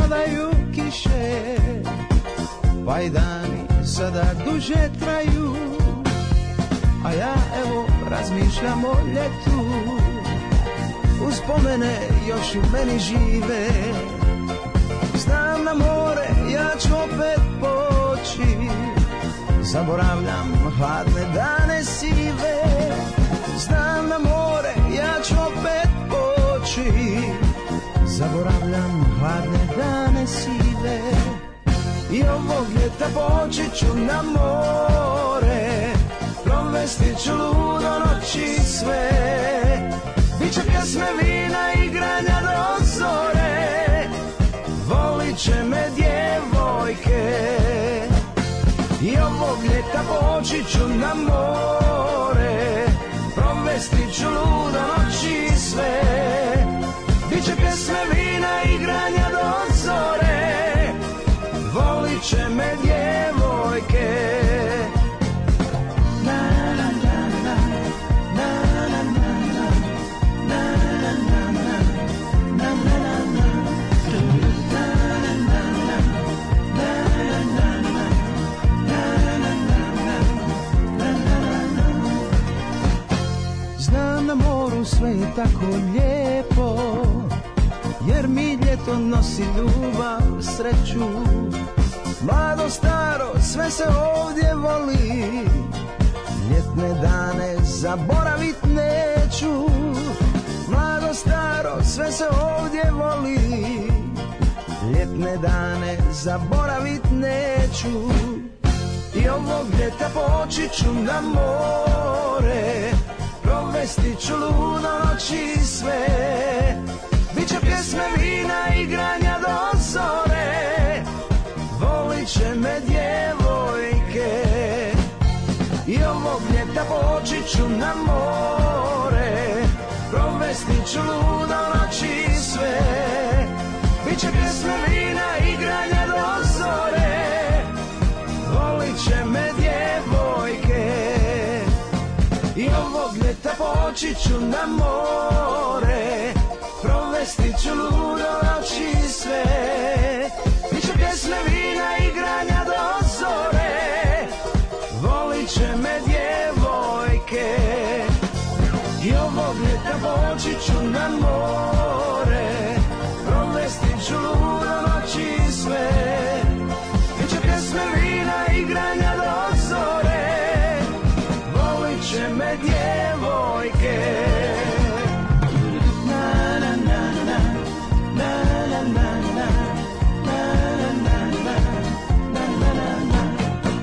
padaju kiše Pa i dani sada duže traju A ja evo razmišljam o ljetu Uspomene još u meni žive Znam na more, ja ću opet poći Zaboravljam hladne dane sive Znam na more, ja ću opet poći Zaboravljam hladne dane sive I ovog ljeta poći ću na more Provesti ću ludo noći sve Biće pjesme vina i igranja do zore Volit će me djevojke i ovog ljeta poći ću na more Provesti ću luda noći sve Biće pjesme vina i igranja do zore Volit će me djevojke Na, na, na, na, na, na, na, na, na, na, na, na, na, na, na, na. Na, na, na, na, na, na, na, na. Znam na moru sve je tako lijepo Jer mi ljeto nosi ljubav, sreću Mlado, staro, sve se ovdje voli Ljetne dane zaboravit neću Mlado, staro, sve se ovdje voli Ljetne dane zaboravit neću i ovog ljeta poći ću na more Provesti ću ludo noći i sve Biće pjesme vina i igranja do zore Volit će me djevojke I ovog ljeta poći ću na more Provesti ću ludo noći i sve Biće pjesme vina i igranja do zore volit će me djevojke I ovog ljeta poći ću na more Provesti ću ludo noći i sve Biće pjesme vina i igranja do zore Volit će me djevojke I ovog ljeta poći ću na more Provesti ću ludo noći i sve Biće pjesme vina i igranja do zore Volit će me djevojke Na, na, na, na. Na, na, na, na. Na, na, na, na. Na, na, na, na.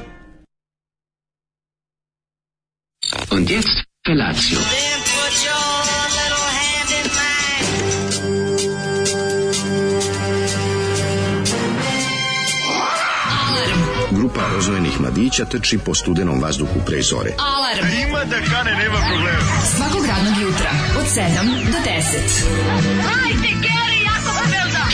Und jetzt Felatio. Then put your little hand in mine. Grupa rozvojenih mladića trči po studenom vazduhu pre zore. Alarm. Ima da kane, nema problema. Svakog radnog jutra, od 7 do 10. Hajde, Geri, jako se velda.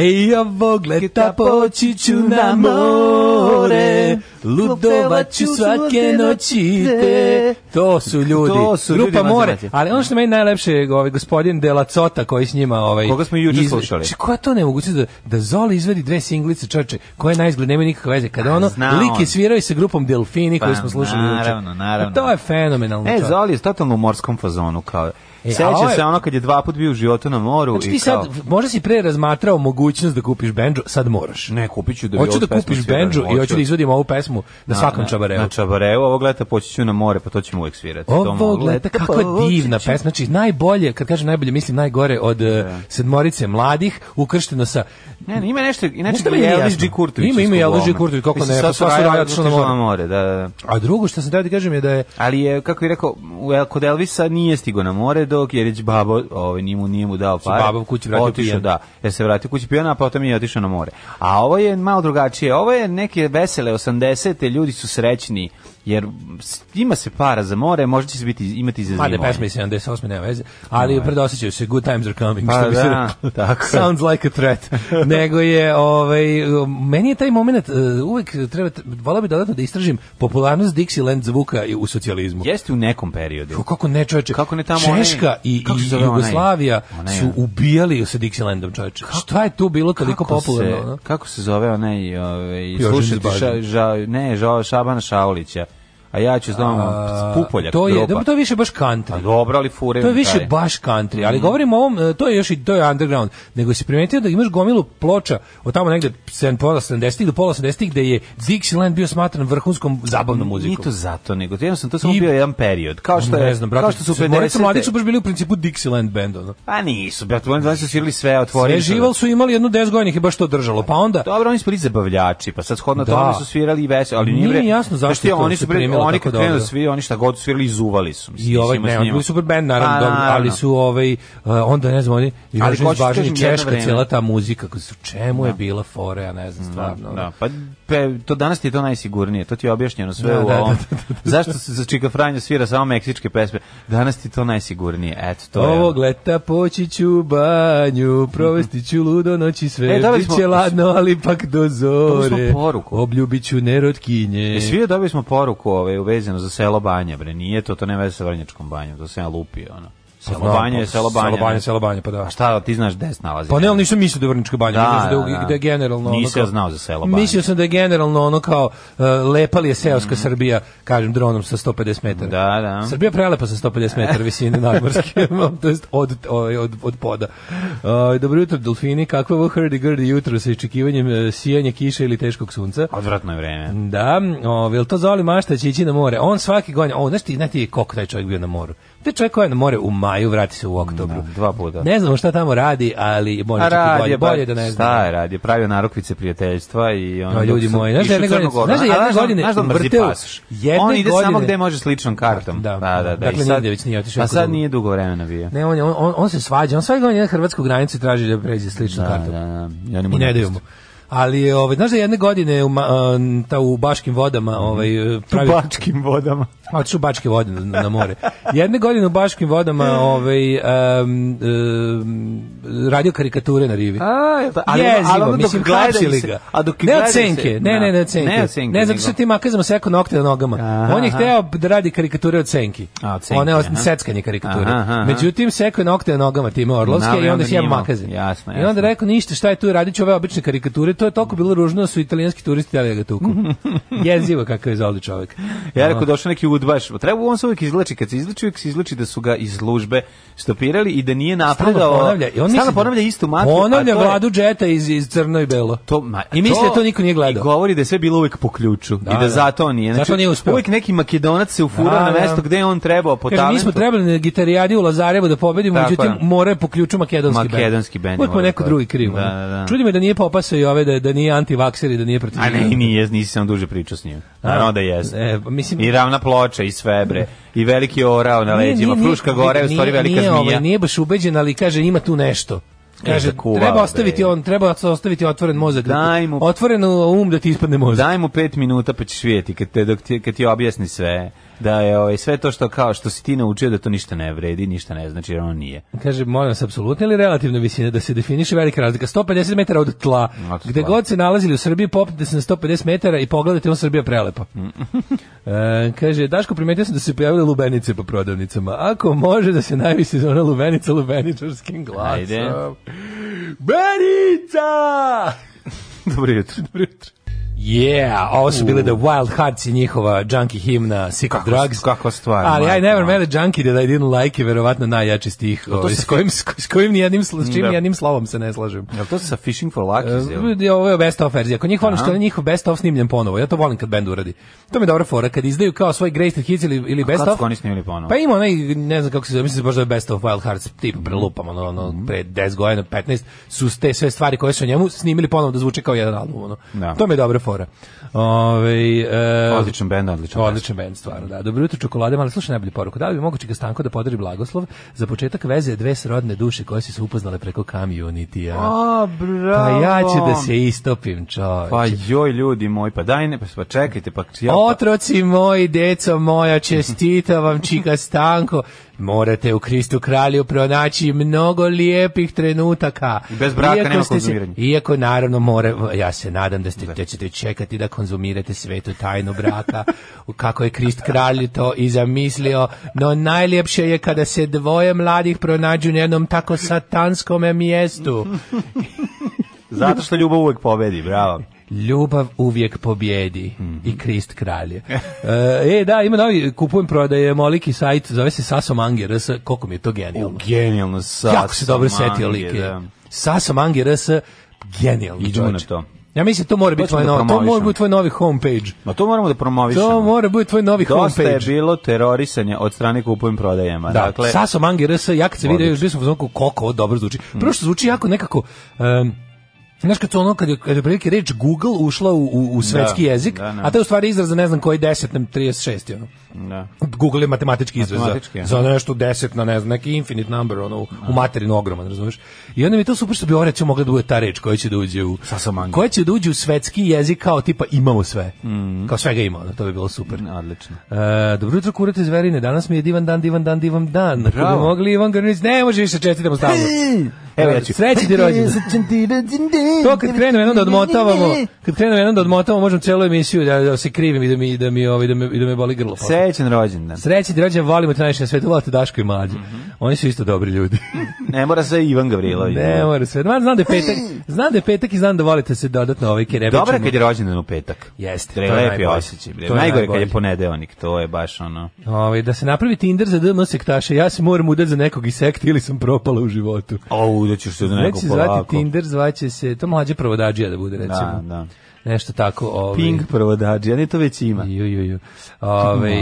Ej, I ovog leta poći ću na more Ludovat ću svake noći te To su ljudi To su ljudi Grupa more matemati- Ali ono što meni najlepše je ovaj gospodin De La Cota Koji s njima ovaj, Koga smo i juče izve- slušali. Či, Koja to nemogućnost da, da Zoli izvedi dve singlice čoče Koje najizgled nemaju nikakve veze Kada ono Pa, zna lik je on. svirao i sa grupom Delfini Koju Pa, smo slušali juče. naravno, naravno. Pa To je fenomenalno E, čoveče. Zoli je totalno u morskom fazonu, kao... E, a Seća ovo je- se ono kad je dva put bio u životu na moru Znači i ti sad, kao... možda si pre razmatrao mogućnost da kupiš bendžu, sad moraš. Ne, kupit ću da bi Hoću ovu da pesmu kupiš svirali, Znači, bendžu i hoću da izvodim ovu pesmu na svakom čabareu. Na čabareu, ovog leta poći ću na more, pa to ćemo uvijek svirati. To Ovog mogu. leta, kakva Poći divna ću. pesma, znači najbolje, kad kažem najbolje, mislim najgore od eh, sedmorice mladih, ukršteno sa... Ne, ne, ima nešto, inače Znaš da šta meni nije je Elvis jasno? G. Kurtović. Ima, ima i isto Elvis G. glavno. Kurtović, kako Mislim, ne, sad pa sva su su Raja radi otišla na otišla more. da, da. A drugo što sam teo da kažem je da je Ali je, kako bih rekao, u El- kod Elvisa nije stigo na more, dok Jerić babo, ovaj nije mu nije mu dao pare. babo kući vratio otišao, pijan. da. Ja se vratio kući pijan, a potom je otišao na more. A ovo je malo drugačije. Ovo je neke vesele 80-te, ljudi su srećni jer s- ima se para za more, možda će se biti imati i za zimu. Mada je pesma iz 78. nema veze, ali predosećaju se Good Times Are Coming, Ovaj. Pa što bi se da, reklo. tako je. Sounds like a threat. Nego je, ovaj, meni je taj moment, eh, uvek treba, volao bi dodatno da istražim popularnost Dixieland zvuka i u socijalizmu. Jeste u nekom periodu. Kako, kako ne, čoveče? Kako ne tamo Češka onaj- i, kako se i zove onaj? Jugoslavija Onaj, su ja. ubijali sa Dixielandom, čoveče. Šta je tu bilo toliko popularno? Se, ono? kako se zove onaj ovaj, Jožin slušati ša, Zbažin. ža, ne, ža, Šabana Šaulića. A ja ću s A, domom Pupoljak To je, grupa. dobro, to je više baš A country. dobro, ali fure. To je mi više taj. Mhm. baš country, ali govorim o ovom, e, to je još i to je underground, nego si primetio da imaš gomilu ploča od tamo negde 7 pola 70-ih do pola 70-ih gde je Dixieland bio smatran vrhunskom zabavnom Nije muzikom. to zato, nego jednostavno to samo I- bio jedan period. Kao što je, ne znam, brate, kao što su Gorica Mladić su 50 baš bili u principu Dixieland band, ono. Pa nisu, brate, oni znači su svirali sve, Sve otvorili. su- žival su imali jednu 10 godina i baš to držalo, pa onda... Dobro, oni su bili zabavljači, pa sad shodno Da. tome su svirali i vese, ali nije, Nije bre- jasno znaš zašto ti, je to oni se su bili, primilo oni tako kad krenu dobro. svi, oni šta god su svirali izuvali su. mislim, I ovaj, ima ne, s oni njima. bili super band, naravno, Pa, dobro, ali naravno. su ovaj, uh, onda ne znam, oni, Ali Jožin hoću ti Zbažin i kažem jedno Češka, vreme. cijela ta muzika, koji su- čemu je bila fore, ja ne znam, stvarno. ono. Da, pa pe, to danas ti je to najsigurnije, to ti je objašnjeno sve Da, u da, ovom. da, da, da, Zašto se za Čika Franjo svira samo meksičke pesme? Danas ti je to najsigurnije, eto to je. Ovog ono. leta poći ću u banju, provesti ću ludo noći sve, E, dobili bit će smo- ladno, ali pak do zore, Dobili smo poruku. obljubit ću nerotkinje. E, svi dobili smo poruku ovaj, uvezeno za selo Banja, bre, nije to, to nema veze sa Vrnjačkom banjom, to sam ja lupio, ono. Selo Banja je selo Banja. Pa Selo banje, ne? selo banje, pa da. A šta, ti znaš gde se nalazi? Pa ne, ali nisam mislio da je Vrnička banja, Da, mislio sam da, da, je- da. da je generalno... ono Nisam ja kao- znao za selo Banje. Mislio sam da je generalno ono kao, uh, lepali je seoska Srbija, kažem, dronom sa 150 metara. Da, da. Srbija prelepa sa 150 metara visine nadmorske, to jest od, ovaj, od, od poda. Uh, dobro jutro, delfini, kakvo je ovo hurdy-gurdy jutro sa iščekivanjem uh, sijanja kiše ili teškog sunca? Odvratno je vreme. Da, o, jel to Zoli Mašta će ići na more? On svaki godin, o, znaš ti, znaš ti koliko taj čovjek bio na moru? Taj čovjek koji je na more u maju, vrati se u oktobru. Da, dva puta. Ne znamo šta tamo radi, ali bolje, A čak i bolje, radio, bolje da ne Šta znam. je radio? Pravio narukvice prijateljstva i ono on A, ljudi moji, znaš da jedne godine- znaš da jedne godine vrteo- jedne on ide samo godine- gde može sličnom kartom. Da. Da, da, da. Dakle, I sad- Nediljeć nije otišao A kod sad drugog. nije dugo vremena bio. Ne, on, je- on, on, on se svađa, on svaki godin na hrvatsku granicu i traži da pređe sličnu Da, kartu. da, da. Ja I ne daju mu. Ali, je, ovaj, znaš da jedne godine u, ma- a, ta, u Baškim vodama ovaj, pravi, Bačkim vodama. A otišao u Bačke vode na, na more. Jedne godine u Bačkim vodama ovaj, em, em, radio karikature na rivi. A, je to- ali ono- ali Jezivo, ono dok mislim, gledali hapsili se- ga. a dok ne od gledali se- senke, ne, da. ne, ne od senke. Ne od senke, Ne, zato nego- što ti makazama sekao nokte na nogama. Aha, On je aha. hteo da radi karikature od senki. A, od senke, One od aha. seckanje karikature. Aha, aha, aha. Međutim, sekao je nokte na nogama time Orlovske Naravno, i onda onda si ja nije imao. makazin. Jasno, I onda jasno. rekao, ništa, šta je tu, radit ću ove obične karikature. To je toliko bilo ružno da su italijanski turisti htjeli da ga tuku. Jezivo kakav je zoli Ono, čovjek. Ja rekao došao neki udbaš. Treba on se uvijek izleči. Kad se izleči, uvijek se izleči da su ga iz službe stopirali i da nije napredao. Stalno ponavlja. I on misli Stalno da- ponavlja istu matku. Ponavlja a to je- vladu džeta iz, iz crno i belo. To, ma, I misli da to niko nije gledao. I govori da je sve bilo uvek po ključu. I da, da. zato nije. Znači, Zato nije uspeo. Uvijek neki makedonac se ufura Da, na da. mesto gde je on trebao po Kaže, mi talentu. smo trebali na gitarijadi u Lazarevu da pobedimo, Tako međutim, je. mora je po ključu makedonski bend. Makedonski bend je Uvijek mu morao neko da- drugi kriv. Da, ono. da, da. Čudi me da nije popasao i ove, da, da nije antivakser i da nije protiv. A ne, i nije, nisi sam duže pričao s njim. Naravno da jeste. E, pa mislim- I ravna ploča, i sve, bre. I veliki orao na Nije- leđima. nije- Fruška nije- gore, je u stvari nije- velika nije, zmija. ovaj, nije baš ubeđen, ali kaže, ima tu nešto. Kaže, da kuva, treba ostaviti bre. on, treba ostaviti otvoren mozak. da ti- Daj mu- Otvoren um da ti ispadne mozak. Daj mu pet minuta pa ćeš vidjeti kad, te, dok ti, kad ti objasni sve da je ovaj, sve to što kao što si ti naučio da to ništa ne vredi, ništa ne znači jer ono nije. Kaže, molim vas, apsolutna ili relativna visina da se definiše velika razlika. 150 metara od tla. Od tla. Gde god se nalazili u Srbiji, popnite se na 150 metara i pogledajte, on Srbija prelepa. E, kaže, Daško, primetio sam da su se pojavile lubenice po prodavnicama. Ako može da se najvi sezona lubenica lubeničarskim glasom. Ajde. Benica! Dobro jutro. Dobro jutro. Yeah, ovo su bile The Wild Hearts i njihova junkie himna Sick of Kako- Drugs. kako stvar, Ali I majko never moja. met a junkie that I didn't like je verovatno najjači stih ovaj, s, kojim, s, s kojim nijednim, sl- s čim Da. nijednim slovom se ne slažem. Jel to sa Fishing for Luckies? jel? E, Ovo je best of verzija. Kod njih volim Aha. što je njihov best of snimljen ponovo. Ja to volim kad bend uradi. To mi je dobra fora. Kad izdaju kao svoj Greatest Hits ili, ili best Kad of, su oni snimili ponovo? pa ima onaj, ne znam kako se zove, mislim se baš da je Best of Wild Hearts, tip Mhm. prelupam, ono, ono, pre 10 godina, 15, su te sve stvari koje su o njemu snimili ponovo da zvuče kao jedan album, ono. Da. To mi je dobra fora. Ove, e, Odličan bend, odličan Odličan bend, stvarno, da. Dobro jutro, čokolade, ali slušaj najbolju poruku. Da li bi moguće ga stanko da podari blagoslov za početak veze dve srodne duše koje su se upoznale preko community-a? A, Pa bravo. ja ću da se istopim, čovječe. Pa joj, ljudi moji, pa daj ne, pa, pa čekajte, pa ja... pa- Otroci moji, deco moja, čestita vam čika Stanko. Morate u Kristu kralju pronaći mnogo lijepih trenutaka. I bez braka nema ste se- konzumiranja. Iako naravno more, ja se nadam da, ste, da ćete čekati da konzumirate svetu tajnu braka, kako je Krist kralj to i zamislio, no najljepše je kada se dvoje mladih pronađu na jednom tako satanskom mjestu. Zato što ljubav uvek pobedi, bravo. Ljubav uvijek pobjedi Mhm. i Krist kralje. e, da, ima novi, kupujem prodaje, moliki sajt, zove se Saso Mange RS, koliko mi je to genijalno. Genijalno, sad. jako se dobro sam setio manje, like. da. Saso Mange RS, genijalno. Idemo na čoveče. to. Ja mislim to mora biti ćemo da tvoj novi, to mora promovišemo. biti tvoj novi homepage. Ma to moramo da promovišemo. To mora biti tvoj novi Dosta je homepage. bilo terorisanja od strane kupujem prodajama. Da, dakle, Saso Mangi RS, ja kad se vidio, još bio sam u zonku koliko ovo dobro zvuči. Mm. Prvo što zvuči jako nekako... em, Znaš kad su ono, kad je, kad je prilike reč Google ušla u, u, u svetski Da, jezik, da, da. a to je u stvari izraz za ne znam koji 10 na 36. je Ono. da. Google je matematički izraz za, Matematički, za nešto 10 na ne znam, neki infinite number, ono, u, u materinu ogroman, razumiješ? I onda mi je to super što bi ovo recimo mogla da bude ta reč koja će da uđe u... Saso Mangi. Koja će da uđe u svetski jezik kao tipa imamo sve. Mm. Kao svega ima, ono, to bi bilo super. Odlično. E, dobro jutro, kurate iz Verine. Danas mi je divan dan, divan dan, divan dan. Ako bi mogli Ivan Grnić, ne može više čestitamo stalno. Evo ja ću. Sreći ti rođendan. To kad krenu jedno da odmotavamo, kad krenu jedno da odmotavamo, možemo celu emisiju da, da se krivim i da mi da mi ovaj da me i da me boli grlo. posle. Srećen rođendan. Sreći ti rođendan, volimo te najviše na svetu, volite Daško i Mlađu. Mhm. Oni su isto dobri ljudi. Ne mora se Ivan Gavrilović. ne, mora sve. Ma, znam da je petak, znam da je petak i znam da volite se dodatno ovaj kerebičima. Dobro je kad je rođendan u petak. Jeste, Tre, to je lepi najbolje. osjećaj. bre. To je Najgore kad najbolje. je ponedeonik, to je baš ono. Ovaj, da se napravi Tinder za DM sektaše, ja se moram udati za nekog iz sekte ili sam propala u životu. Au, da ćeš se za Neće nekog se Znači, zvati polako. Tinder, zvaće se, to mlađe provodađija da bude, Da, recimo. da. Nešto tako. Ovaj. Ping provodađi, a ne to već ima. Ju, ju, ju. Ovaj,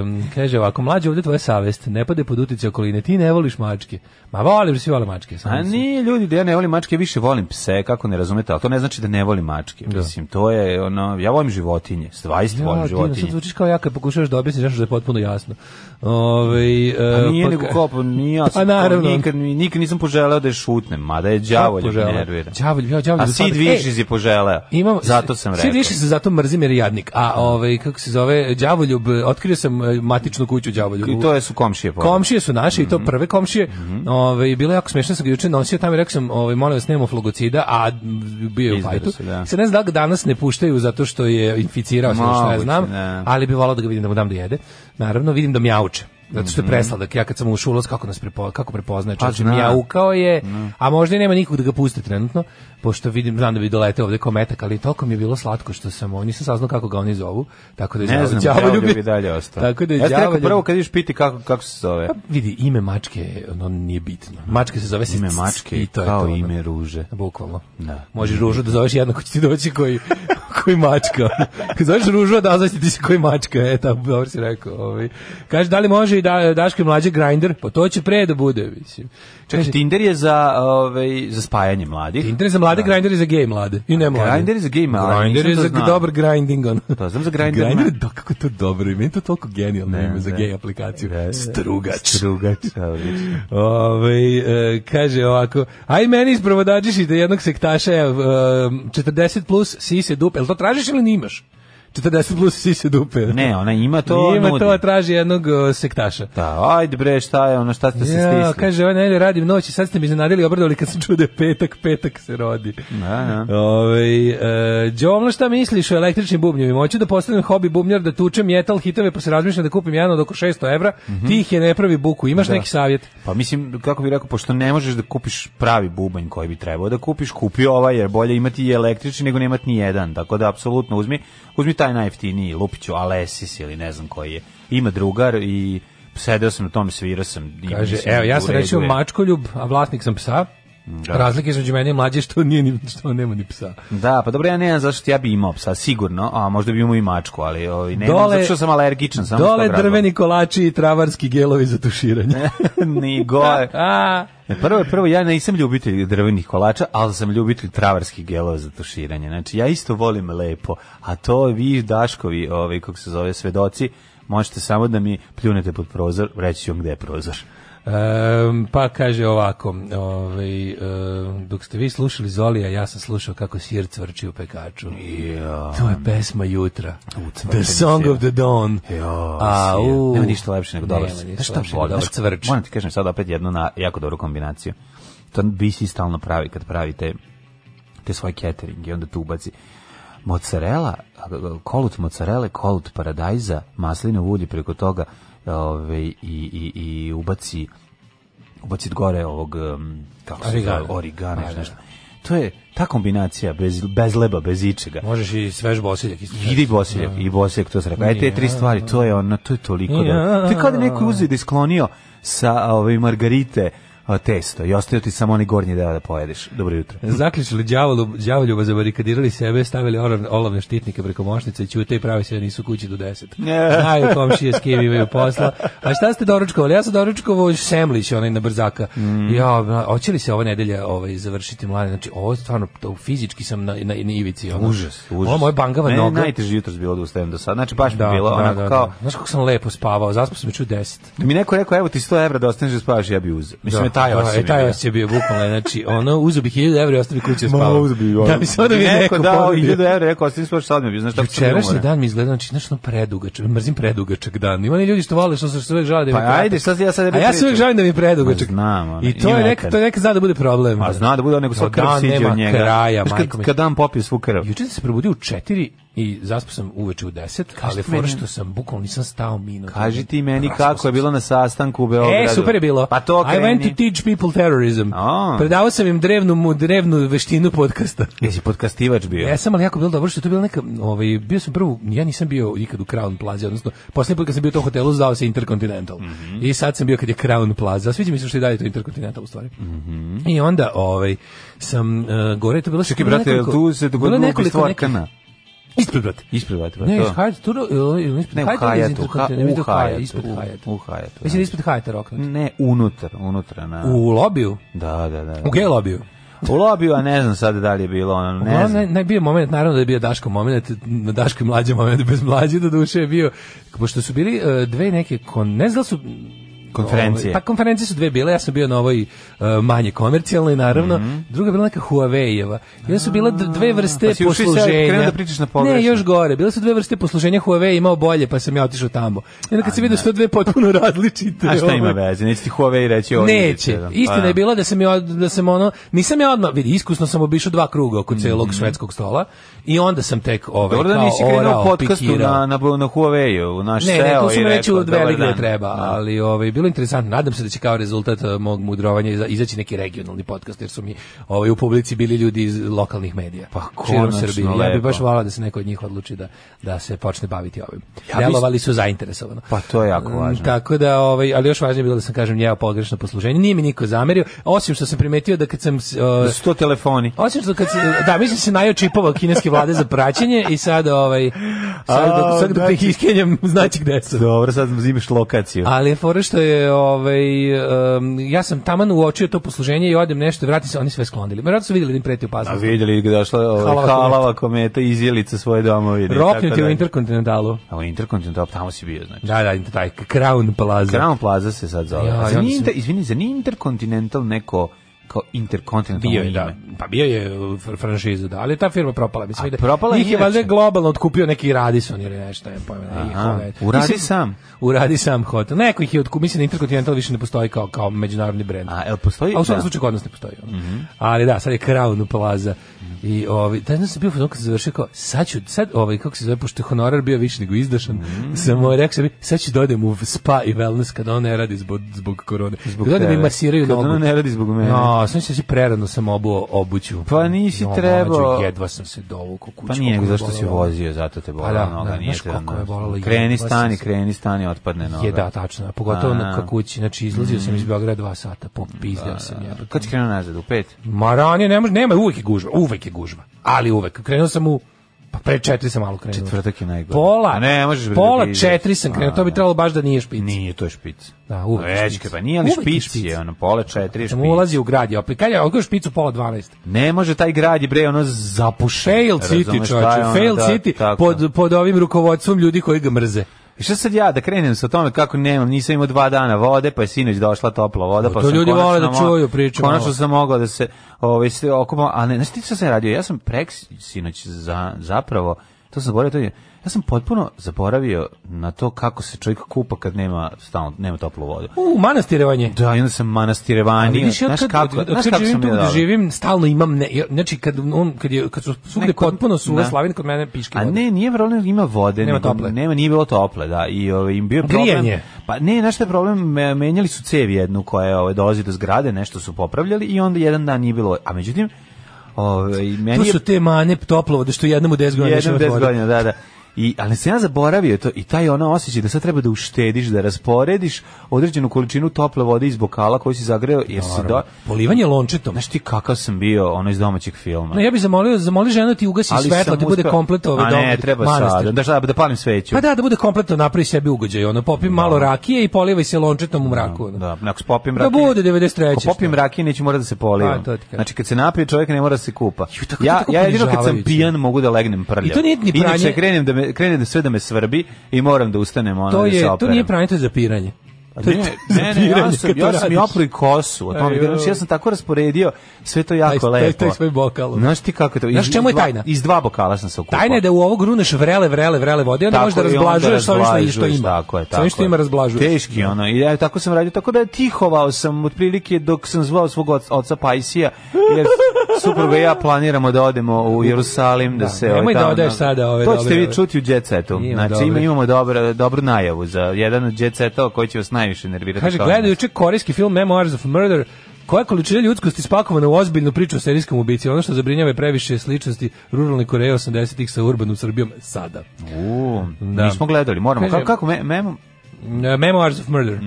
em, kaže ovako, mlađe ovdje tvoja savest, ne pade pod utice okoline, ti ne voliš mačke. Ma volim, svi vole mačke. samo A su- ni ljudi da ja ne volim mačke, ja više volim pse, kako ne razumete, ali to ne znači da ne volim mačke. Mislim, to je ono, ja volim životinje, stvarno Ja, volim divno, sad životinje. zvučiš kao ja kad pokušavaš da objasniš nešto što je potpuno jasno. Ovaj, A e, nije pa nego ka- kao, pa nije, ja Pa sam, naravno. nikad, mi- nikad nisam poželeo da je šutnem, mada je đavolj Kako žele? nervira. Đavolj, ja đavolj A da Sid spada- Ej, Višiz je poželeo, Imam, zato sam rekao. Svi više se zato mrzim jer je jadnik. A ovaj, kako se zove, đavoljub, otkrio sam e, matičnu kuću đavoljubu. I to je su komšije Mhm. povedali. Komšije su naše i to prve komšije. Ovaj bilo je jako smešno sam ga juče nosio tamo i rekao sam ovaj molim vas nemamo flogocida, a m, bio je u Izdere fajtu. se, da. Se ne znam da ga danas ne puštaju zato što je inficirao se što ja Moguće, znam, da. ali bi volao da ga vidim da mu dam da jede. Naravno vidim da mjauče. Zato što je presladak. Ja kad sam ušao u ulaz, kako nas prepo, kako prepoznaje Mhm. Pa, čovječe, zna. mjaukao je, a možda i nema nikog da ga puste trenutno, pošto vidim, znam da bi doleteo ovde kometak, ali toliko mi je bilo slatko što sam, ovo- nisam saznao kako ga oni zovu, tako da je Ne đavo- znam, đavoljub đavoljub je- je dalje ostao. Tako da je ja sam rekao đavoljub- prvo kad iš piti kako, kako se zove. pa vidi, ime mačke, ono nije bitno. Mačke se zove Ime Sic- mačke i to je kao to, ono. ime ruže. Bukvalno. Da. Možeš ružu da zoveš jednako će ti doći koji, koji mačka. Kad zoveš ružu, da zoveš ti se koji mačka. E, tako, dobro si rekao. Ovaj. Kaže, da li može i da, Daško i mlađe grinder? Pa to će pre da bude, mislim. Čekaj, Kaže, Tinder je za, ovaj, za spajanje mladih. Tinder je za mlade, grinder je za gej mlade. I ne mlade. Grindr je za gej mlade, Grinder je nisam za to znao. dobar grinding. Ono. To znam za Grindr. Grindr, da, kako je to dobro. I meni je to toliko genijalno ime za da. gej aplikaciju. Strugač. Drugač, odlično. Ove, e, kaže ovako, aj meni isprovodađišite jednog sektaša, evo, em, 40 plus sise dupe, jel to tražiš ili nimaš? 40 plus sise dupe. Ne, ona ima to, Ima nudi. to, traži jednog e, sektaša. Da, ajde bre, šta je ono, šta ste se Ja, stisli? kaže, ovaj najde radim noć i sad ste mi iznenadili i obradovali kad sam čuo da je petak, petak se rodi. Da, da. Ovaj e, Đomlo, šta misliš o električnim bubnjevima? Hoću da postavim hobi bubnjar, da tučem metal hitove, pa se razmišljam da kupim jedan od oko 600 evra, Mhm. tih je ne pravi buku, imaš neki savjet? Pa mislim, kako bih rekao, pošto ne možeš da kupiš pravi bubanj koji bi trebao da kupiš, kupi ovaj, jer bolje imati i električni nego nemati ni jedan. Tako da, apsolutno, uzmi, uzmi taj najjeftiniji, lupiću Alesis ili ne znam koji je. Ima drugar i sedeo sam na tom, svirao sam. i Kaže, mislim, evo, ja u sam redu rečio je. mačkoljub, a vlasnik sam psa. Da. Razlika između mene i mlađe je što nije ni što on nema ni psa. Da, pa dobro, ja nemam zašto ja bi imao psa, sigurno, a možda bi imao i mačku, ali ovaj, nemam, Dole- zato što sam alergičan. Samo iz Dole tog razloga. drveni kolači i travarski gelovi za tuširanje. Ni gore. a, Ne, E, prvo je prvo, ja nisam ljubitelj drvenih kolača, ali sam ljubitelj travarskih gelova za tuširanje. Znači, ja isto volim lepo, a to vi Daškovi, ovaj, kako se zove, svedoci, možete samo da mi pljunete pod prozor, reći ću vam gde je prozor. Ehm, pa kaže ovako, ovaj, e, dok ste vi slušali Zolija, ja sam slušao kako sir cvrči u pekaču. Ja. To je pesma jutra. The cvrčenje song sira. of the dawn. Jo, A, sir. u. Nema ništa lepše nego dobar. Nema sir. ništa Znaš šta lepše volim? nego dobar Znaš, cvrč. Moram ti kažem sad opet jednu na jako dobru kombinaciju. To BC stalno pravi kad pravi te, te svoje catering i onda tu ubaci mozzarella, kolut mozzarella, kolut paradajza, maslinovo ulje preko toga ove, i, i, i ubaci ubaci gore ovog um, kako se zove, Origano. origana, Da, da, nešto. To je ta kombinacija bez, bez leba, bez ičega. Možeš i svež bosiljak. isto. Idi Bosiljak, i Bosiljak to se rekao. Aj te tri stvari, to je ono, to je toliko da. Ja. Ti kad neko uzeo da je sklonio sa ove margarite a, testo i ostavio ti samo onaj gornji deo da pojedeš. Dobro jutro. Zaključili đavolu, đavoljuba zabarikadirali sebe, stavili orav- olovne štitnike preko mošnice i ćute i pravi se da nisu kući do 10. Ne. Znaju komšije s kim imaju posla. A šta ste doručkovali? Ja sam doručkovao semlić, onaj na brzaka. Mm. Ja, na- hoće li se ove nedelje ovaj, završiti mlade? Znači, ovo stvarno, to, fizički sam na, na, na ivici. Ono. Užas, užas. Ovo moja bangava Meni je noga. najteže jutros bilo da ustajem do sada. Znači baš mi je bilo onako da, kao da. Znaš kako sam lepo spavao, zaspao sam ću 10. da mi neko rekao evo ti 100 evra da ostaneš da spavaš, ja bi uzeo. Mislim da, je taj da, osjećaj. e, taj bio. osjećaj je bio bukvalno, znači, ono, uzo bi 1000 evra i ostao bi kuće spavao. uzeo bi, ono. Da bi se onda mi neko, dao pobio. 1000 evra, rekao ostaneš da spavaš, sad mi bi. Znaš tako sam bio Jučerašnji umoran. dan mi izgleda, znači, znaš, ono predugačak, mrzim predugačak dan. Ima oni ljudi što vole, što se što uvek žale da mi Pa je kratak. ajde, sad ja sad A tebi ja se uvek pričam. žalim da mi je predugačak. Ma znam, ono, I to ima je nekad. neka, to nekad zna da bude problem. A zna da bude nego sa Od krv dana siđe nema od njega. kraja, Znaš, majko kad, mi. kad dan popije svu krv. Juče sam se probudio u 4 i zaspao sam uveče u 10, ali je fora meni? što sam bukvalno nisam stao minut. Kaži ti meni Raspao kako sam je bilo na sastanku u Beogradu. E, super je bilo. Pa to I went to kreni. teach people terrorism. A. Predavao sam im drevnu, mu- drevnu veštinu podcasta. Jesi podkastivač bio? Jesam, ali jako bilo dobro što je to bila neka, ovaj, bio sam prvo, ja nisam bio ikad u Crown Plaza, odnosno, posljednji put kad sam bio u tom hotelu, zvao se Intercontinental. Mhm. I sad sam bio kad je Crown Plaza, sviđa mi se što je dalje to Intercontinental u stvari. I onda, ovaj, sam, e, gore je to bilo... Mhm. Čekaj, bilo brate, jel nekoliko- tu se bilo dogodilo nekoliko ubistvo nekih- Arkana? Ispred, brate. Ispred, brate, pa Ne, to. iz Hyatt, tu, ili- ili ispred Ne, u Hyata ili iz Hyattu, ha- Intercontinental, u ispred Hyata, Hyattu, ispred u- Hyata. u Hyattu, Mislim da da. je ispred Hyata roknut. Ne, unutar, unutra. Na. U lobiju? Da, da, da. U gej lobiju? U lobiju, a ne znam sad da li je bilo ono, ne Uglavnom, znam. naj, najbio moment, naravno da je bio Daško moment, na Daško i mlađe moment, bez mlađe do duše je bio, pošto su bili e, dve neke, kon, ne znam da li su... Konferencije. Ove, pa konferencije su dve bile, ja sam bio na ovoj e, manje komercijalnoj, naravno, druga je bila neka Huawei-eva. I onda su bile d- dve vrste Mhm. Pa si ušao i sad posluženja. krenuo da pričaš na pogrešno. Ne, još gore, bile su dve vrste posluženja, Huawei je imao bolje, pa sam ja otišao tamo. I onda kad se vidio što dve potpuno različite. A šta ima ovaj, veze? Neće ti Huawei reći ovo. Neće. Pa, Istina je bila da sam ja od- da sam ono nisam ja odmah vidi iskusno sam obišao dva kruga oko celog švedskog stola i onda sam tek ovaj Mhm. Dobro da kao nisi krenuo orao, podcastu pikirao. na, na, na Huawei-u, u naš Ne, SEO. ne, to i sam već rekao, u dve "Dobar lige dan." treba, Da. ali ovaj, bilo je interesantno. Nadam se da će kao rezultat eh, mog mudrovanja iza- izaći neki regionalni podcast, jer su mi ovaj, u publici bili ljudi iz lokalnih medija. Pa, širom konačno, Srbije. Ja bih lepo. baš volao da se neko od njih odluči da, da se počne baviti ovim. Ja bi- Delovali su zainteresovano. Pa to je jako Mm, važno. Tako da, ovaj, ali još važnije je bilo da sam kažem ja pogrešno posluženje. Nije mi niko zamerio, osim što sam primetio da kad sam... s- eh, Da su to telefoni. osim što kad se, da, mislim se najao čipova kineske vlade za praćenje i sad ovaj sad A, dok, sad dok znači- ih iskenjam znači gde sam. Dobro, sad imaš lokaciju. Pa, Ali je fora što je, ovaj, em, ja sam taman uočio to posluženje i odem nešto, vratim se, oni sve sklonili. Vjerojatno su vidjeli da im A preti opasnost. vidjeli gdje došla ovaj, Halava kometa. halava kometa iz Ilice svoje domovine. i tako Roknuti u dalje. Interkontinentalu. A u Intercontinental, tamo si bio, znači. Da, da, taj Crown Plaza. Crown Plaza se sad zove. Ja, Ja, i zar onda nije sam- inter, izvini, zar nije Intercontinental neko kao Intercontinental Bio je, ime? da. Pa bio je fr- franšizu, da, ali je ta firma propala. Mislim, A da, propala je ih je inače. valjda globalno otkupio neki Radison ili nešto, ne pojma. ne, ih, Aha, ovaj, uradi mislim- sam. Uradi sam hotel. Neko ih je otkupio, mislim da Intercontinental više ne postoji kao, kao međunarodni brend. A, jel postoji? A u svakom Da. Mhm. slučaju kod nas ne postoji. ono. Ali da, sad je Crown Plaza. I ovaj, taj dan sam bio fazon kad sam završio kao, sad ću, sad ovaj, kako se zove, pošto je honorar bio više nego izdašan, Mhm. sam ovaj, rekao sebi, sad ću dodem u spa i wellness kada on ne radi zbog, zbog korone. Zbog da mi tebe. masiraju Kad nogu. ona ne radi zbog mene. No, sam se si prerano sam obuo obuću. Pa nisi No, trebao. mlađo, jedva sam se dovukao kuću. Pa nije, Znači, koliko nego me zašto si bolelo. vozio, zato te bola Pa da, noga, da, nije znaš te koliko ono- me bolelo, Kreni, jedva stani, sam se- kreni, stani, otpadne noga. Je, da, tačno. a Pogotovo A. Mm. na ka kući. Znači, izlazio sam iz Beograda dva sata, popizdeo sam. jebote. Kad si krenuo nazad, u pet? Ma ranije ne može, nema, uvek je gužva, uvek je gužva. Ali uvek. Krenuo sam u Pa pre četiri sam malo krenuo. Četvrtak je najgore. Pola, A ne, možeš bre, da pola ideš. četiri sam krenuo, A, to bi da. trebalo baš da nije špic. Nije, to je špic. Da, uvek je Rečke, špic. pa nije, ali Uvek je špic, špic. je, ono, pola četiri je špic. Sam ulazi u grad, je opet. Kad je odgoj špicu pola 12. Ne može taj grad je bre ono zapušen. Fail razumeš, City, taj čovječe, ono, fail da, City tako. pod, pod ovim rukovodstvom ljudi koji ga mrze. I šta sad ja da krenem sa tome kako nemam, nisam imao dva dana vode, pa je sinoć došla topla voda, O, pa to sam ljudi konačno vole da mo- čuju priču ono. Konačno malo. sam mogao da se ovaj se okupam, a ne, znaš ti šta sam radio? Ja sam prek sinoć za, zapravo to sam zaboravio, to je, ja sam potpuno zaboravio na to kako se čovjek kupa kad nema stalno nema toplu vodu. U, manastirevanje. Da, i onda sam Ali manastirevanio, vidiš, ja znaš kad, kako, od, od, znaš kad kako živim sam tu ja gde dao. živim, stalno imam, ne, ja- znači kad, on, kad, je, kad su svugde Neko- potpuno suve da. slavine, kod mene piške A vode. ne, nije problem, ima vode, Nema nema tople. Nema, nije bilo tople, da. I ovaj im bio je problem. Grijanje. Pa ne, znaš šta je problem, me- menjali su cev jednu koja je ovaj dolazi do zgrade, nešto su popravljali i onda jedan dan nije bilo. A međutim, ovaj To meni je su te mane toplovode što jednom u 10 godina jednom više 10 otvore. godina, da, da. I, ali sam ja zaboravio to i taj ono osjećaj da sad treba da uštediš, da rasporediš određenu količinu tople vode iz bokala koju si zagreo jer si do... Polivanje lončetom. Znaš ti kakav sam bio ono iz domaćeg filma? No, ja bih zamolio, zamoli ženu da ti ugasi svetlo, sam da bude uspeo- komplet ove A dom. ne, treba manastir. sad. Da, šta, da palim sveću. Pa da, da bude kompletno napravi sebi ugođaj, ono, popi malo rakije i polivaj se lončetom u mraku. ono. Da, ako popim Da rakije. bude 93. Ako popim rakije neću morati da se polivam. Pa, to ti kažem. Znači kad se napije čovjek ne mora da se kupa. tako- ja tako ja jedino kad sam ponižavajuće. pijan mogu da legnem prljavo. I to nije ni pranje. Inače krenem da me krene da sve da me svrbi i moram da ustanem ona To da se je, to operem. nije pranje, to je zapiranje. Pa To je Ne, ne, ne, zapiranje ja sam, kad to ja sam i radiš. opro i kosu. O tome, Ej, znači, ja sam tako rasporedio, sve to jako Taj- taj- lepo. taj svoj bokal. ono. Znaš ti kako je to? Znaš iz- čemu je iz dva- tajna? Iz dva bokala sam se okupao. Tajna je da u ovo gruneš vrele, vrele, vrele vode, i onda Tako Pa možeš da je, i onda razblažuješ sa ovim što- što razblažuješ, ima. Tako je, Sa ovim tako što je. ima razblažuješ. Teški ono. I ja tako sam radio, tako da tihovao sam otprilike dok sam zvao svog oca, oca Pajsija, jer supruga i ja planiramo da odemo u Jerusalim da, se ovaj, nemoj da tamo- odeš sada ove To ćete dobre, vi ove. čuti u Jet Setu. Imam Znači dobre. ima, imamo dobro, dobru najavu za jedan od Jet Setova koji će vas najviše nervirati. Kaže, kao gledaju nas. juče korejski film Memoirs of Murder, koja količina ljudskosti spakovana u ozbiljnu priču o serijskom ubici. Ono što zabrinjava je previše sličnosti ruralne Koreje 80-ih sa urbanom Srbijom sada. U, Da. Nismo gledali, moramo. Kaže- kako, kako me, memo? E, Memoirs of Murder.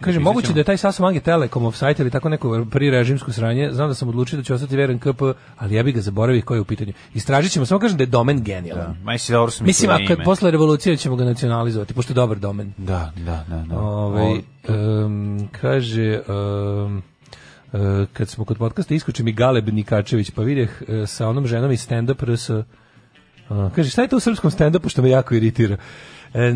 Kaže, moguće da je taj Sasu Mange Telekom offsite ili tako neko prirežimsko sranje. Znam da sam odlučio da ću ostati veren KP, ali ja bih ga zaboravio koji je u pitanju. Istražit ćemo, samo kažem da je domen genijalan. Ma jesi dobro sam mislio Mislim, a na kad ime. posle revolucije ćemo ga nacionalizovati, pošto je dobar domen. Da, da, da. da. Ovaj, O, em, kaže, em, e, kad smo kod podcasta, iskuči mi Galeb Nikačević, pa vidjeh e, sa onom ženom iz stand-up RS. A, kaže, šta je to u srpskom stand-upu što me jako iritira? E,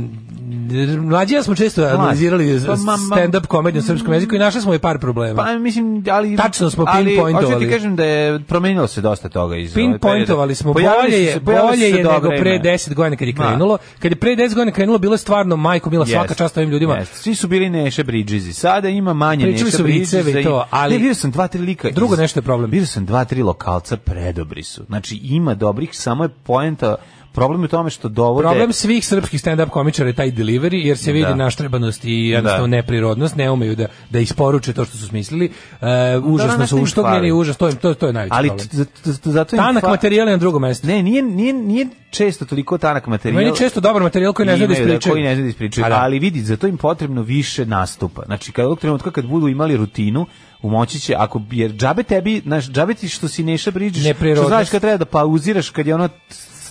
mlađi ja smo često analizirali Pa, ma, ma- stand-up komediju u srpskom jeziku i našli smo i par problema. Pa mislim, ali... Hm. Tačno smo ali, pinpointovali. Hoću ti kažem da je promenilo se dosta toga iz... Pinpointovali smo, Pojavili bolje su je, se- pojavili bolje su se je dobra nego pre imena. 10 godina kad je Ma. krenulo. Kad je pre 10 godina krenulo, bilo je stvarno majko, bila svaka Jest, čast ovim ljudima. jest. Svi su bili Neše Bridgesi. Sada ima manje Pričali Neše su Bridgesa. viceve i to, ali- Ne, vidio sam dva, tri lika. iz- Drugo nešto je problem. Vidio sam dva, tri lokalca, predobri su. Znači, ima dobrih, samo je poenta... Problem je u tome što dovode... Problem svih srpskih stand-up komičara je taj delivery, jer se vidi Da. naštrebanost i jednostavno Da. neprirodnost, ne umeju da, da isporuče to što su smislili. E, užasno Da, da, su nešto im uštogljeni, fali. užas, to, im- to, to je najveći Ali problem. t- zato- zato im Tanak fa- materijal je na drugom mestu. Ne, nije, nije, nije često toliko tanak materijal. Meni je često dobar materijal koji ne znaju da Imaju, ispričaju. koji ne znaju da ispričaju, A da. ali vidi, za to im potrebno više nastupa. Znači, kad ovog trenutka kad budu imali rutinu, umoći će, ako, jer džabe tebi, znaš, džabe ti što si neša priđeš, što Neprirodnost. znaš kad treba da pauziraš, kad je ono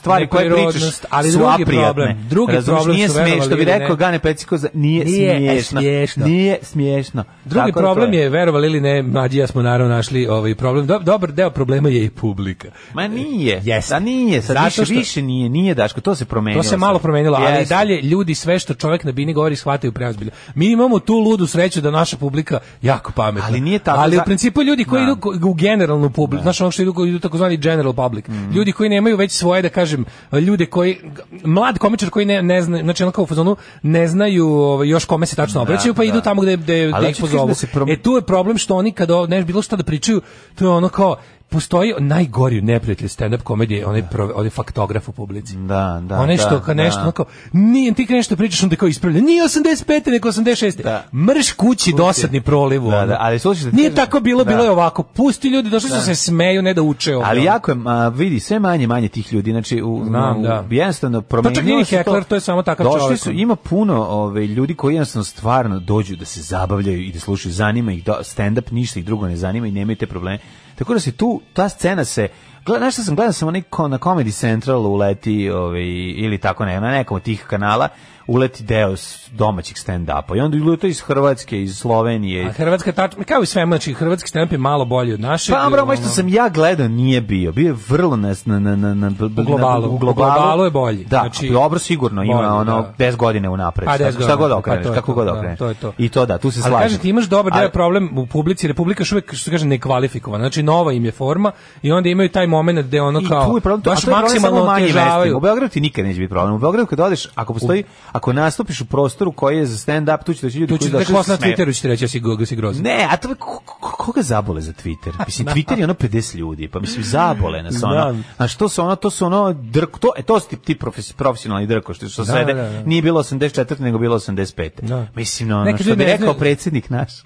stvari koje Neprirodnost, pričaš ali su drugi aprijatne. problem, drugi Razumeš, problem nije su, verovali smiješno, bi ili ne. rekao Gane Pecikoza, nije, Nije smiješno. smiješno. Nije smiješno. Drugi Tako da to problem je, verovali ili ne, mlađi ja smo naravno našli ovaj problem. Dob- dobar deo problema je i publika. Ma nije, Jeste. da nije, sad Zato više, što- više nije, nije Daško, to se promenilo. To se malo sad. promenilo, ali i Jeste. dalje ljudi sve što čovjek na bini govori shvataju preozbiljno. Mi imamo tu ludu sreću da naša publika jako pametna. Ali nije tako Ali u za- principu ljudi koji Da. idu ko- u generalnu publiku, znaš ono što idu, koji idu takozvani general public, Mhm. ljudi koji nemaju već svoje, da kažem, ljude koji, mlad komičar koji ne, ne zna, znači ono kao u fazonu, ne znaju ovaj, još kome se tačno obraćaju, pa da. idu tamo gde, gde, Ali gde hoću ih ti kažem pozovu. da se prom- E tu je problem što oni kada o- ne bilo šta da pričaju, to je ono kao, postoji najgori neprijatelj stand-up komedije, onaj, prove- onaj faktograf u publici. Da, da, Onaj Ono što da, kad nešto, da. onako, nije, ti kad nešto pričaš, onda kao ispravlja, nije 85. nego 86. Da. Mrš kući dosadni proliv. Da, ono. da, ali slušaj, da ti Nije kažem- tako bilo, da. bilo je ovako. Pusti ljudi, došli su se smeju, ne da uče ovo. Ali jako je, a, vidi, sve manje manje tih ljudi, znači u, Znam, u- da. Pa jednostavno promenilo čak nije ni se hekler, to je samo takav Došli čovjek. su, ima puno ove, ljudi koji jednostavno stvarno dođu da se zabavljaju i da slušaju, zanima ih da- stand-up, ništa ih drugo ne zanima i nemaju te probleme. Tako da se tu, ta scena se Gleda, znaš šta sam, gledao sam onaj ko, na Comedy Central uleti, ovaj, ili tako ne, na nekom od tih kanala, uleti deo s- domaćih stand-upa. I onda uleti iz Hrvatske, iz Slovenije. A Hrvatska tač, kao i sve, znači hrvatski stand je malo bolji od našeg. Pa, bro, ono što ono- sam ja gledao nije bio. Bio je vrlo na, na, na, na, na, U globalu. u U globalu je bolji. Da, Znači, dobro sigurno ima bolji, ono da. 10 godina unapred. Pa, Šta- 10 Šta godina, god pa okreneš, to je kako to, god da, okreneš. to je to. I to da, tu se slažem. Ali kažem ti imaš dobar Ali- deo problem u publici, Republika još uvek što kaže nekvalifikovana. Znači nova im je forma i onda imaju taj momenat gde ono I kao tu je problem, to- a baš to je problem maksimalno samo u manjim mestima. otežavaju. U Beogradu ti nikad neće biti problem. U Beogradu kad odeš, ako postoji, ako nastupiš u prostoru koji je za stand up, tu će doći ljudi Tu koji će došli tako da se na smeju. Twitteru će ti reći ja si, go- si grozan. Ne, a to je- ko- ko- koga zabole za Twitter? Mislim Twitter je ono 50 ljudi, pa mislim zabole nas ono. A što su ono, to su ono drk, to e to su ti, ti profes- profesionalni drko što što Da, sede. da, da. Nije bilo 84, nego bilo 85. Da. Mislim ono Neki što ljudi bi ne rekao znaju- predsjednik naš.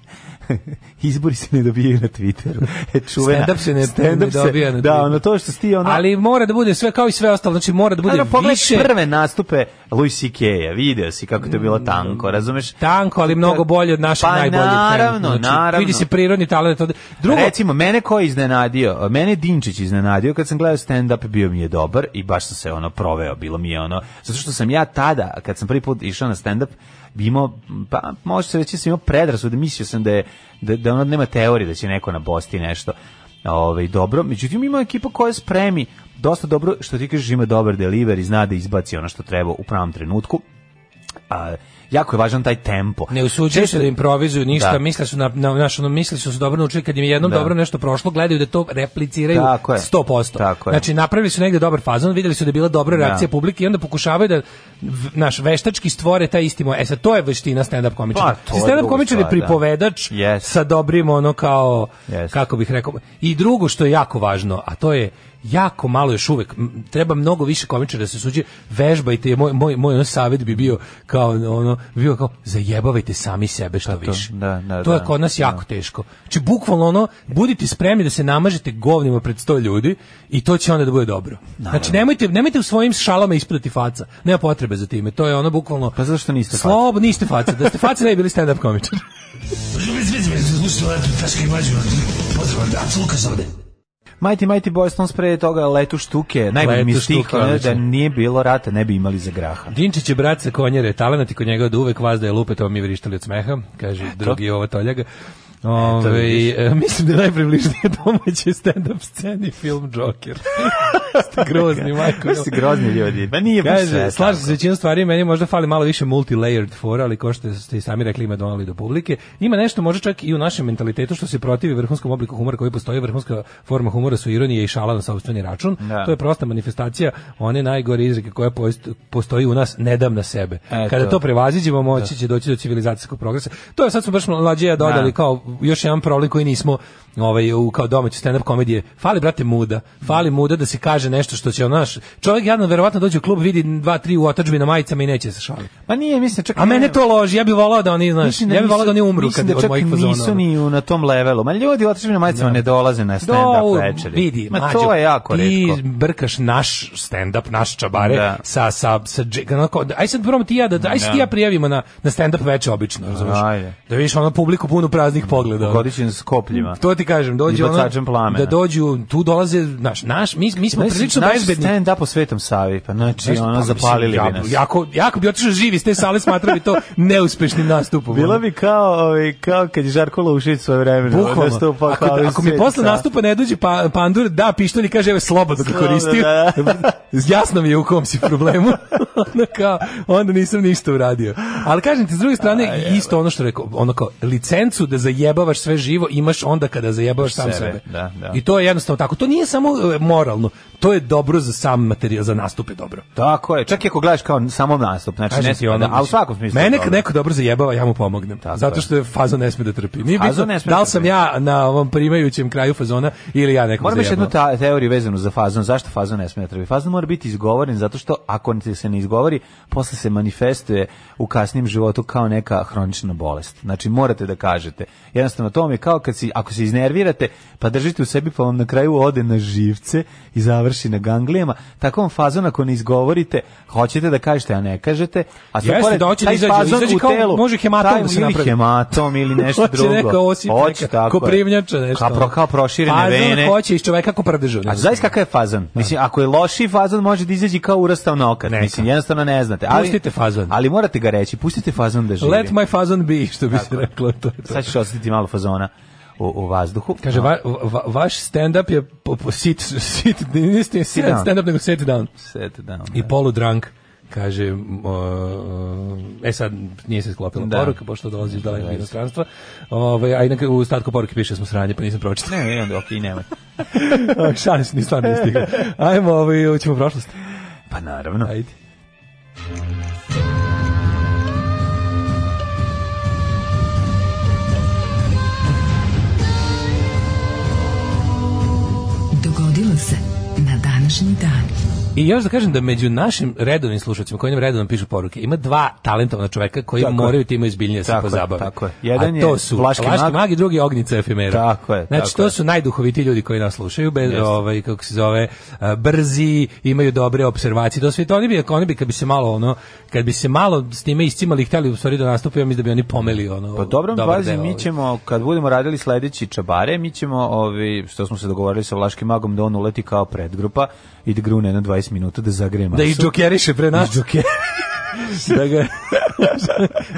Izbori se ne dobijaju na Twitteru. E, čuvena. Stand-up se ne- Stand-up ne dobija na Da, Twitteru. ono to što sti ono Ali mora da bude sve kao i sve ostalo, znači mora da bude Ono, pogledaj više prve nastupe Louis C.K.-a, video si kako to je Mm, bilo tanko, razumeš? tanko, ali mnogo bolje od našeg Pa, najboljeg. naravno, trenutno. Znači, naravno. Vidi se prirodni talent. ovde. Drugo, Recimo, mene ko je iznenadio? Mene je Dinčić iznenadio kad sam gledao stand-up, bio mi je dobar i baš sam se ono proveo, bilo mi je ono, zato što sam ja tada, kad sam prvi put išao na stand-up, bi imao, pa može se reći, da sam imao predrasud, mislio sam da je, da, da ono nema teorije da će neko na bosti nešto ovaj, dobro, međutim ima ekipa koja spremi dosta dobro, što ti kažeš ima dobar delivery, zna da izbaci ono što treba u pravom trenutku, a, jako je važan taj tempo. Ne usuđuju Često- se da improvizuju ništa, Da. misle su na, na naš, ono, misle su se dobro naučili kad im je jednom Da. dobro nešto prošlo, gledaju da to repliciraju Tako je. 100%. Tako je. Znači napravili su negde dobar fazon, videli su da je bila dobra Da. reakcija publike i onda pokušavaju da v- naš veštački stvore taj isti mo. E sad to je veština stand-up komičara. Pa, to je stand-up druga komičar je stvar, da. pripovedač Yes. sa dobrim ono kao Yes. kako bih rekao. I drugo što je jako važno, a to je jako malo još uvek, m, treba mnogo više komičara da se suđe, vežbajte, je moj, moj, moj ono savjet bi bio kao ono, bi bio kao, zajebavajte sami sebe što Pa to, više. da, da, to je da, kod nas jako teško. Znači, bukvalno ono, budite spremni da se namažete govnima pred sto ljudi i to će onda da bude dobro. Znači, nemojte, nemojte u svojim šalama ispredati faca. Nema potrebe za time. To je ono bukvalno... Pa zašto niste faca? Slobodno niste faca. Da ste faca, ne bi bili stand-up komičar. Mighty Mighty Boys Stones pre toga letu štuke, najbolji Letu mi je štuke, stih, ono, da odlično. nije bilo rata ne bi imali za graha. Dinčić je brat sa konjere, talenat i kod njega od uvek vas da je lupe, to mi vrištali od smeha, kaže drugi ovo toljaga. Ove, e, mislim da je najpribližnije domaće stand-up sceni film Joker. Ste grozni, majko. Koji su grozni ljudi. Ma nije baš sve. Kaže, slažem se s većinom stvari, meni možda fali malo više multilayered fora, ali ko što ste i sami rekli ima donali do publike. Ima nešto možda čak i u našem mentalitetu što se protivi vrhunskom obliku humora koji postoji, vrhunska forma humora su ironije i šala na sopstveni račun. Da. To je prosta manifestacija one najgore izreke koja post- postoji u nas, ne dam na sebe. Eto. Kada to prevaziđemo, moći će doći do civilizacijskog progresa. To je sad smo baš mlađe ja dodali Da. kao još jedan problem koji nismo ovaj u kao domaći stand up komedije. Fali brate muda. Fali muda da se kaže nešto što će naš čovjek jadno verovatno dođe u klub vidi dva tri u otadžbi na majicama i neće se šaliti. Ma nije, mislim, čak... A mene to loži, ja bih volao da oni, znaš, Mislim ja bih volao da oni umru mislim kad da od čak mojih nisu fazona. ono. ni u- na tom levelu. Ma ljudi otišli na majicama ne dolaze na stand-up Do, večeri. Vidi, Ma Mađo, to je jako ti retko. brkaš naš stand-up, naš čabare Da. sa, sa, sa, dž- onako, aj sad probamo ti i ja, da, aj se ti i ja prijavimo na, na stand-up veče obično, razumiješ? Ajde. Da vidiš ono publiku punu praznih pogleda. ono. Godićin s kopljima. To ti kažem, dođe I ono, bacačem plamena. da dođu, tu dolaze, naš, naš, mi, mi smo Znaš, prilično naš bezbedni. stand-up po Svetom Savi, pa znači, Znaš, ono, pa, mislim, zapalili ja- bi nas. Jako, jako bi otišao živi iz te sale, smatrao bi to neuspešnim nastupom. ono. Bilo bi kao, ovaj, kao kad je Žarko Lušić svoje vremena Bukvalno. nastupao ako, kao iz ako mi Sveti posle Sava. nastupa ne dođe pa, pandur, da, pištolj i kaže, evo, slobodno ga Slobodno, koristio. da, Jasno mi je u kom si problemu. Ono kao, onda nisam ništa uradio. Ali kažem ti, s druge strane, isto ono što rekao, ono kao, licencu da zajebavaš sve živo imaš onda kada zajebavaš sam Sebe, sebe. da, da. I to je jednostavno tako. To nije samo e, moralno, to je dobro za sam materijal, za nastup je dobro. Tako je. Čak i ako gledaš kao samo nastup, znači Kažem ne ti spada, ono, a u svakom smislu. Mene je kad dobro. neko dobro zajebava, ja mu pomognem. zato što je fazo ne sme da trpi. Nije Fazo bitno ne sme da da li sam trpi. ja na ovom primajućem kraju fazona ili ja nekom Moram još zajebam. jednu ta, teoriju vezanu za fazon. Zašto fazon ne smije da treba? Fazon mora biti izgovoren zato što ako ti se ne izgovori, posle se manifestuje u kasnijem životu kao neka hronična bolest. Znači morate da kažete. Jednostavno to vam je kao kad si, ako se iznervirate, pa držite u sebi pa vam na kraju ode na živce i završi na ganglijama, takvom fazon ako ne izgovorite, hoćete da kažete, a ne kažete, a sad Jeste, pored da hoće da taj izađe- fazon izađe u kao- telu, može hematom taj da se ili napravi. hematom ili nešto Hoće drugo. neka osip, Hoće, neka tako je. koprivnjača, nešto. ono. Kao, pro- kao proširene Fazon vene. hoće iz čoveka ko prdežu. ne A znam. znaš kakav je fazan? Mislim, ako je loši fazan, može da izađe kao urastao nokat. Neka. Mislim, jednostavno ne znate. Ali, Pustite fazan. Ali morate ga reći, pustite fazan da živi. Let my fazon be, što bi se reklo. To je to. Sad ćeš osetiti malo fazona u, u vazduhu. Kaže, va, va, vaš stand-up je po, po sit, sit, nije sit, sit down. stand-up, nego sit down. Set down. I poludrank, kaže, m, o, e sad nije se sklopila Da. poruka, pošto dolazi iz dalekog inostranstva, Ove, a inako u statku poruke piše da smo sranje, pa nisam pročitao. Ne, ne, ne, okej, nemoj. Šalim se, ni Pa stvarno nije stigao. Ajmo, ovaj, ćemo prošlost. Pa naravno. Ajde. Dogodilo se na današnji dan. I još da kažem da među našim redovnim slušateljima koji nam redovno pišu poruke, ima dva talentovna čoveka koji Tako je. moraju time izbiljnije se Tako je, pozabave. tako je. Jedan A to je su Vlaški mag. mag i drugi Ognjica Efimera. Tako je, Znači, tako to je. su najduhovitiji ljudi koji nas slušaju, bez, ovaj, kako se zove, a, brzi, imaju dobre observacije. To sve to oni bi, ako oni bi, kad bi se malo, ono, kad bi se malo s time iscimali i htjeli u stvari da nastupe, ja mislim da bi oni pomeli, ono, Pa dobro, dobar pazi, deo, mi ovaj. ćemo, kad budemo radili sledeći čabare, mi ćemo, ovi, što smo se dogovorili sa Vlaškim magom, da on uleti kao predgrupa i da grune na 20 minuta da zagreje Da masu. izdžokeriše pre nas. da ga...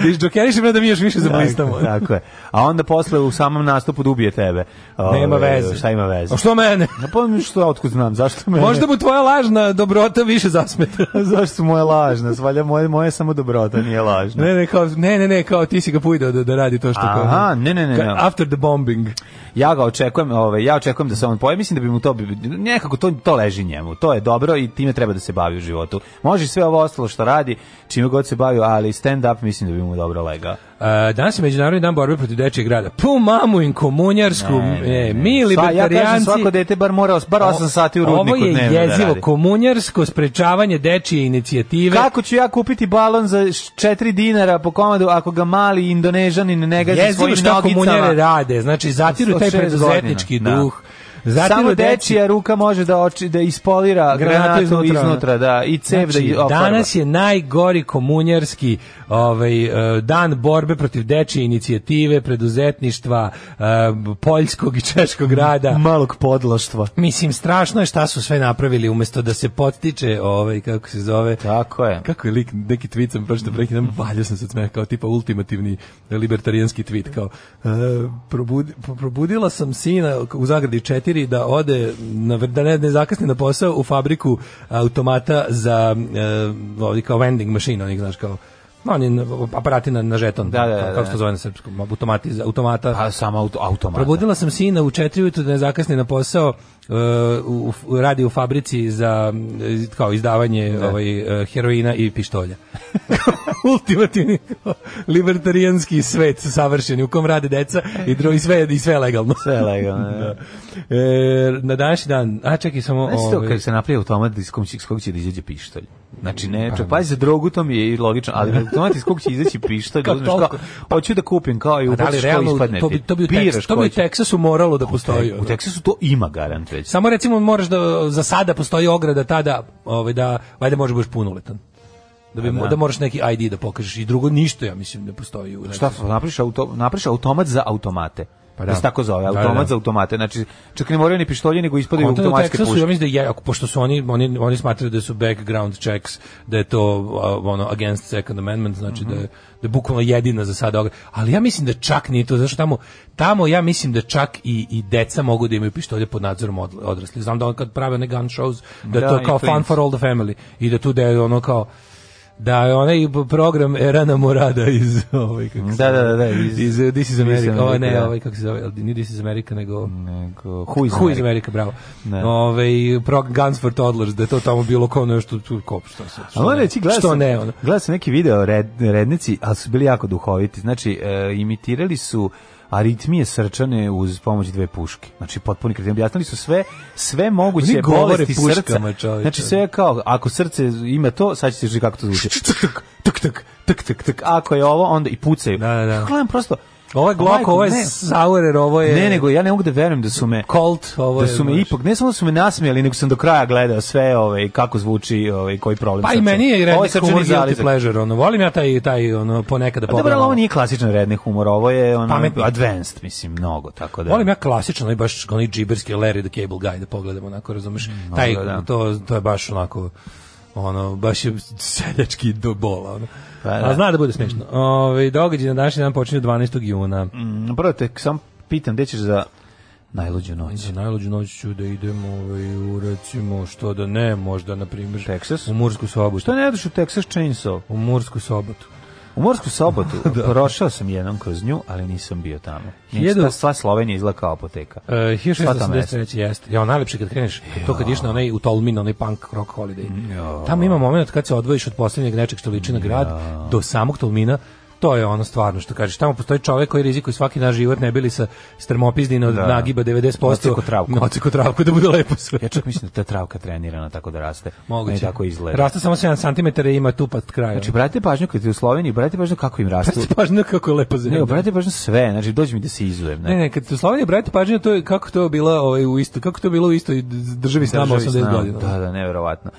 da izdžokeriše pre da mi još više zablistamo. Tako, tako je. A onda posle u samom nastupu da ubije tebe. Nema Ove, veze. Šta ima veze? A što mene? Na pomenu pa ono što, otkud znam, zašto me... Možda mu tvoja lažna dobrota više zasmeta. zašto su moje lažne? Svalja moje, moje samo dobrota nije lažna. Ne, ne, kao, ne, ne, ne, kao ti si ga pujdao da, da radi to što kao... Aha, ne, ne, ne, Ka- ne. After the bombing. Ja ga očekujem, ovaj ja očekujem da se on pojavi, mislim da bi mu to bi- nekako to to leži njemu. To je dobro i time treba da se bavi u životu. Može sve ovo ostalo što radi, čime god se bavi, ali stand up mislim da bi mu dobro legao. Uh, danas je Međunarodni dan borbe protiv dečijeg grada. Pu mamu im komunjarsku, e, mi Sva, ja kažem libertarijanci... svako dete bar mora os- bar 8 sati u Ovo rudniku dnevno je da jezivo, radi. komunjarsko sprečavanje dečije inicijative. Kako ću ja kupiti balon za 4 dinara po komadu ako ga mali indonežanin ne gazi Jezivo svojim šta komunjare nogicama? rade, znači zatiru Od taj šest preduzetnički godina, da. duh. Zatiru Samo deci- dečija ruka može da oči da ispolira Granatu granatu iznutra, iznutra, ono. da i cev da Znači, i ofarba. danas je najgori komunjarski ovaj, e, dan borbe protiv dečije inicijative, preduzetništva, e, poljskog i češkog rada. malog podloštva. Mislim, strašno je šta su sve napravili umjesto da se potiče, ovaj, kako se zove, Tako je. kako je lik, neki tweet sam pročito preki dan, valjao sam se od smeha, kao tipa ultimativni libertarijanski tweet, kao e, probudi- po- probudila sam sina u zagradi četiri da ode, na, vr- da ne, ne zakasni na posao u fabriku automata za, e, ovdje kao vending machine, onih, znaš, kao, no, oni na- aparati na, na žeton, Da, da, kao, da, kao što da. zove na srpskom, automati, za- automata. Pa samo auto, automat. Probudila sam sina u četiri ujutru da ne zakasni na posao, e, u, u- radi u fabrici za e, kao izdavanje ovaj, e, heroina i pištolja. Ultimativni libertarijanski svet savršen u kom rade deca i, dro, i, sve, i sve je legalno. Sve je legalno. da. E, na današnji dan, a čekaj samo... Znaš to, ovaj, kad se napravi automat iz kog će, iz kog će da izađe pištolj. Znači, ne, pa, pazi, za drogu to mi je i logično, ali automat iz kog će izaći pištolj, Kao da uzmeš kao, toliko. hoću da kupim, kao i da li upaciš kao realno, ispadne to bi, to bi, u, ti. Teksasu, Biraš to bi u koji će. E, Teksasu moralo da postoji. U ono. Teksasu to ima garant već. Samo recimo moraš da za sada postoji ograda tada, ovaj da valjda možeš budeš punoletan. Da, bi, A, da. da moraš neki ID da pokažeš i drugo ništa ja mislim ne postoji. U Šta napriš, auto, napriš automat za automate. Pa Pa da. da. se tako zove, Da, da, automat da. za automate. Znači, čak ne moraju ni pištolje, nego ispadaju Konta u automatske Teksasu, ja puške. mislim da je, ako- pošto su oni, oni, oni smatraju da su background checks, da je to a, ono, against second amendment, znači da, je, da je bukvalno jedina za sada ograda. Ali ja mislim da čak nije to, zašto tamo, tamo ja mislim da čak i, i deca mogu da imaju pištolje pod nadzorom od, odrasli. Znam da on kad prave one gun shows, da, je Da, to i kao fun klinci. for all the family i da tu da je ono kao da je onaj program Erana Morada iz ovaj kako se Da, da, da, da, iz- iz, iz uh, This is America, America, Ovo ne, da. ovaj kako se zove, nije This is America nego Nego, who is Who is America? America, bravo. Ne. Ove, pro Guns for Toddlers, da je to tamo bilo kao nešto, tu, ko, što, se- što, A moram ne, reći, gledao što sam, ne, ono. gledao sam neki video red, rednici, ali su bili jako duhoviti. Znači, e, imitirali su aritmije srčane uz pomoć dve puške. Znači potpuni kretin. Objasnili su sve, sve Oni moguće govore bolesti puškama, srca. čoveče. Znači sve je kao ako srce ima to, sad ćete žiti kako to zvuči. Tuk tuk tuk tuk tuk tuk. Ako je ovo onda i pucaju. Da, da, da. Gledam prosto. Ovo je Ovaj Glock, Majko, ovo je ne. Saurer, ovo je... Ne, nego ja ne mogu da verujem da su me Colt, ovo da je... su me znaš. ipak ne samo da su me nasmijali, nego sam do kraja gledao sve ovaj kako zvuči ovaj koji problem. Pa i srca. meni je Ovo redni srčani humor guilty zalizak. pleasure, ono, volim ja taj, taj ono, ponekad da Pa dobro, pogledam. ali ovo nije klasičan redni humor, ovo je ono Pametni. advanced, mislim, mnogo, tako da. Volim ja klasično, onaj baš onaj džiberski Larry the Cable Guy da pogledamo onako, razumeš? Taj, Mm, dobro, da. to, to je baš onako ono, baš je seljački do bola. Ono. Pa, da. A zna da bude smešno. Ove, događaj na današnji dan počinje 12. juna. Mm, Prvo te sam pitam, gde ćeš za najluđu noć? Za najluđu noć ću da idem ovaj, u recimo, što da ne, možda, na primjer, Texas? u Mursku sobotu. Što ne ideš u Texas Chainsaw? U Mursku sobotu. U Morsku sobotu prošao sam jednom kroz nju, ali nisam bio tamo. Nije Hiljadu- ta sva Slovenija izgleda kao apoteka. Uh, Šta tamo 1683 jeste. Ja, najlepše kad kreneš, to kad ješ na onaj u Tolmin, onaj punk rock holiday. Tamo ima moment kad se odvojiš od posljednjeg nečeg što liči na grad do samog Tolmina, to je ono stvarno što kažeš. Tamo postoji čovek koji rizikuje svaki naš život ne bili sa strmopizdine od Da. nagiba 90%. Odsekao travku. Na odsekao travku da bude lepo sve. Ja čak mislim da ta travka trenirana tako da raste. Ne Moguće. tako izgleda. Raste samo 7 cm i ima tupat kraj. Znači, brate pažnju kad je u Sloveniji, brate pažnju kako im rastu. Brate, pažnju kako je lepo Nego, zemlja. brate pažnju sve, znači dođi mi da se izujem. znači, Ne, ne, kad ste u Sloveniji brate pažnju, to je kako to je bila ovaj u isto, kako to je bilo u istoj državi s nama Državi 80 znam. godina. Da, da, neverovatno.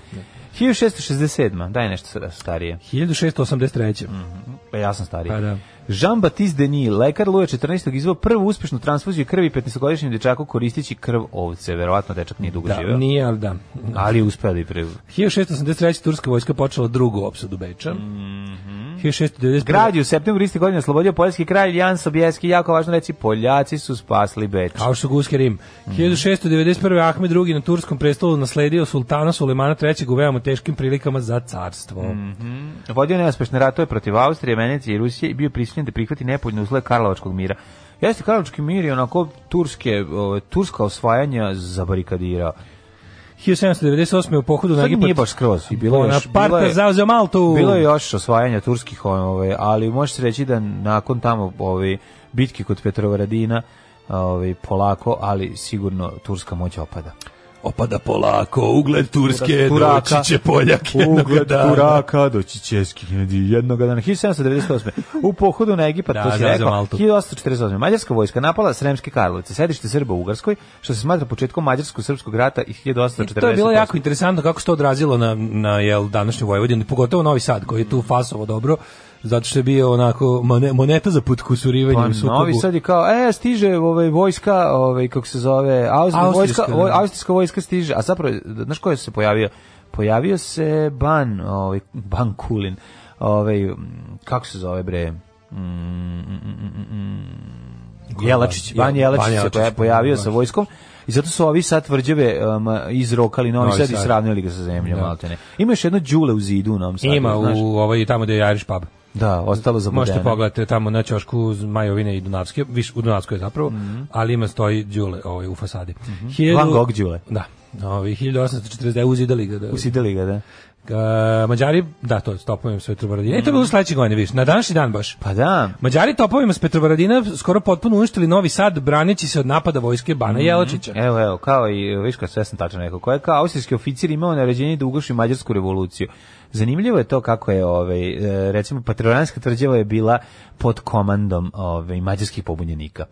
1667. Daj nešto sada starije. 1683. Pa ja sam stariji. Pa da. Jean-Baptiste Denis, lekar Luja 14. izvao prvu uspešnu transfuziju krvi 15-godišnjem dečaku koristići krv ovce. Verovatno dečak nije dugo Da, živeo. nije, ali da. Ali je uspeo da je pre... 1683. turska vojska počela drugu opsadu Beča. Mhm. 1691. Grad je u septembru iste godine oslobodio poljski kralj Jan Sobieski. Jako važno reći, Poljaci su spasli Beč. Aušoguski Rim. 1691. Ahmed II. na turskom prestolu nasledio sultana Sulemana III. u veoma teškim prilikama za carstvo. Vodio neuspešne ratove protiv Austrije, Venecije i Rusije i bio prisiljen da prihvati nepoljne uslove Karlovačkog mira. Jeste Karlovački mir je onako turske, ove, turska osvajanja zabarikadirao. 1798. u pohodu na Sad Egipat. nije baš skroz. i Bilo je još, bilo Bonaparte je, zauzeo Maltu. bilo je još osvajanja turskih, ove, ali može se reći da nakon tamo ove, bitke kod Petrovaradina ove, polako, ali sigurno turska moć opada. Opada polako, ugled Turske, Turaka. doći će Poljak jednog Ugled dana. Turaka, doći Českih jednog dana. 1798. U pohodu na Egipat, Da, to si da, za rekao, Maltu. 1848. Mađarska vojska napala Sremske Karlovice, sedište Srba u Ugarskoj, što se smatra početkom Mađarsko-Srpskog rata i 1848. To je bilo jako interesantno kako se to odrazilo na, na jel, današnju Vojvodinu, pogotovo Novi Sad koji je tu fasovo dobro, zato što je bio onako mone- moneta za put kusurivanje Pa, u sukobu. Novi Sad je kao, e, stiže ovaj, vojska, ovaj, kako se zove, austrijska, Austrijska, vojska, voj, da. austrijska vojska stiže, a zapravo, znaš ko je se pojavio? Pojavio se Ban, ovaj, Ban Kulin, ovaj, m, kako se zove, bre, Mm, mm, mm, mm, mm. Jelačić, Ban Jelačić se poja- pojavio sa vojskom i zato su ovi sad tvrđave um, izrokali Novi, Novi Sad i Sad. sravnili ga sa zemljom, Da. maltene. Ima još jedno đule u zidu u Novom Sadu, Ima znaš. u ovaj tamo gde je Irish pub. Da, ostalo za Možete pogledati tamo na ćošku z- Majovine i Dunavske, viš u Dunavskoj zapravo, ali ima stoji đule ovaj u fasadi. Hiljadu- Mhm. Van Gogh đule. Da. Ovi 1849 uzidali ga. Da, Usideli ga, da. Ga- Mađari, da, to je s topovima s Petrovaradina. I E, to je bilo sledeće godine, viš, na današnji dan baš. Pa da, Mađari topovima s Petrovaradina skoro potpuno uništili Novi Sad, braneći se od napada vojske Bana Mhm. Jelačića. Evo, evo, kao i, viš kad sve sam tačno rekao, koja je kao austrijski oficir imao naređenje da ugaši mađarsku revoluciju. Zanimljivo je to kako je, ovaj, e, recimo, patronarijska tvrđava je bila pod komandom ovaj, mađarskih pobunjenika.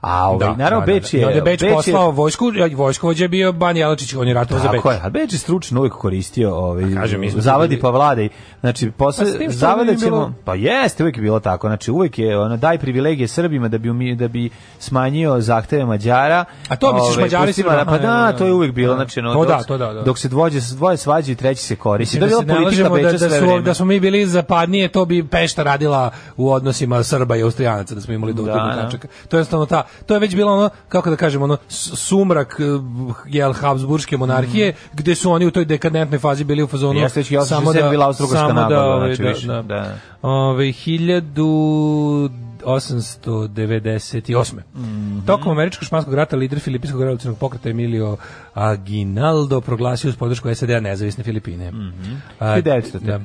A ovaj, naravno, Beč je... I onda je Beč, je- poslao vojsku, a vojskovođa je bio Ban Jelačić, on je ratovao za Beč. Tako je, a Beč je stručno uvijek koristio ovaj, kažem, mi smo zavadi bili- pa vladaj. Znači, posle, Pa s tim što zavada nije ćemo... bilo- Pa jeste, uvijek je bilo tako. Znači, uvijek je, ono, daj privilegije Srbima da bi, umi- da bi smanjio zahteve Mađara. A to misliš, Mađari pusti su- Mađara- Pa aha, da, da, to je uvijek bilo. da. Znači, ono, To da, dok, to da, da. dok se dvoje, dvoje svađaju, treći se koristi. Mislim To je bila da se ne politika lažemo da, Beča da, sve su, vreme. da smo mi bili zapadnije, to bi Pešta radila u odnosima Srba i Austrijanaca, da smo imali do, Da, da, da. To je jednostavno ta, to je već bilo ono, kako da kažem, ono s- sumrak eh, jel, Habsburgske monarhije, gde su oni u toj dekadentnoj fazi bili u fazonu Mhm. Pa Jeste, već i 1867 bila Austrougarska napada, ovaj, znači više, da. Ove, 1898. Mhm. Tokom američko-španskog rata lider filipinskog revolucionog pokreta Emilio Mhm. Aguinaldo proglasio uz podršku SAD-a nezavisne Filipine. A, 1900. Da.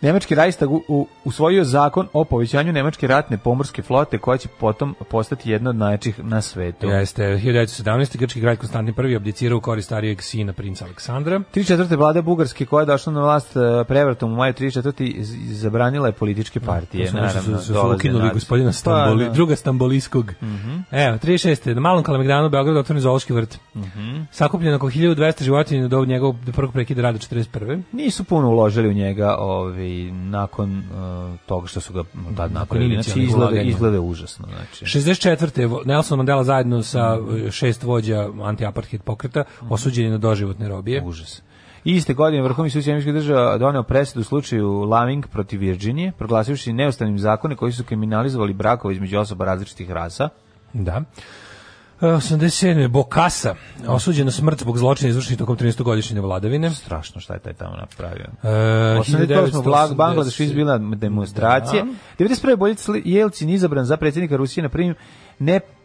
Nemački Reichstag u- u- usvojio zakon o povećanju nemačke ratne pomorske flote koja će potom postati jedna od najjačih na svetu. Jeste, 1917. grčki kralj Konstantin I abdicirao u korist starijeg sina princa Aleksandra. Tri četvrte vlada Bugarske koja je došla na vlast e, prevratom u maju tri četvrti iz- zabranila je političke partije. Su- su- naravno, su, su, dolaze ukinuli nacije. gospodina Stamboli, Pa, da. Mhm. druga Stamboliskog. Evo, 36. Na malom Kalemegdanu Beograd otvoren zoološki vrt. Mhm. Sakupljeno oko 1200 životinja do njegovog prvog prekida rada 41. Nisu puno uložili u njega ovi, nakon uh, toga što su ga tad napravili. Znači, inicijalnih izgleda, ulaganja. izgleda užasno. Znači. 64. Vo- Nelson Mandela zajedno sa Mhm. e, šest vođa anti-apartheid pokreta osuđeni na doživotne robije. Užas. Iste godine Vrhovni sud Sjemičkih država doneo presudu u slučaju Laving protiv Virginije, proglasivši neustavnim zakone koji su kriminalizovali brakove između osoba različitih rasa. Da. E, 87. Bokasa, osuđena smrt zbog zločina izvršenih tokom 13-godišnje vladavine. Strašno šta je taj tamo napravio. E, 88. Blag, 1980. Bangladeš izbila demonstracije. 91. Boljec Jelcin izabran za predsjednika Rusije na prvim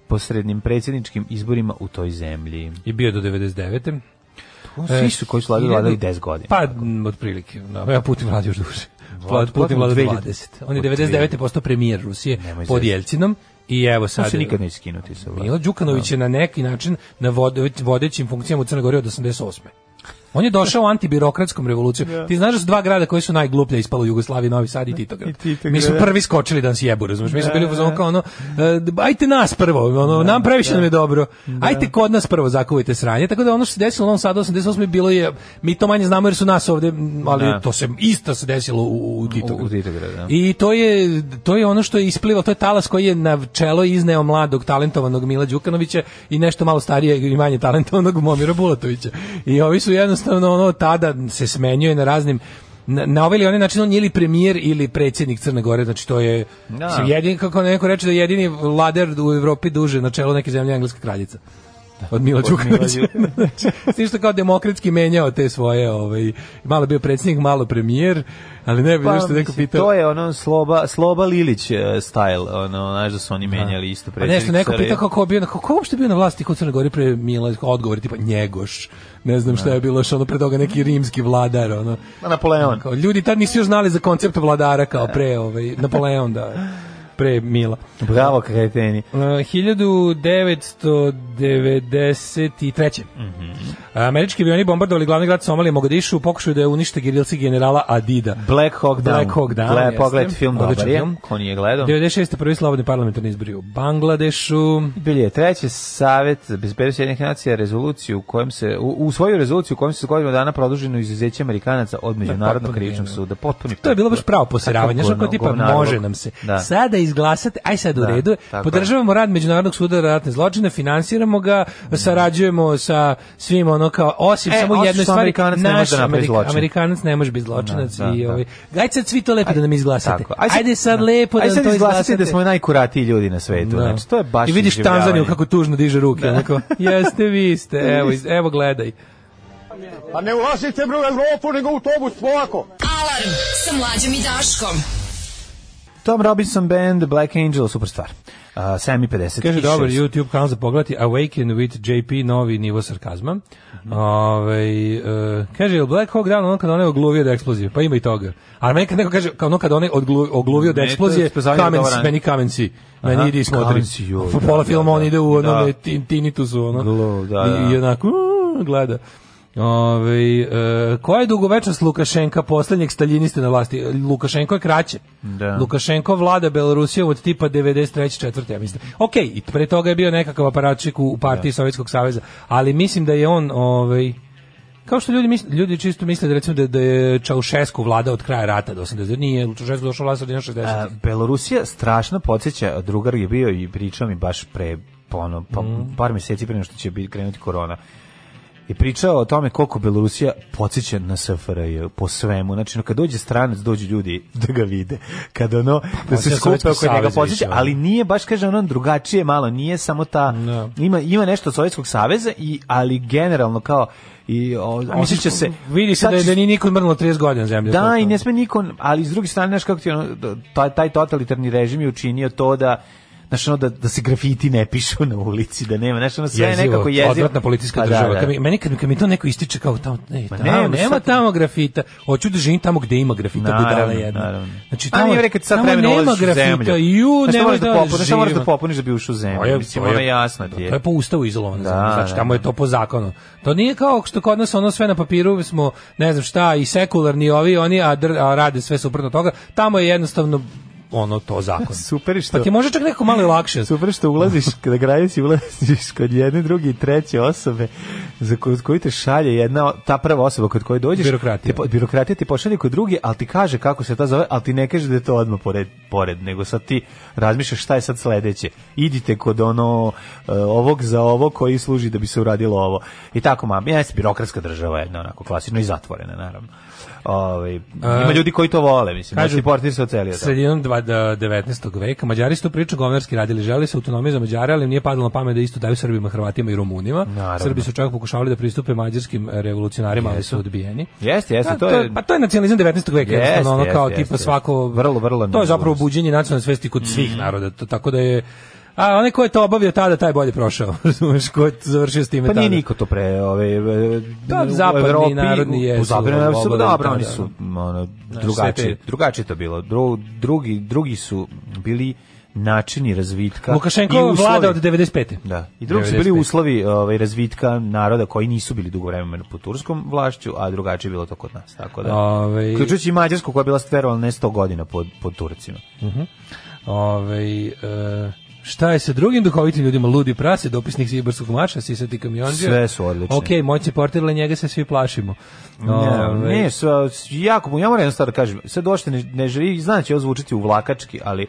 neposrednim predsjedničkim izborima u toj zemlji. I bio do 99. Svi su koji su vladali, vladali 10 godina. Pa, m, otprilike. No, ja Putin vladi još duže. Vlad- Vlad, Putin vlada Putin 20. On je od 99. postao premijer Rusije Nemoj pod zezati. Jelcinom i evo to sad... se nikad neće skinuti sa vlasti. Milo Đukanović je na neki način na vode- vodećim funkcijama u Crnoj Gori od 88. On je došao antibirokratskom revolucijom. Ti znaš da su dva grada koji su najgluplje ispalo u Jugoslaviji, Novi Sad i Titograd. I Titograd, Mi smo da. prvi skočili da nas jebu, razumiješ? Mi smo bili u fazonu kao ono, e, d- ajte nas prvo, ono, nam previše nam je dobro. Ajte kod nas prvo zakuvajte sranje. Tako da ono što se desilo u Novom Sadu 88. bilo je, mi to manje znamo jer su nas ovde, m, ali Da. to se isto se desilo u, u Titogradu. U Titogradu, da. I to je, to je ono što je isplivalo, to je talas koji je na čelo izneo mladog talentovanog Mila Đukanovića i nešto malo starijeg i manje talentovanog Momira Bulatovića. I ovi su jednostavno ono tada se smenjuje na raznim na, na ovaj ili onaj način on je ili premijer ili predsjednik Crne Gore, znači to je Da. mislim, jedini, kako neko reče da je jedini vlader u Evropi duže na čelo neke zemlje engleska kraljica. Od Mila Od Mila Đukanovića. Znači, s tim što kao demokratski menjao te svoje, ovaj, malo bio predsjednik, malo premijer, ali ne bi Pa, nešto neko mislim, pitao. To je ono sloba, sloba Lilić eh, style, ono, znaš da su oni menjali isto A predsjednik. Pa nešto neko Saraje- pita kako je bio, kako je uopšte bio na vlasti kod Crne Gore pre Mila, odgovor je tipa njegoš. Ne znam šta je bilo još ono pre toga neki rimski vladar ono. Ma, Napoleon. Kao, ljudi tad nisu još znali za koncept vladara kao pre ovaj Napoleon da pre Mila. Bravo, kreteni. Uh, 1993. Mm-hmm. Američki avioni bombardovali glavni grad Somalije Mogadišu u pokušaju da je unište gerilci generala Adida. Black Hawk Down. Black Hawk Down, Gle- jeste. pogled film Odličan dobar je, film. ko nije gledao. 96. prvi slobodni parlamentarni izbori u Bangladešu. Bili je treći savet bezbednosti jednih nacija rezoluciju u kojem se u, u svoju rezoluciju u kojem se godinu dana produženo izuzeće Amerikanaca od međunarodnog potpuno krivičnog genijalno. suda potpuni To je bilo baš pravo posjeravanje, Kako znaš kako tipa govnarluk. može nam se. ono, Da. Sada izglasate, aj sad u Da, redu, tako je. podržavamo rad Međunarodnog suda za ratne zločine, finansiramo ga, sarađujemo sa svim ono kao, osim E, samo osim što jednoj stvari, Amerikanac ne može naš da napravi Amerika- zločin. Amerikanac ne može biti zločinac Da, da, i da. ovaj, aj sad svi to lepo da nam izglasate. Tako, Ajde, sad da. lepo da Ajde nam sad to izglasate izglasate. da smo najkuratiji ljudi na svetu. Da. Znači, to je baš I vidiš iživljavanje. Tanzaniju kako tužno diže ruke, onako, jeste vi ste, evo, iz- evo gledaj. Pa ne ulazite bre u Evropu, nego u autobus, polako. Alarm sa mlađom i Daškom. Tom Robinson Band, Black Angel, super stvar. Uh, 7 i 50. Kaže dobar YouTube kanal za pogledati Awaken with JP, novi nivo sarkazma. Ovaj, e, kaže, je Black Hawk Down ono kad onaj ogluvio od eksplozije? Pa ima i toga. A meni kad neko kaže, kao ono kad onaj odglu- ogluvio od Ne, to je eksplozije, spasavanje kamen, od obrane. meni kamen si. Meni Aha, idi i kamen smotri. si, joj, Po da, pola da, filma on da. ide u Da. onome tin- tinitusu, ono. Glu, da, da. I, i onako, uh, gleda. Ove, e, koja je dugovečnost Lukašenka, posljednjeg staljiniste na vlasti? Lukašenko je kraće. Da. Lukašenko vlada Belorusijom od tipa 93. četvrte, ja mislim. Ok, i pre toga je bio nekakav aparatčik u, u partiji Sovjetskog saveza, ali mislim da je on, ovaj, kao što ljudi misle, ljudi čisto misle da recimo da, da je Čaušesku vlada od kraja rata do 80. Nije, Čaušesku došao vlast od 60. A, Belorusija strašno podsjeća, drugar je bio i pričao mi baš pre pa ono, pa, Mhm. par meseci pre nego što će biti krenuti korona. I pričao o tome koliko Belorusija podsjeća na SFRJ po svemu. Znači, no, kad dođe stranac, dođu ljudi da ga vide. Kad ono, Pa, da se podsjeća skupe Sovjetski oko njega savez podsjeća, više, ono. ali nije baš, kaže, ono drugačije malo, nije samo ta, Da. ima, ima nešto od Sovjetskog saveza, i, ali generalno kao, i o, A mislim, osjeća se... Vidi se Sad da, je- će- da nije niko mrnulo 30 godina zemlje. To je da, to. i ne sme niko, ali s druge strane, znaš kako ti, ono, taj, taj totalitarni režim je učinio to da znaš, ono, da, da se grafiti ne pišu na ulici, da nema, znaš, ono, sve je nekako jezivo. Odvratna politička Pa da, država. da. Kad mi, meni kad, mi- kad mi to neko ističe kao tamo, ne, Ma tamo nema, nema sad- tamo grafita. Hoću da živim tamo gde ima grafita, Naravno, budala jedna. naravno. Znači, A tamo, nije rekao sad tamo vremena nema ulaziš u grafita. zemlju. Ju, Znaš, ne to moraš možeš da da popuniš, da moraš da živim. popuniš da bi ušao u To Pa je- zemlju. Mislim, to je- ono jasno ti To je je. po ustavu izolovano. Da, znači, da, tamo je to po zakonu. To nije kao što kod nas ono sve na papiru smo, ne znam šta, i sekularni ovi, oni, a, dr- a rade sve suprotno toga. Tamo je jednostavno ono to zakon. Super je što- Pa ti je možda čak nekako malo i lakše. Super što ulaziš, kada graju si ulaziš kod jedne, druge i treće osobe za koju, koju te šalje jedna, o- ta prva osoba kod koje dođeš. Birokratija. Te, po- birokratija ti pošalje kod druge, ali ti kaže kako se ta zove, ali ti ne kaže da je to odmah pored, pored nego sad ti razmišljaš šta je sad sledeće. Idite kod ono e, ovog za ovo koji služi da bi se uradilo ovo. I tako, ma, jeste birokratska država jedna, onako klasično i zatvorena, naravno. Ove, ima E, ljudi koji to vole, mislim. kažu- Kažu, portir se ocelio. tamo. Sredinom dva- da- 19. veka Mađari su tu priču govnarski radili, želeli su autonomiju za Mađare, ali im nije padalo na pamet da isto daju Srbima, Hrvatima i Rumunima. Naravno. Srbi su čak pokušavali da pristupe mađarskim e, revolucionarima, ali su odbijeni. Jeste, jeste, Pa, to je... pa to je nacionalizam 19. veka, Jeste, jednostavno ono jeste, kao jeste. tipa svako Vrlo, vrlo Mhm. To je zapravo nažalost. buđenje nacionalne svesti kod svih naroda, to, tako da je a onaj ko je to obavio tada taj je bolje prošao. Razumeš ko je završio s time Pa tada. nije niko to pre, ove, e, Da, u Pa zapadni Evropi, narodi u- jesu U zapadni narodi su, obavezni, dobro, da, oni da. su m, ono, Znaš, sve drugačije, te- drugačije to bilo. Dru- drugi, drugi su bili načini razvitka. Lukašenko i uslovi- vlada od 95. Da. I drugi su bili 95.. uslovi ovaj, razvitka naroda koji nisu bili dugo vremena pod turskom vlašću, a drugačije je bilo to kod nas. Tako da. Ovaj- Uključujući i Mađarsku koja je bila stverovala ne 100 godina pod, pod Turcima. Ovaj, e, šta je sa drugim duhovitim ljudima? Ludi prase, dopisnik Sibarskog mača, sisati kamionđe. Sve su odlični. Ok, moći portirle, njega se svi plašimo. Ne, Ovaj, ne, sa, s- jako, mu- ja moram jednu stvar da kažem, sad došte ne, ne želi, znam da će ovo zvučiti uvlakački, ali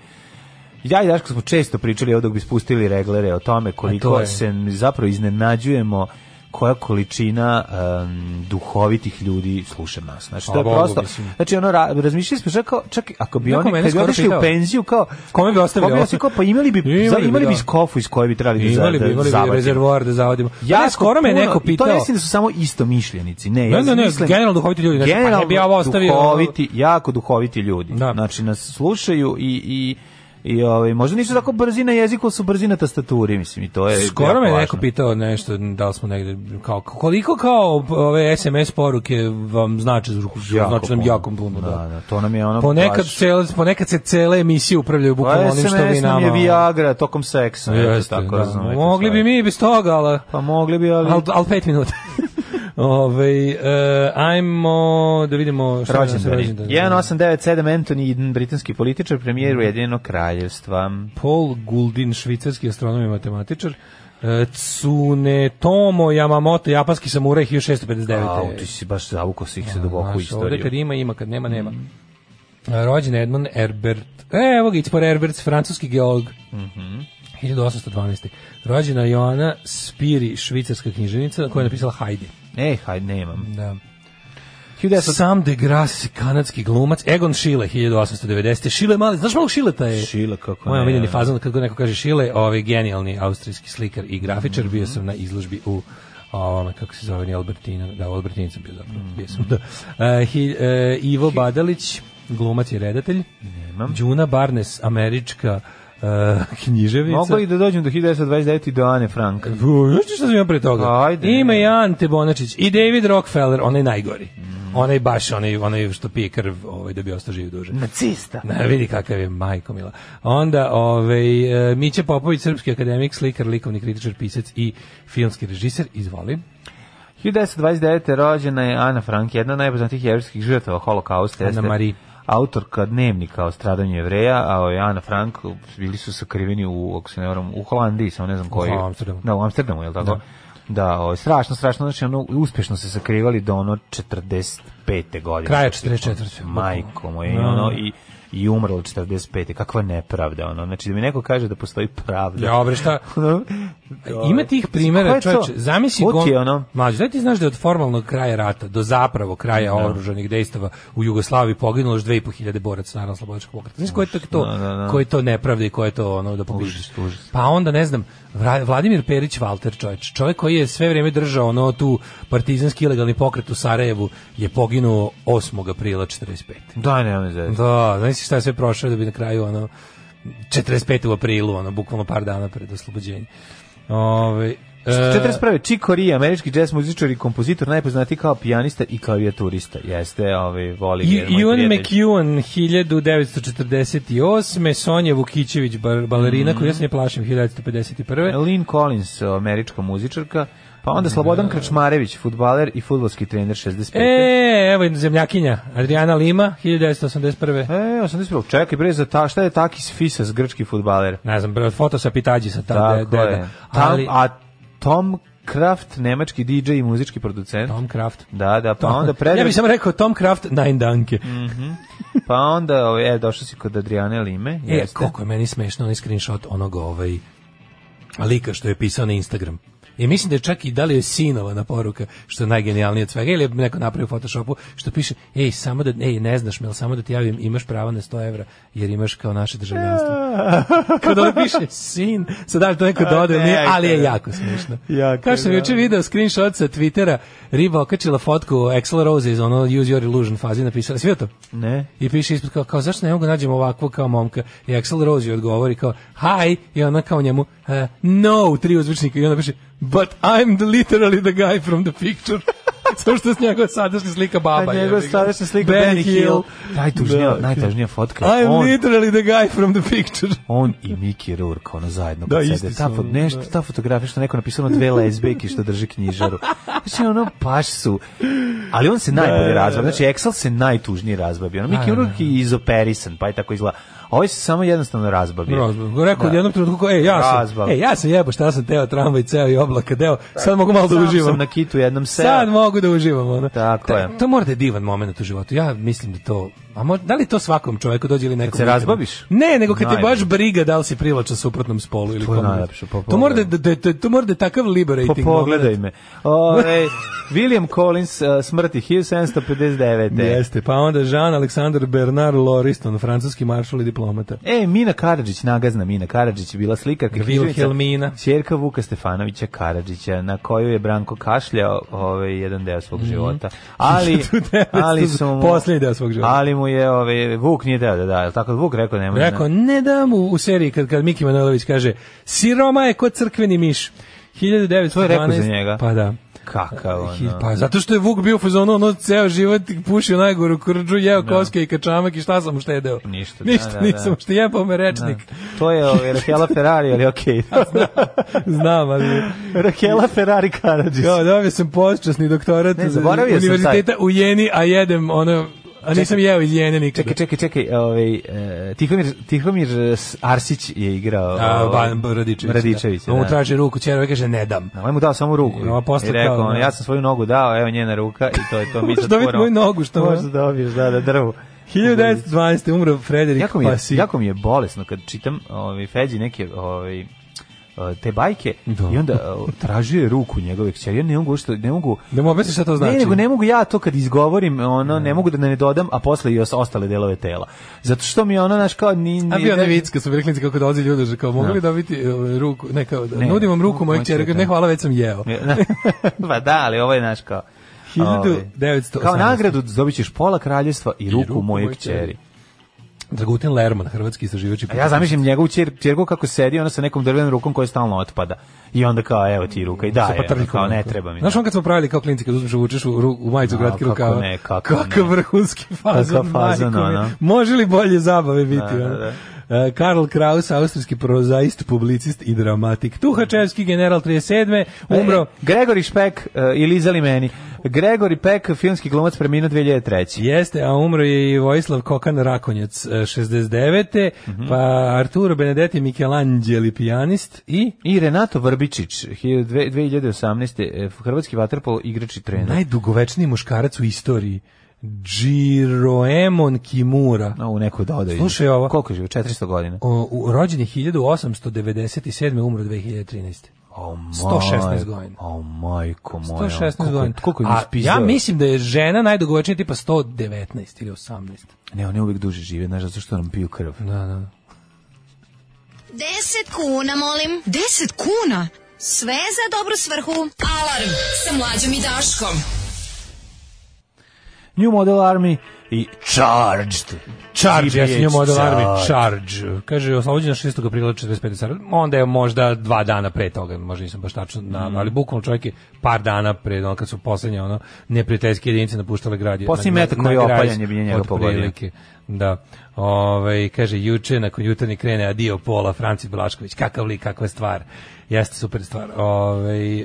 ja i Daško smo često pričali ovdje dok bi spustili reglere o tome A to koliko je. se zapravo iznenađujemo koja količina em, duhovitih ljudi sluša nas. Znači, to Hvala je Bogu, prosto, mislim. znači ono, ra, razmišljali smo, čak, kao- čak i ako bi Neko oni, mene kad bi skoro otišli pitao. u penziju, kao, Kome bi ostavili kome ovo? kao, pa imali bi, Imali za- bi, imali da. bi skofu iz koje bi trebali da, Imali bi, da imali bi zavadimo. rezervoar da zavodimo. Ja Jako Pa skoro me puno- neko i pitao. To ne mislim da su samo isto mišljenici. Ne, ja Ne, ne, ne, mislim- generalno duhoviti ljudi, znači, pa ne generalno bi ja ovo ostavio- Duhoviti, jako duhoviti ljudi. Da. Znači nas slušaju i i i ovaj možda nisu tako brzi na jeziku, ali su brzi na tastaturi, mislim i to je Skoro jako me neko važno. pitao nešto, da li smo negde, kao, koliko kao ove SMS poruke vam znači, Jako znači nam puno. jako puno, da. da, to nam je ono Ponekad, baš- cele, ponekad se cele emisije upravljaju bukvalno Pa onim što vi SMS nam nama... je Viagra tokom seksa, Jeste, Jeste, tako da. razumete. Mogli šta bi je. mi i bez toga, ali... Pa mogli bi, ali... Al, al pet minuta. Ove, ajmo da vidimo šta je danas Rođendani. rođendan. 1897 Anthony Eden, britanski političar, premijer Ujedinjenog kraljevstva. Paul Guldin, švicarski astronom i matematičar. E, Tsunetomo Yamamoto, japanski samuraj 1659. Au, ti si baš zavukao svih se duboko u Znaš, ovde istoriju. Mm. kad ima, ima, kad nema, nema. E, Rođen je Edmund Herbert, e, evo ga, Itspor Herbert, francuski geolog. Mhm. 1812. Rođena je Joana Spiri, švicarska književnica, koja je napisala Heidi. Ej, E, hajde, nemam. Da. 1900 Sam de Grasse, kanadski glumac, Egon Schiele, 1890. Schiele mali, znaš malo Schileta je? Šile, kako Moj ne. omiljeni fazon, kad god neko kaže Schiele, ovaj genijalni austrijski slikar i grafičar, bio sam na izložbi u ovome, kako se zove, ni Albertina, da, u Albertini sam bio zapravo, Mm. bio sam, da. E, hi- e, Ivo Badalić, glumac i redatelj, Nemam. Đuna Barnes, američka e, književica. Mogu i da dođem do 1929 i do Ane Frank. U, Znaš ti šta sam imao pre toga? Ajde. Ima i Ante Bonačić i David Rockefeller, onaj najgori. Onaj baš, onaj, onaj što pije krv ovaj, da bi ostao živ duže. Nacista. Ne, vidi kakav je majko mila. Onda ovaj, e, Miće Popović, srpski akademik, slikar, likovni kritičar, pisac i filmski režiser. Izvoli. 1929. rođena je Ana Frank, jedna od najpoznatijih jevrskih žrtava holokausta. jeste Ana Marie. Autorka dnevnika o stradanju jevreja, a ovaj Ana Frank bili su sakriveni u, ako se ne varam, u Holandiji, samo ne znam koji. Amsterdamu. Da, u Amsterdamu, je li tako? Da. ovaj, strašno, strašno, znači ono, uspešno se sakrivali do ono 45. godine. Znači, ono, Kraja 44.. Majko moje, i ono, i, i umrlo 45. Kakva nepravda, ono, znači da mi neko kaže da postoji pravda. Ja, bre, šta? Ono, Ima tih Ko primjera, je to? čovječe, zamisli Ko ti gom... je ono? Mlađe, da ti znaš da je od formalnog kraja rata do zapravo kraja oružanih dejstava u Jugoslaviji poginulo još 2500 boraca naravno slobodačkog pokreta. Znaš koje je to, to, da, da. koje je to nepravde i koje je to ono da pobiš. Užas, užas. Pa onda ne znam, Vra- Vladimir Perić Valter čovječ, čovjek koji je sve vrijeme držao ono tu partizanski ilegalni pokret u Sarajevu je poginuo 8. aprila 45. Da, ne, ne, ne, Da, znaš šta je sve prošao da bi na kraju ono 45. u aprilu, ono, bukvalno par dana pred oslobođenje. Ove, e, 41. Chico Rea, američki jazz muzičar i kompozitor, najpoznatiji kao pijanista i klavijaturista. Jeste, ovaj, voli ga, I- moj Ewan prijatelj. McEwan 1948. Sonja Vukićević, bar- balerina, Mm. koju ja se ne plašim, 1951. Lynn Collins, američka muzičarka, pa onda Slobodan Krčmarević, futbaler i futbolski trener 65. E, evo jedna zemljakinja, Adriana Lima, 1981. E, 81. Čekaj, bre, za ta, šta je Takis Fisas, grčki futbaler? Ne znam, bro, foto sa pitađi sa ta de- Tako deda. je. Ali, Tam, a Tom Kraft, nemački DJ i muzički producent. Tom Kraft. Da, da, pa onda Ja predrag, bih samo rekao Tom Kraft, Nine Danke. pa onda, ovaj, e, došao si kod Adriane Lime. E, jeste. koliko je meni smešno onaj screenshot onog ovaj lika što je pisao na Instagram. I mislim da je čak i da li je sinova na poruka, što je najgenijalnije od svega, ili je neko napravio u Photoshopu, što piše, ej, samo da, ej, ne znaš me, ali samo da ti javim, imaš pravo na 100 evra, jer imaš kao naše državljanstvo. Kao da li piše sin, sad da li to neko dodao, ili nije, ali je jako smiješno. Jako Kao što sam je, juče video screenshot sa Twittera, riba okačila fotku Axl Rose iz ono Use Your Illusion fazi, napisala, sve to? Ne. I piše ispod kao, kao zašto ne mogu nađem ovakvu kao momka? I Axel Rose joj odgovori kao, hi, i ona kao njemu, e, no, tri uzvičnika, i ona piše, but I'm the, literally the guy from the picture. Samo što je s njegova sadašnja slika baba. A njegov jebi ga. sadašnja slika Ben Pa Benny Hill. Najtužnija, najtužnija fotka. je I'm on, literally the guy from the picture. on i Miki Rourke, ono zajedno. Da, kad sede. isti su, ta, fo- nešto, ta fotografija što neko napisano dve lezbijke što drži knjižaru. Znači, ono, paš su. Ali on se najbolje razbavi. Znači, Excel se najtužnije razbavi. Ono, Miki Rourke je izoperisan, pa je tako izgleda. A ovaj se samo jednostavno razbavi. Razbog. Rekao da. jednom trenutku, kao, e, ja sam, Razbal. e, ja sam jebo šta sam teo tramvaj ceo i oblaka deo, sad mogu malo da Sam uživam. sam na kitu jednom se. Sad mogu da uživam ono. Tako Ta- je. To mora da je divan moment u životu. Ja mislim da to, a mo- da li to svakom čovjeku dođe ili nekom? se nikad? razbaviš? Ne, nego kad te Najbolje. baš briga da li si privlačan suprotnom spolu ili To je komu. najlepše, pa to mora da, pogledaj. da, da, to mora da je takav Pa liberating. pogledaj moment. me. Ove, William Collins, uh, smrti 1759. Jeste, pa onda Jean Alexander Bernard Loriston, francuski maršal i diplomata. E, Mina Karadžić, nagazna Mina Karadžić je bila slikarka. književnica, Vilhelmina. Ćerka Vuka Stefanovića Karadžića, na koju je Branko kašljao ovaj, jedan deo Mhm. svog života. Ali, 1900 ali su mu... posljednji deo svog života. Ali mu je, ovaj, Vuk nije deo da da, je li tako Vuk rekao nema. Rekao, ne da mu u seriji kad, kad Miki Manojlović kaže Siroma je ko crkveni miš. 1912. To je rekao za njega. Pa da. Kakav, ono. Hi- Pa zato što je Vuk bio u fazonu ono ceo život pušio najgoru krđu, jeo koske i kačamak i šta sam uštedeo? Ništa, da, Ništa da, da. nisam što jebao me rečnik. To je ovaj, Rahela Ferrari, ali okej. Znam, ali Rahela Ferrari Karadžić. kao dobio sam počasni doktorat Ne, iz zaboravio sam univerziteta u Jeni, a jedem ono a nisam jeo iz Jene nikada. Čekaj, čekaj, čekaj, ovaj, e, Tihomir, Tihomir eh, Arsić je igrao... A, ovaj, Ban- Radičević. Radičević, da. On mu da. traži ruku, čerove kaže ne dam. Ovaj mu dao samo ruku. I ova posle I rekao, kao, ono, da. ja sam svoju nogu dao, evo njena ruka i to je to. Mi Možeš sad dobiti moramo- moju nogu, što Možeš ono? da dobiješ, da, da, drvu. 1912. umro Frederik Jako mi, je, Pasi. jako mi je bolesno kad čitam ovaj, Feđi neke ovaj, eh, te bajke Da. i onda eh, tražio je ruku njegove kćeri. Ja ne mogu, što, ne mogu... Da mu objasniš šta to znači. Ne, nego ne mogu ja to kad izgovorim, ono, ne mogu da ne dodam, a posle i os- ostale delove tela. Zato što mi je ono, znaš, kao... Ni, ni, A bio ne vic, kad su mi rekli kako dolazi ljudi, že kao mogu li dobiti e, ruku, ne kao, da, nudim vam ruku ruku moje moje kćeri, kćeri, ne da. hvala, već sam jeo. pa da, ali ovo je naš kao... 1918. Kao nagradu dobit ćeš pola kraljestva i ruku, ruku moje moje kćeri. kćeri. Dragutin Lerman, hrvatski istraživač i A ja zamišljam njegovu ćer, ćerku kako sedi, ona sa nekom drvenom rukom koja stalno otpada. I onda kao, evo ti ruka i da, Mm, sa patrljikom kao ne rukom. treba mi. Pa Znaš on kad smo pravili kao klinci, kad uzmeš vučeš u, ru- u majicu A, kratke kako rukava, ne, kako kakav ne. vrhunski fazon, Kakav fazon, majko mi. ono. Može li bolje zabave biti? Da, da, ono? da. E, Karl Kraus, austrijski prozaist, publicist i dramatik. Tuhačevski general 37. umro. E, Gregori Špek e, ili izali meni. Gregori Pek, filmski glumac preminuo 2003. Jeste, a umro je i Vojislav Kokan Rakonjac, e, 69. Mhm. Pa Arturo Benedetti Michelangeli, pijanist i I Renato Vrbičić, hilj- dve- 2018. e, hrvatski vaterpolo igrač i trener. najdugovečniji muškarac u istoriji, Giroemon Kimura. No, u neku dodaju. Slušaj ovo. Koliko je živo? 400 godina. O, u, rođen je 1897. umro 2013. O, maj- 116 godina. O, Oh, majko moja. 116 koliko- godina. Koliko je A ispizao? ja mislim da je žena najdugovečnija tipa 119 ili 18. Ne, one uvijek duže žive, znaš, zato što nam piju krv. Da, da. 10 kuna, molim. 10 kuna? Sve za dobru svrhu. Alarm sa mlađom i Daškom. New Model Army i Charged. Charge, ja sam njemu Charged. odao armi. Charge. Kaže, oslobođen je 6. aprila 45. Sara. Onda je možda dva dana pre toga, možda nisam baš tačno, na, ali bukvalno čovjek je par dana pre, ono, kad su posljednje ono, neprijateljske jedinice napuštale grad. je- Posljednji na- metak na- koji je na graj opaljen je bio njega pogodio. otprilike. Da. Ove, kaže, juče, nakon jutarnji krene adio pola, Franci Belašković, kakav lik, kakva stvar. Jeste super stvar. Ove, e,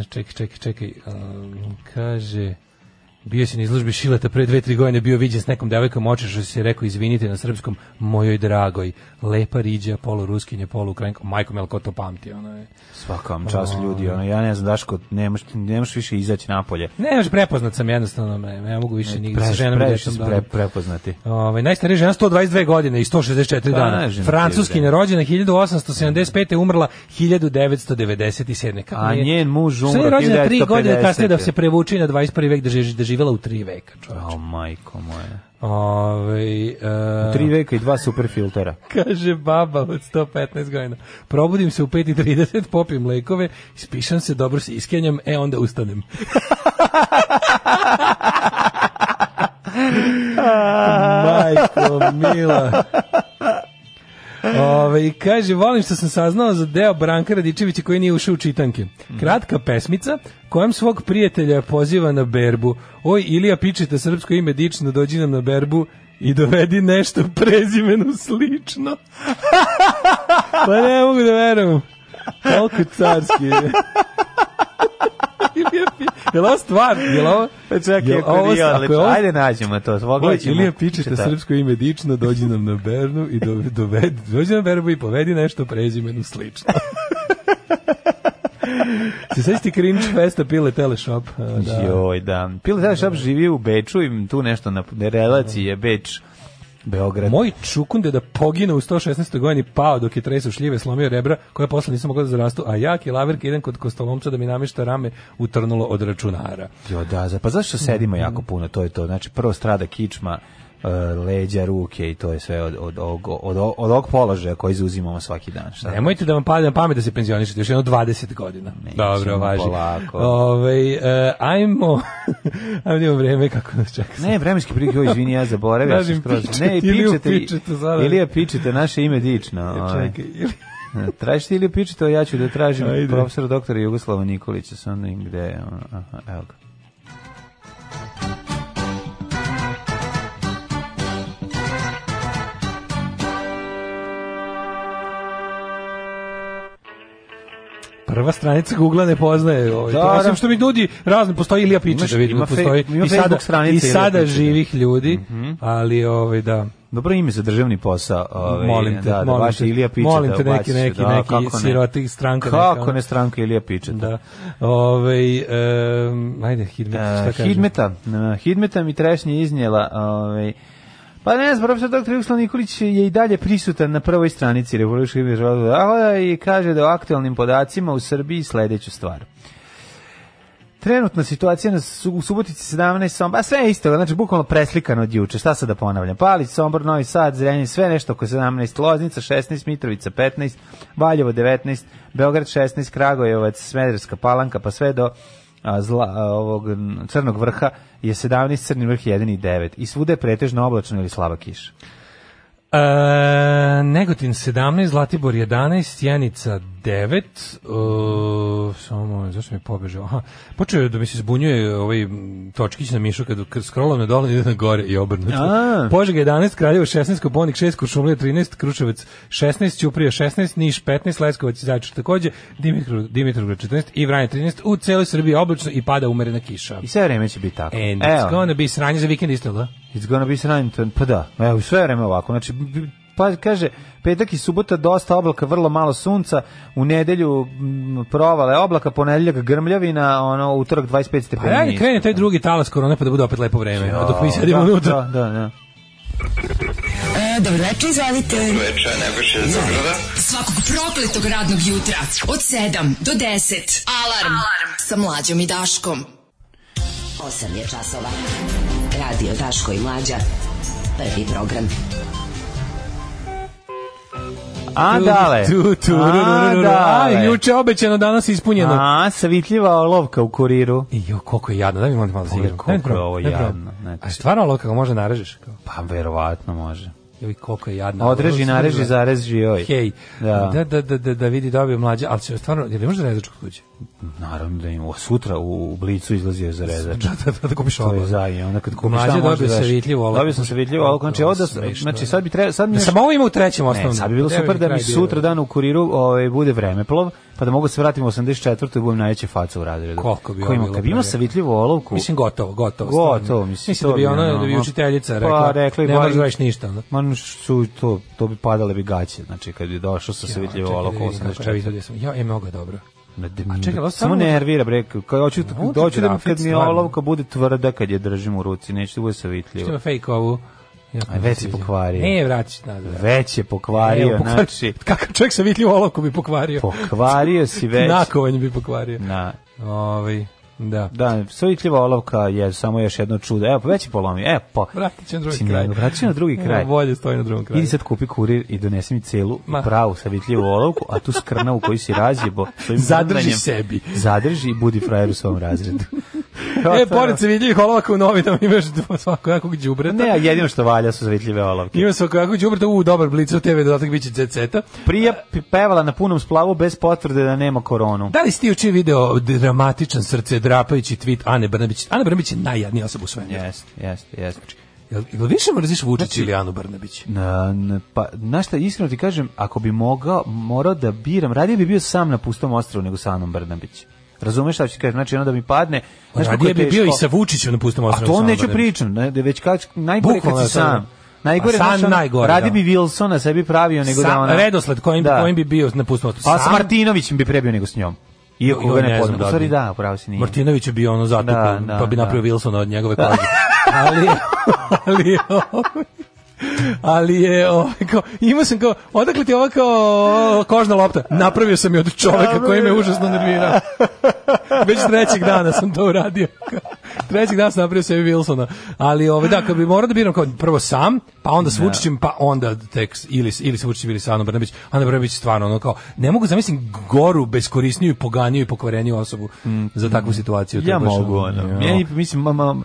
e, čekaj, čekaj, čekaj. Um, kaže... Bio si na izložbi Šileta pre dve, tri godine, bio viđen s nekom devojkom oče što si rekao, izvinite na srpskom, mojoj dragoj, lepa riđa, poluruskinje, polukrajnka, majko mi, jel ko to pamti, ono je. Svaka vam čast ljudi, ono, ja ne znam, Daško, nemaš, nemaš više izaći napolje. Ne, još prepoznat sam jednostavno, ne, ne mogu više nigdje sa Previše- ženom i previše djecom si da... pre, prepoznati. Ovaj najstarija žena 122 godine i 164 Pa, dana. žena ti je, Francuski bre. rođena 1875. umrla 1997. Kako A nije- njen muž Sve je umro rođena tri godine 1950. kasnije da se prevuči na 21. vek da je da živela u tri veka, čoveče. O, majko moja. Ovaj, e, Tri veka i dva super filtera. Kaže baba od 115 godina. Probudim se u 5.30, popijem lekove, ispišem se, dobro se iskenjam, e onda ustanem. Majko, mila. Ove, i kaže, volim što sam saznao za deo Branka Radičevića koji nije ušao u čitanke. Mhm. Kratka pesmica kojom svog prijatelja poziva na berbu. Oj, Ilija, pičite srpsko ime dično, dođi nam na berbu i dovedi nešto prezimenu slično. pa ne mogu da verujem. Koliko carski je. Ilija Pi- je li ovo stvar? Je li ovo, Pa čekaj, je li ako ovo- nije ako je odlično, ovo- ajde nađemo to, Oj, pogledat ćemo. Ilija, pičite Šta? srpsko ime dično, dođi nam na Bernu i do, dovedi, dođi na Bernu i povedi nešto prezimenu slično. Se sveći ti cringe festa pile teleshop? A, Da. Joj, da. Pile Tele Shop živi u Beču i tu nešto na na relaciji je Beč, Beograd. Moj čukunde da pogine u 116. godini pao dok je tresao šljive, slomio rebra, koje posle nisam mogla da zarastu, a jak i laverka idem kod kostolomca da mi namješta rame utrnulo od računara. Jo, da, za- pa zašto sedimo jako Mhm. puno, to je to. Znači, prvo strada kičma, e, leđa, ruke i to je sve od, od, od, od, od ovog položaja koji zauzimamo svaki dan. Šta? Nemojte da vam padne na pamet da se penzionišete, još jedno 20 godina. Dobro, važi. polako. Ovaj, e, ajmo, ajmo da imamo vreme kako nas čeka. Ne, vremenski prilike, joj, izvini, ja zaboravio. sam Kažem, skroz. pičete, Ne, i Iliju pičete, pičete, zarad. Ilija pičete, naše ime dično. ovaj. E, Čekaj, ili... Tražite ili pičite, a ja ću da tražim Ajde. profesora doktora Jugoslava Nikolića, sam onda gde je, ono, aha, evo ga. Prva stranica Google ne poznaje ovaj. Da, to, osim da. što mi ljudi razne postoji Ilija Pičić Imaš- da vidim, ima fe- postoji ima i sada Facebook stranica i Ilija sada Pičića. živih ljudi, Mhm. ali ovaj da. Dobro ime za državni posao. Ovaj, molim te, da, da, molim vaš te, Ilija Pičeta. molim te neki ubaciš, neki da, neki kako ne. siroti stranka neka, Kako ono. ne stranka Ilija Pičeta? Da. Ovaj em, ajde Hidmet, šta E, kaže? Hidmeta, e, Hidmeta mi trešnje iznijela, ovaj, Pa ne znam, profesor dr. Jugoslav Nikolić je i dalje prisutan na prvoj stranici Revolucijskog izražavnog zahoda i kaže da o aktualnim podacima u Srbiji sledeću stvar. Trenutna situacija na Su- u Subotici 17 Sombor, a sve je isto, znači bukvalno preslikano od juče, šta sad da ponavljam. Palić, Sombor, Novi Sad, Zrenjanin, sve nešto oko 17, Loznica 16, Mitrovica 15, Valjevo 19, Beograd 16, Kragujevac, Smederska Palanka, pa sve do a, zla, a, ovog m, crnog vrha je 17, crni vrh 1 i 9 i svuda je pretežno oblačno ili slaba kiša. E, Negotin 17, Zlatibor 11, Sjenica 9, e, samo, zašto mi je pobežao? Aha, počeo je da mi se zbunjuje ovaj m, točkić na mišu, kad kad scrollom na dole ide na gore i obrnuto. A. Požega 11, Kraljevo 16, Koponik 6, Kuršumlija 13, Kručevac 16, Ćuprija 16, Niš 15, Leskovac i Zajčar takođe, Dimitru, Dimitrovgrad 14 i Vranje 13. U celoj Srbiji je oblačno i pada umerena kiša. I sve vreme će biti tako. And Evo. it's gonna be sranje za vikend isto, da? It's gonna be sunny, to- pa da, evo, sve vreme ovako, znači, b- b- pa kaže, petak i subota dosta oblaka, vrlo malo sunca, u nedelju m, provale oblaka, ponedeljak grmljavina, ono, utorak 25 Pa stepeni. ja i krene taj drugi talas korone pa da bude opet lepo vreme, a dok mi sedimo da, unutra. Da, da, da. E, dobroveče, izvolite. Dobroveče, najbrže iz Svakog prokletog radnog jutra od 7 do 10. Alarm, Alarm. sa mlađom i Daškom. 8 je časova. Radio Daško i Mlađa. Prvi program. A, dale. Tu, tu, ru, ru, ru, ru, ru. A, A, dale. juče obećano, danas ispunjeno. A, savitljiva olovka u kuriru. I jo, koliko je jadno, daj mi molim te malo da se Pogledaj igram. koliko Ne, je ovo ne, ne, jadno, ne. znači. A stvarno ovo kako može narežeš? Kao, Pa, verovatno može. joj, koliko je jadno. Odreži, Ovo, nareži, zareži, joj. Hej, Da. da, da, da, da, da vidi dobio mlađe, ali se stvarno, je li možda rezač kod kuće? Naravno da ima. O, Sutra u, u Blicu izlazio je za rezač. Znači, Da, da, da, da kupiš To je ovo. zaje, onda kad kupiš Mlađe šta može dobio daš. savitljivu olovku. Dobio sam savitljivu olovku, znači, ovo da, Smešno znači je. sad bi treba, sad mi Da još- sam ovo imao u trećem Ne, osnovnom. sad bi bilo Gde super da kraj mi bio? sutra dan u kuriru ovaj, bude vremeplov, pa da mogu da se vratim u 84. i budem najveća faca u razredu. Koliko bi Ko ovo ima- bilo Kad bi imao pravi. savitljivu olovku... Mislim gotovo, gotovo. Gotovo, stvarno. mislim, da to bi bi ona, ono, da bi ma- učiteljica Pa, rekla, rekla bi, ne ba- možeš da radiš ništa. ono. Man, su, to, to bi padale bi gaće, znači kad bi došao sa savitljivom Čekaj da olovku vidim kako je 84. video sam. Ja, je mnogo je dobro. Na dem- A čekaj, ovo samo samo- nervira bre, kao hoću t- Ovo ti doći da mi grafit kad mi stvarno. olovka bude tvrda kad je držim u ruci, neće da bude Što savitljiva. ima fake ovu? Ja, A već si pokvario. Ne, vraćaš nazad. Već je pokvario, Evo, pokvario- znači Kakav čovjek sa vitljivu olovku bi pokvario. pokvario si već. Nakovanje bi pokvario. Na, Ovaj, da. da, savitljiva olovka je samo još jedno čudo. Evo, pa već je polomio. Evo, pa. Vratit će na drugi Mislim, kraj. vratit će na drugi Evo, kraj. Bolje stoji na drugom kraju. Idi sad kupi kurir i donesi mi celu i Ma. pravu savitljivu olovku, a tu skrna u koju si razjebo. svojim Zadrži mrndanjem, sebi. Zadrži i budi frajer u svom razredu. E, pored se vidljivih olovaka u novinama imaš svakojakog džubreta. Ne, a jedino što valja su zavitljive olovke. Ima svakojakog džubreta, u, dobar blicu, TV dodatak biće zeceta. Prije p- pevala na punom splavu bez potvrde da nema koronu. E. Da li ste juče video dramatičan srce drapajući tweet Ane Brnabić? Ana Brnabić je najjadnija osoba u svemiru. Jeste, jeste, jeste. Jel, jel više mrziš Vučić Znači, ili Anu Brnabić? Na, na, pa, znaš šta, iskreno ti kažem, ako bi mogao, morao da biram, radije bi bio sam na pustom ostrovu nego sa Anom Brnabić. Razumeš šta ću ti kažem? Znači, ono da mi padne... Znaš kako je Radije bi bio i teško? sa Vučićem na pustom A osnovu. to neću pričam, ne, da već kad, najgore kad Bukvalno si je to, sam. da. Najgore, A sam znaš, ono, najgore, Radi da. bi Wilsona sebi pravio nego da ona... Redosled kojim, Da. kojim bi bio na pustom osnovu. Pa sa Martinovićem bi prebio nego s njom. Iako Joj, ga ne ne znam poznam. da U li stvari bi. da, pravo si nije. Martinović je bio ono zato Da, da, pa bi napravio da. Wilsona od njegove kože. ali, ali, je ovaj- ali je ovaj kao, imao sam kao, odakle ti ova kao kožna lopta? Napravio sam je od čoveka koji me užasno nervirao. Već trećeg dana sam to uradio. trećeg dana sam napravio sebi Wilsona. Ali ovaj, da, kad bi morao da biram kao prvo sam, pa onda s Vučićem, pa onda tek s- ili, s- ili s Vučićem ili sa Anom Brnabić. Ana Brnabić je stvarno ono kao, ne mogu zamislim goru, beskorisniju, i poganiju i pokvareniju osobu za takvu situaciju. To je Mm. Ja baš mogu, ono, ono. jo. Meni, mislim, ma, ma,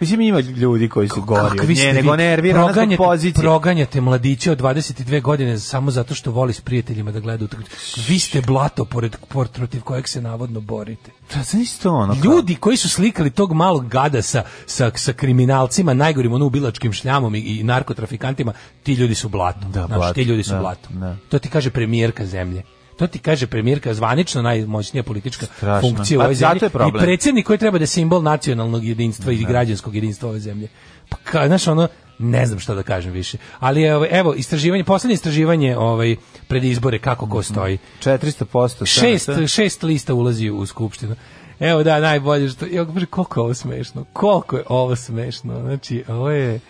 mislim, ima ljudi koji su gori od Kakvi nje, ste nego vi? nervira ona zbog proganjate, pozicije. proganjate mladiće od 22 godine samo zato što voli s prijateljima da gleda utakmicu. Vi ste blato pored port- protiv kojeg se navodno borite. Da, znaš to, ono, kao- Ljudi koji su slikali tog malog gada sa, sa, sa kriminalcima, najgorim ono ubilačkim šljamom i, i narkotrafikantima, ti ljudi su blato. Da, Znaš, blato, ti ljudi su da, blato. da. To ti kaže premijerka zemlje. To ti kaže premijerka zvanično najmoćnija politička Strašno. funkcija u Pa ovoj zato zemlji je problem. i predsjednik koji treba da je simbol nacionalnog jedinstva i građanskog jedinstva ove zemlje. Pa ka, znaš ono ne znam šta da kažem više. Ali evo, evo istraživanje, poslednje istraživanje ovaj pred izbore kako ko stoji. 400% Šest, SNS. šest lista ulazi u skupštinu. Evo da, najbolje što... Ja kažem, koliko je ovo smešno? Koliko je ovo smešno? Znači, ovo je,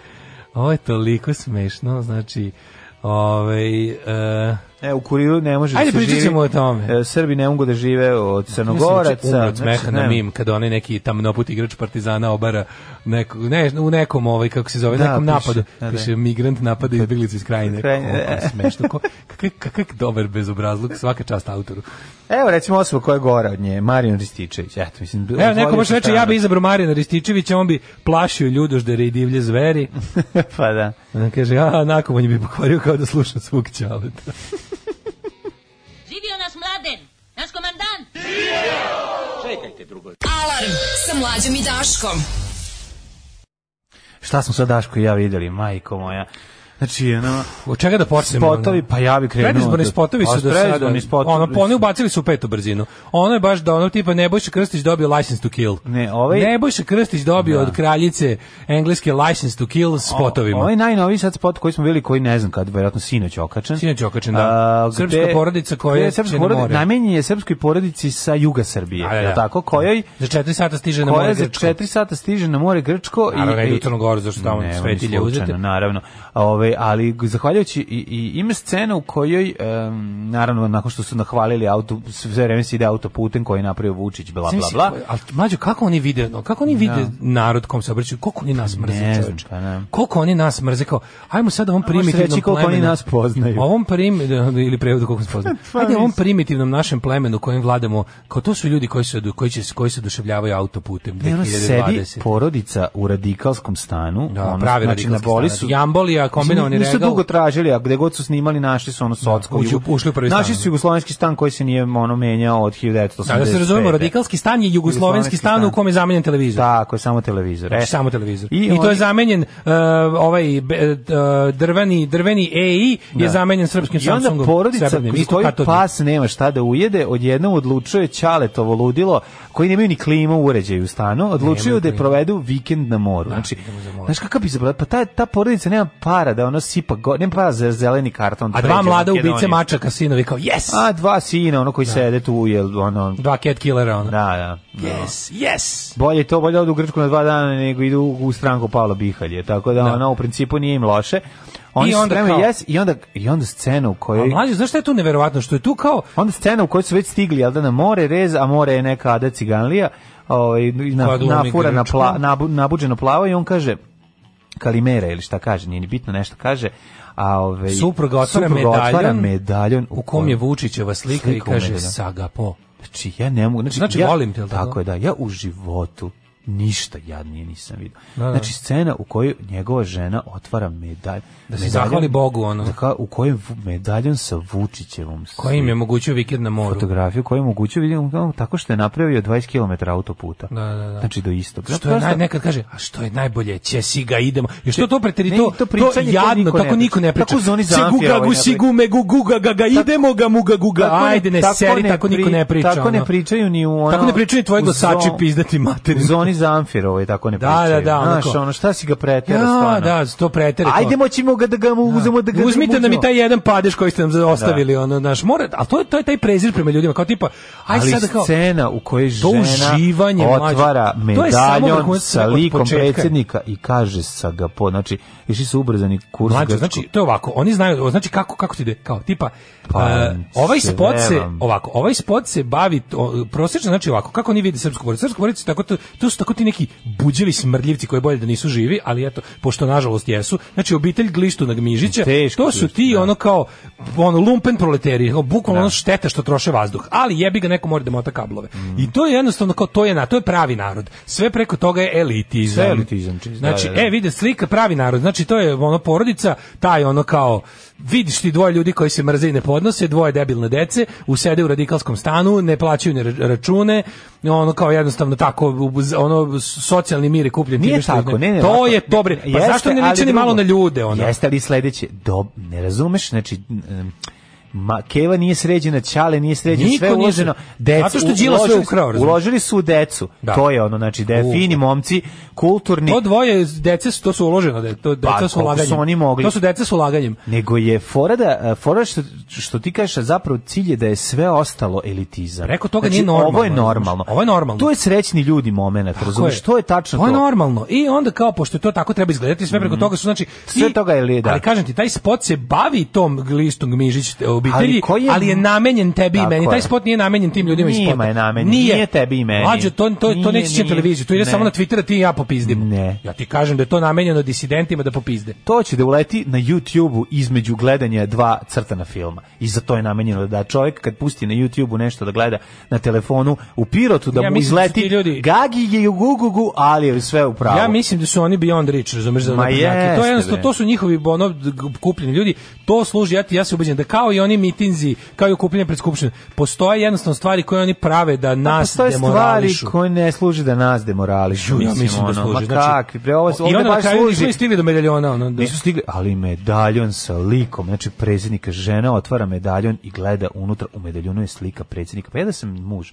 ovo je toliko smešno, znači... Ovaj, e, E, u kuriru ne može Ajde, da se pričat živi. ćemo o tome. E, Srbi ne mogu da žive od Crnogoraca, Crnogoraca. Eh, umro od smeha Znači, na ne. mim kada onaj neki tamnoput igrač Partizana obara neko, ne, u nekom ovaj kako se zove Da, nekom piše, napadu da, da. piše migrant napada izbeglicu iz krajine Krajine, e. Koliko je da. smešno ko, kakav, kakav dobar bezobrazluk svaka čast autoru Evo, recimo osoba koja je gora od nje, Marijan Rističević. Eto, mislim, Evo, neko otvorio može se reći, strano. ja bi izabrao Marijana Rističevića, on bi plašio ljudoždere i divlje zveri. pa da. On kaže, a, nakon bi pokvario kao da sluša svog ćaleta. Živio nas mladen, naš komandant. Alarm sa mlađom i Daškom. Šta smo sad Daško i ja videli, majko moja. Znači, ono, Od čega da počnemo? spotovi, pa ja bi krenuo. ono- Predizborni spotovi Pa, su do sada, predizborni spotovi ono, pa oni su- ubacili su u petu brzinu. Ono je baš da ono tipa Nebojša Krstić dobio license to kill. Ne, ovaj- Nebojša Krstić dobio od kraljice engleske license to kill s spotovima. Ovaj najnoviji sad spot koji smo bili, koji ne znam kad, verovatno sinoć je okačen. Sinoć je okačen, da. A, gde- Srpska porodica koja gde je srpska će na porodica, more. namenjen je srpskoj porodici sa juga Srbije, A, da, je li da. tako? Kojoj Za četiri sata stiže na koja more za Grčko. 4 sata stiže na more Grčko Naravno, ne i idu u Crnu Goru, zašto tamo Ne, oni svetilje slučajno, uzete. Naravno. A, Ovaj Ove, ali zahvaljujući i, i ima scenu u kojoj em, naravno nakon što su nahvalili auto sve vreme se ide autoputem koji je napravio Vučić Pa bla bla bla. Mislim, Ali mlađo kako oni vide, no, kako oni vide narod kom se obraćaju, koliko oni nas mrze, Ne znam, čoveče. pa ne. Koliko oni nas mrze kao ajmo sad ovom možeš primitivnom reći koliko oni plemenu- nas poznaju. Pa Ovom prim ili prevodu koliko nas poznaju. Ajde ovom mislim. primitivnom našem plemenu kojim vladamo, kao to su ljudi koji se odu- koji će koji se oduševljavaju autoputem Ne, ono sedi 2020. porodica u radikalskom stanu. Da, ono, pravi znači, na radikalski boli stanac. su, Jambolija, kombinovani Mislim, Nisu regal. dugo tražili, a gde god su snimali, našli su ono socko. uđu- Jugo- ušli u prvi Našli stan. su jugoslovenski stan koji se nije ono menjao od 1985. Da, da se razumemo, radikalski stan je jugoslovenski Jugoslovenski stan u stan. kom je zamenjen televizor. Tako, je, samo televizor. Znači, E, samo televizor. I, I, to je oni- zamenjen e, ovaj be- e, drveni drveni EI je zamenjen srpskim I onda Samsungom. porodica srebrnim, koji isto koju katodnim. pas nema šta da ujede, odjednom odlučuje Ćaletovo ludilo, koji nemaju ni klimu u uređaju u stanu, odlučuju da je provedu vikend na moru. znači, znaš kakav bi zabrala? Pa ta, ta porodica nema para da ono sipa, go, nema para za zeleni karton. A pređe dva u mlada Makedoniju. ubice mačaka sinovi kao yes. A dva sina, ono koji sede tu, jel, ono, dva cat killera da, ona. da. Yes, yes. Bolje to, bolje odu u Grčku na dva dana nego idu u stranku Pavla Bihalje, tako da, Da. ono u principu nije im loše. Oni I I onda onda kao- yes, i onda i onda scenu u A kojoj mlađe, znaš šta je tu neverovatno? Što je tu kao Onda scena u kojoj su već stigli, jel da na more rez, a more je neka Ada Ciganlija, ovaj, na, Koja glumi nafura na Grčku. pla, nabu, nabuđeno plava i on kaže, Kalimera ili šta kaže, nije ni bitno nešto kaže, a ovaj, supruga otvara supruga medaljon, otvara medaljon u kom je Vučićeva slika, i slika u kaže medaljonu. Sagapo. Znači, ja ne mogu... Znači, Znači, ja, volim te, jel tako? Tako je, da. Ja u životu ništa jadnije nisam vidio. Da, da. Znači, scena u kojoj njegova žena otvara medalj... Da se zahvali Bogu, ono. u kojoj vu- medaljon sa Vučićevom Koji im je omogućio vikend na moru. fotografiju koju moguću vidim ono, tako što je napravio 20 km autoputa. Da, da, da. Znači do istog. Što Ja je prosto- naj, nekad kaže, a što je najbolje, će si ga idemo. I što Če- to preteri, ne, to, to to, pričanje, to jadno, niko ne tako niko ne priča. priča. Tako zvoni za Se Amfija guga ovaj gu, ne si priča. gume gu, guga ga ga, idemo ga muga guga, tako ne- ajde ne tako seri, tako niko pri- ne priča. Tako ne ono. pričaju ni u ono... Tako ne pričaju ni tvoji u glasači zo- pizdati materinu. U zoni za Amfirovoj tako ne Da, pričaju. da, da, ono Znaš, kao- ono, šta si ga pretjera Ja, stvarno? da, to preteri. to. Ajde moćemo ga da ga mu uzemo da ga Uzmite nam i taj jedan padež koji ste nam za- ostavili, ono, naš, mora, ali to je, to je taj prezir prema ljudima, kao tipa, aj ali sada kao, scena u kojoj To žena uživanje, mlađe. otvara To je samo medaljon vrhunac sa od likom početka. predsjednika i kaže sa ga po, znači išli su ubrzani kurs Mlađo, grčkog. znači, to je ovako, oni znaju, znači kako, kako ti ide, kao, tipa, Pa, e, ovaj se spot se, nemam. ovako, ovaj spot se bavi, to- prosječno, znači ovako, kako oni vide srpsku porodicu, srpsku porodicu, tako, to, to su tako ti neki buđili smrdljivci koji bolje da nisu živi, ali eto, pošto nažalost jesu, znači obitelj Glištu Nagmižića, Teško to su glištu, ti da. ono kao, ono, lumpen proleteri, kao, bukvalno ono šteta što troše vazduh, ali jebi ga neko mora da mota kablove. I to je jednostavno kao, to je, na, to je pravi narod. Sve preko toga je elitizam. Sve je elitizam, čist, Znači, da, da, da. e, vide slika pravi narod. Znači to je ono porodica, taj ono kao vidiš ti dvoje ljudi koji se mrze i ne podnose, dvoje debilne dece, usede u radikalskom stanu, ne plaćaju ni ra- račune, ono kao jednostavno tako u- z- ono socijalni mir je kupljen Nije time što- tako, ne, ne. To ovako, je to bre. Pa jeste, zašto ne ali liči ni drugo. malo na ljude ono? Jeste ali sledeće, do, ne razumeš, znači em, Ma, Keva nije sređena, Ćale nije sređena, Niko sve je nije sre- uloženo. Decu, Zato što Đilas sve uložili- ukrao, razumeš? Uložili su u decu. Da. To je ono, znači, da je U. fini momci, kulturni. To dvoje dece su to su uloženo, de- to deca Pa, su koliko ulaganjem. su oni mogli? To su deca su ulaganjem. Nego je fora da, e, fora što, što ti kažeš, a zapravo cilj je da je sve ostalo elitizam. Preko toga znači, nije normalno, Ovo je razumeš? normalno. Ovo je normalno. To je srećni ljudi moment, razumiješ? je. To je tačno To to. Mhm. je normalno. I onda kao pošto je to tako treba izgledati sve preko toga su znači Sve i- toga je li- da. Ali kažem ti taj spot se bavi tom glistom Gmižić te obitelji, Ali ali, koji je- je namenjen tebi i Tako meni. Taj je. spot nije namenjen tim ljudima iz Njima spota. je namenjen, nije tebi i meni. Mlađo, to to to Nije, neće ići na nije. televiziju. To ide Ne. samo na Twitter a ti i ja popizdim. Ne. Ja ti kažem da je to namenjeno disidentima da popizde. To će da uleti na YouTube-u između gledanja dva crtana filma. I za to je namenjeno da čovjek kad pusti na YouTube-u nešto da gleda na telefonu u pirotu da Ja mu mislim da su ti izleti ljudi- gagi je u gugugu, ali je sve u pravu. Ja mislim da su oni beyond reach, razumeš za Ma naprednjake. To jeste, je jednostavno bre. to su njihovi ono d- g- kupljeni ljudi. To služi ja ti ja se ubeđen da kao i oni mitinzi, kao i okupljanje pred skupštinom, postoje jednostavno stvari koje oni prave da Pa nas postoje stvari demorališu. koje ne služe da nas demorališu. Ja mislim da ono, služi. Ma Znači, kakvi, bre, ovo, I ovde onda na baš kraju služi. nismo ni stigli do medaljona. Ono, da. Nisu stigli, ali medaljon sa likom, znači predsjednika žena otvara medaljon i gleda unutra, u medaljonu je slika predsjednika. Pa ja da sam muž,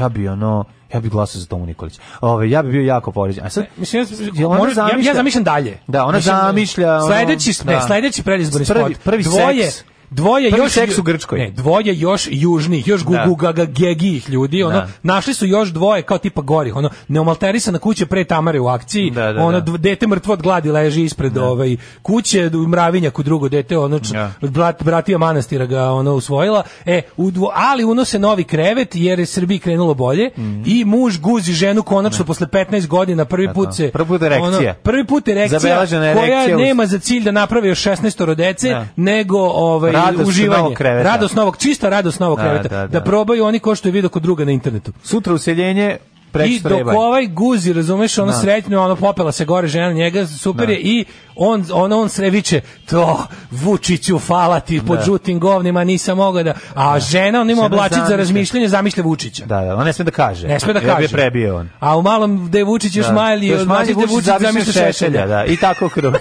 ja bi ono, ja bi glasao za Tomu Nikolić. Ove, ja bi bio jako poređen. A sad, Mislim, je ja, ona mora- ja, ja zamišlja- zamišljam dalje. Da, ona Mislim, zamišlja, ono, Sledeći, ne, da. sledeći predizborni Prvi- spot. prvi dvoje, seks. dvoje Prvi još seks u Grčkoj. Ne, dvoje još južnih, još Da. gugugagagegijih ljudi, ono, Da. našli su još dvoje kao tipa gorih, ono, neomalterisana kuća pre Tamare u akciji, Da, da, ono, da. dv- dete mrtvo od gladi leži ispred ovaj, kuće, d- mravinjak u drugo dete, ono, č- Da. brat, bratija manastira ga ono, usvojila, e, u dvo- ali unose novi krevet jer je Srbiji krenulo bolje Mhm. i muž guzi ženu konačno posle 15 godina prvi put se... Prvi put erekcija. ono, prvi put erekcija Zabeležena koja erekcija uz- nema za cilj da napravi još 16 rodece, Da. nego ovaj, Radost uživanje. novog kreveta. Radost novog, čista radost novog Da, kreveta. da, Da, da. probaju oni ko što je vidio kod druga na internetu. Sutra useljenje, I prekšta dok rebaj. ovaj guzi, razumeš, ono Da. sretno, ono popela se gore žena na njega, super je, i on, ono, on sreviće, to, Vučiću, hvala ti, pod žutim govnima, nisam mogao da... A žena, on ima Žena oblačić za zamišlja. razmišljanje, zamišlja Vučića. Da, da, on ne sme da kaže. Ne sme da Jer kaže. bi je prebio on. A u malom gde je Vučić još Da. mali, Još još manje mali Vučić Vučić zamišlja šešelja. Da, I tako krug.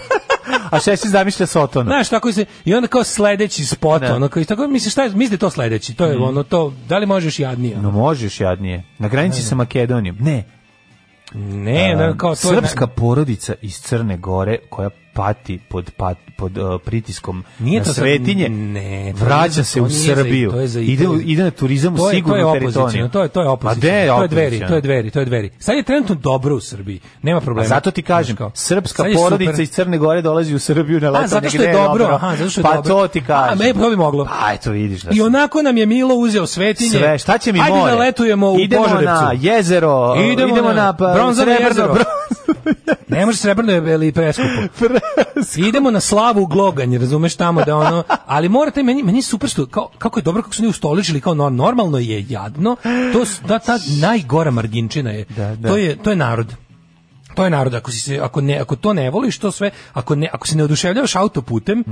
A šešelj zamišlja Sotona. Znaš, tako se, i onda kao sledeći spot, Pa. Da. Mm. ono, kao, i tako, misliš, šta je, misli da je to sledeći, to je ono, to, da li možeš jadnije? No možeš jadnije. Na granici sa Makedonijom. Ne. ne, a, ono, kao, to je- srpska porodica iz Crne Gore koja pati pod, pat, pod uh, pritiskom Nije na to sad- svetinje, ne, to nije vraća za- se to u nije za- Srbiju. to je za ide, u- Italiju. ide na turizam u to je, to je sigurnu teritoriju. opoziciono, to je, to je opoziciono. Pa gde je to je dveri, opoziciono? to je dveri, to je dveri. Sad je trenutno dobro u Srbiji, nema problema. A zato ti kažem, Znaš kao, srpska sad je porodica super. iz Crne Gore dolazi u Srbiju na leto. A, zato što negde je dobro, aha, zato što je pa dobro. to ti kažem. A, me- to bi moglo. Pa, eto vidiš da I sam- onako nam je Milo uzeo svetinje. Sve, šta će mi Ajde more? da letujemo u idemo Požarevcu. na jezero, idemo, Idemo na, na pa, bronzano srebrno jezero. bronzano Ne može srebrno je ili preskupo. Idemo na slavu u gloganj, razumeš tamo da ono, ali morate meni meni je super što kao, kako je dobro kako su oni ustoličili kao no- normalno je jadno. To s- da ta najgora marginčina je. Da, da. To je to je narod. To je narod ako si se ako ne ako to ne voliš to sve ako ne ako se ne oduševljavaš autoputem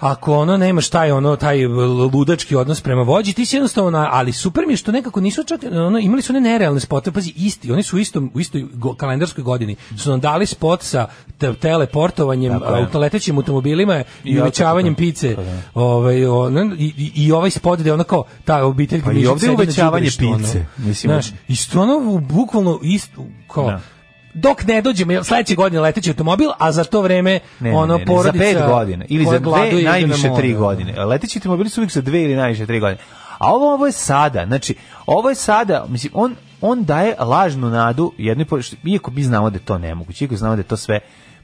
ako ono nemaš taj ono taj ludački odnos prema vođi ti si jednostavno na- ali super mi je što nekako nisu čak ono imali su one nerealne spotove pazi isti oni su u istom u istoj go- kalendarskoj godini su nam dali spot sa te- teleportovanjem Tako je. auto- letećim automobilima i autoputom. uvećavanjem pice Pa da. ovaj ono, i, i, i ovaj spot gde ono kao ta obitelj Pa i Mišić ovdje sedi na uvećavanje đubrištu, ono. pice, mislim. Znaš, isto ono bukvalno isto kao Da. Dok ne dođemo, jel, sledeće godine leteći automobil, a za to vreme Ne, ono ne, ne, porodica za pet godina ili za koja gladuje dve, ide na najviše more, tri ono. godine. Leteći automobili su uvijek za dve ili najviše tri godine. A ovo, ovo je sada, znači, ovo je sada, mislim, on, on daje lažnu nadu jednoj porodici, iako mi znamo da je to nemoguće, iako znamo da je to sve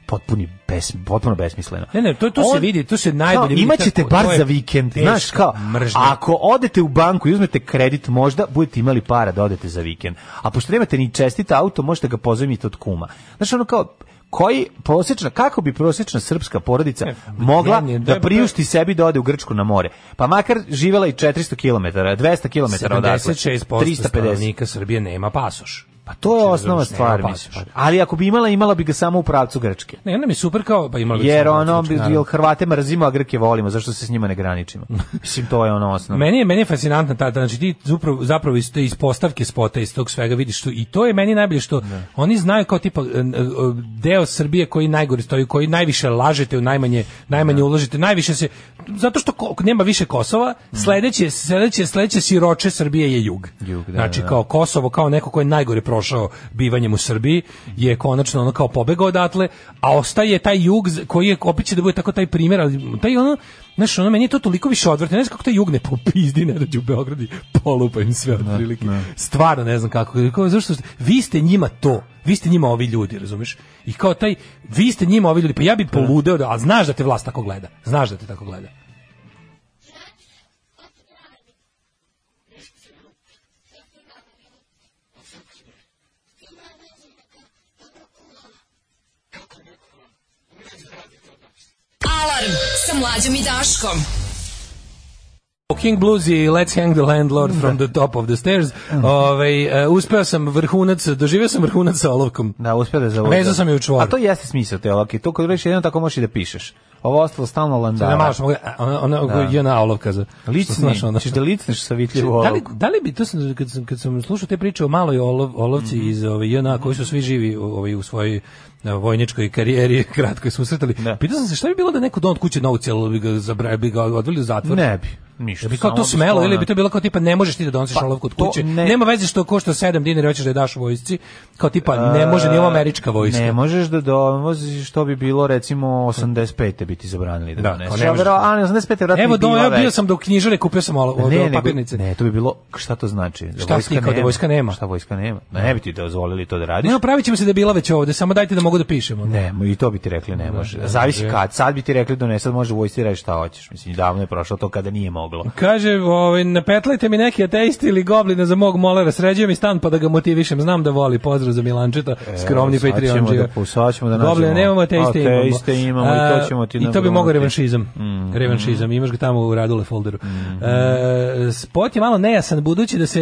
potpuni bes, potpuno besmisleno. Ne, ne, to- to se vidi, to se najbolje kao, vidi Imaćete tako, bar to je za vikend, teška znaš, kao, mržnja. ako odete u banku i uzmete kredit, možda budete imali para da odete za vikend. A pošto nemate ni čestit auto, možete ga pozajmiti od kuma. Znaš, ono kao, koji prosječna, kako bi prosječna srpska porodica E, mogla ne, ne, da treba- priušti sebi da ode u Grčku na more? Pa makar živela i 400 km, 200 km odatle, 76% 350. stanovnika Srbije nema pasoš. Pa to je Znači, osnova razumeš, stvar, nema mislim. pasoša. Ali ako bi imala, imala bi ga samo u pravcu Grčke. Ne, nam je super kao, pa imali Jer smo ono, znači, naravno. jel Hrvate mrzimo, a Grke volimo, zašto se s njima ne graničimo? Mislim, to je ono osnovno. Meni je meni je fascinantna ta, ta- znači ti zapravo, zapravo iz te iz postavke spota iz tog svega vidiš tu i to je meni najbolje što oni znaju kao tipa e, e, deo Srbije koji najgore stoji, koji najviše lažete, u najmanje najmanje uložite, najviše se zato što ko- nema više Kosova, Mm. sledeće sledeće sledeće siroče Srbije je jug. Jug, da, znači da, da. kao Kosovo kao neko ko je najgore prošao bivanjem u Srbiji je konačno ono kao pobegao odatle, a ostaje taj jug z- koji je opet će da bude tako taj primjer, ali taj ono Znaš, ono, meni je to toliko više odvrtno. Ne znam kako taj jug ne popizdi, ne dođe u Beograd i polupa im sve otprilike. Stvarno ne znam kako. Kao, zašto, ste- vi ste njima to. Vi ste njima ovi ljudi, razumeš? I kao taj, vi ste njima ovi ljudi. Pa ja bi poludeo, da, a znaš da te vlast tako gleda. Znaš da te tako gleda. Alarm sa mlađom i Daškom. King Blues i Let's Hang the Landlord from the Top of the Stairs. Ovaj, e, uspeo sam vrhunac, doživio sam vrhunac sa olovkom. Da, uspio da zavuče. Vezao sam je u čvor. A to jeste smisao te olovke. To kad radiš jedno tako možeš i da pišeš. Ovo ostalo stalno Da, landava. malo što mogu, a, ona, ona, jedna olovka za... što Licni, znaš, ono- ćeš da licneš sa vitljivu Da li, olovku. da li bi, to sam, kad, Mhm. sam, kad sam slušao te priče o maloj olov, olovci iz ove, JNA, koji su svi živi ovaj, u svojoj na vojničkoj karijeri kratko susretali. Da. Pitao sam se šta bi bilo da neko don od kuće na ucelu bi ga zabra, bi ga odveli u zatvor. Ne bi. Ništa. Da bi kao samo to smelo sklona. ili bi to bilo kao tipa ne možeš ti da donosiš Pa, olovku od to kuće. ne- Nema veze što košta 7 dinara i hoćeš da je daš vojsci. Kao tipa ne može ni ova američka vojska. Ne možeš da dovoziš, što bi bilo recimo 85. bi ti zabranili da, Da, doneseš. kao ne A možeš. vero- A, ne, 85. vratno Evo, bi bila do, ja bio već. sam do knjižare, kupio sam olo, od Ne, ne, ne, papirnice. ne, to bi bilo, šta to znači? Da Šta ti, kao da vojska nema? Šta vojska nema? Ne bi ti dozvolili to da radiš. Ne, napravit ćemo se da je bila već ovde, samo dajte da mogu da pišemo. Ne, i to bi ti rekli ne može. ne Zavisi može. kad. Sad bi ti rekli da ne, sad može vojsci reći šta hoćeš. Mislim, davno je prošlo to kada nije moglo. Kaže, ovaj, napetlajte mi neki ateisti ili goblina za mog molera, sređujem mi stan pa da ga motivišem, znam da voli, pozdrav za Milančeta, skromni E, sad Patreon. ćemo da- sad ćemo da nađemo. Goblina nemamo, ateiste imamo. Ateiste imamo i to ćemo ti A, I to bi mogao nabrojati. revanšizam. Revanšizam, imaš ga tamo u Radule folderu. E, spot je malo nejasan, budući da se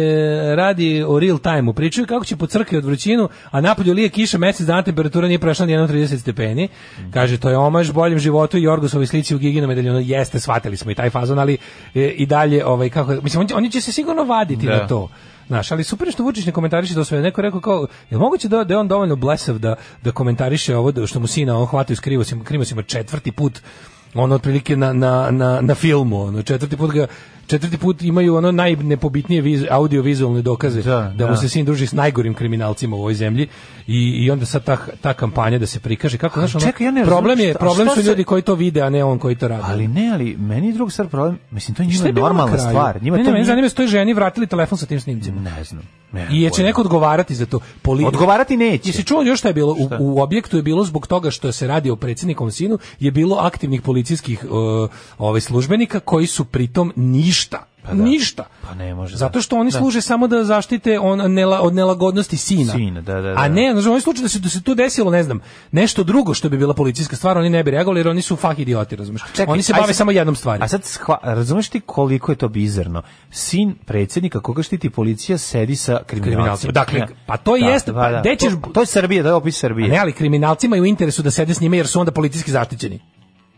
radi o real time-u. Pričaju kako će po crkvi od vrućinu, a napolju lije kiša, mesec dana temperatura nije prešla ni 1,30 stepeni. Kaže, to je omaž boljem životu i Jorgosovoj slici u Giginom medaljonu. Jeste, shvatili smo i taj fazon, ali e, i dalje, ovaj, kako, mislim, oni, oni će se sigurno vaditi Da. na to. Znaš, ali super je što Vučić ne komentariše to sve. Neko je rekao kao, je moguće da, da je on dovoljno blesav da, da komentariše ovo, da, što mu sina on hvataju s krivosima, krivosima četvrti put ono otprilike na, na, na, na filmu, ono, četvrti put ga četvrti put imaju ono najnepobitnije viz, audiovizualne dokaze Da, da, da. mu se sin druži s najgorim kriminalcima u ovoj zemlji i, i onda sad ta, ta kampanja da se prikaže kako znaš ono, čekaj, ja ne problem razumem je šta- problem šta su se- ljudi koji to vide a ne on koji to radi Ali ne, ali meni je drug stvar problem, mislim, to je Pa, Šta njima je bilo na normalna kraju? stvar. Njima ne, to ne, mene nije- zanima se toj ženi vratili telefon sa tim snimcima Ne znam. nemam I je će pojma. neko odgovarati za to. Poli... Odgovarati neće. Jesi čuo još šta je bilo? U, u objektu je bilo zbog toga što se radi o predsjednikovom sinu, je bilo aktivnih policijskih uh, ovaj, službenika koji su pritom ništa. Ništa. Pa ne može. Zato što oni Da. služe samo da zaštite on, nela, od nelagodnosti sina. Sina, da, da, da. A ne, znači, u ovom slučaju da se, da se tu desilo, ne znam, nešto drugo što bi bila policijska stvar, oni ne bi reagovali jer oni su fah idioti, razumiješ? Čekaj, Oni se aj bave sad- samo jednom stvari. A sad shva, razumeš ti koliko je to bizarno? Sin predsjednika koga štiti policija sedi sa kriminalcima. Kriminalcima. Dakle, pa to jeste, pa gde ćeš- To, to je Srbija, to je opis Srbije. A ne, ali kriminalcima je u interesu da sede s njima jer su onda politički zaštićeni.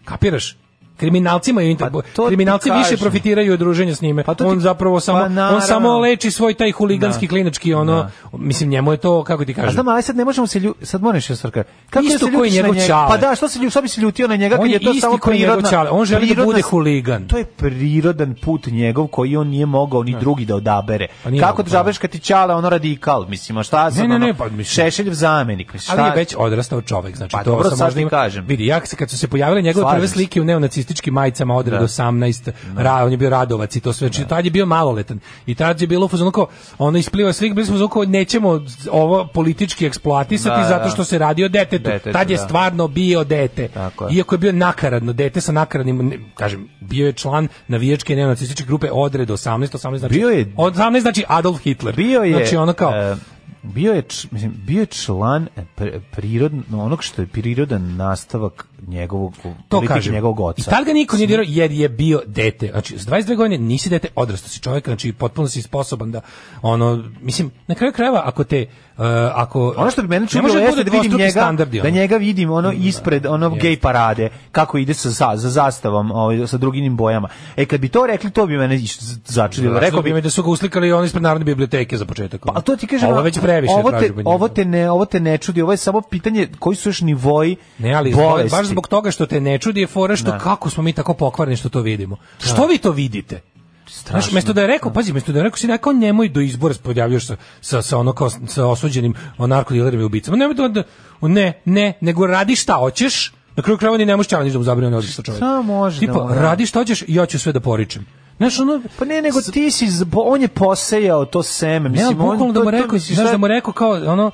Kapiraš? Kriminalcima je u Pa interesu. to ti Kriminalci više kažem. profitiraju od druženja s njime. Pa to ti- on zapravo Pa samo naravno. on samo leči svoj taj huliganski Da. klinački ono mislim njemu je to kako ti A kažem. znam, ali sad ne možemo se lju... Sad moraš je svrka. Kako Isto da se koji ljutiš na njegov njega? čale. Pa da, što se lju... što bi se ljutio na njega On kad je je to isti samo koji njegov prirodna... čale. On želi da prirodna- bude huligan. To je prirodan put njegov koji on nije mogao ni drugi da odabere. Pa nije Kako mogao, da zabereš kad ti čale ono radikal, mislim, a šta sad ne, ono, ne, pa mislim- Šešeljev zamenik, mislim, šta? ali je već odrastao čovek, znači Pa to dobro, sam sad možda ti ima- kažem. Vidi, ja se kad su se pojavile njegove Slažem prve se. slike u neonacističkim majicama odred Da. 18, ra, on je bio Radovac i to sve, znači tad je bio maloletan. I tad je bilo u fazonu kao ono ispliva svih, bili smo u fazonu kao nećemo ovo politički eksploatisati Da, da. zato što se radi o detetu. Detetu, tad je da. stvarno bio dete. Tako je. Iako je bio nakaradno dete sa nakaradnim ne- kažem, bio je član navijačke neonacističke grupe odred 18, 18 znači Bio je- 18 znači Adolf Hitler. bio je znači ono kao e, bio je č- mislim bio je član eh, pr- prirodno onog ono što je prirodan nastavak njegovog to politike kažem. njegovog oca. I tad ga niko nije dirao jer je bio dete. Znači, s 22 godine nisi dete, odrastao si čovjek, znači potpuno si sposoban da, ono, mislim, na kraju krajeva, ako te, uh, ako... Ono što bi mene Ne čudilo može da jeste bude da vidim dvostruki njega, standardi, da ono. njega vidim ono ispred onog gej parade, kako ide sa, za, za zastavom, ovaj, sa drugim bojama. E, kad bi to rekli, to bi mene iš- začudilo. Rekao bi, mi da su ga uslikali oni ispred Narodne biblioteke za početak. Pa, ali to ti kažem, ovo ono, je već previše ovo te, traži od njega. ovo, te ne, ovo te ne čudi, ovo je samo pitanje koji su još nivoji Ne, ali zbog- bolesti. baš zbog toga što te ne čudi je fora što kako smo mi tako pokvareni što to vidimo. Što vi to vidite? Strašno. Znaš, mesto da je rekao, pazi, mesto da je rekao si rekao nemoj do izbora se pojavljaš sa, sa, sa, ono kao, sa osuđenim narkodilerima i ubicama. Nemoj da, da, ne, ne, nego radi šta hoćeš, na kraju krajeva ni ne možeš čalaniš da mu zabrani odliš sa čovjekom. Šta može da Tipo, ono- radi šta hoćeš i ja ću sve da poričem. Znaš, ono, Pa ne, nego ti si, zbo- on je posejao to seme, ne, ali mislim, on, bukvalno da to- mu to- rekao, mislim, znaš šta- da mu rekao kao ono,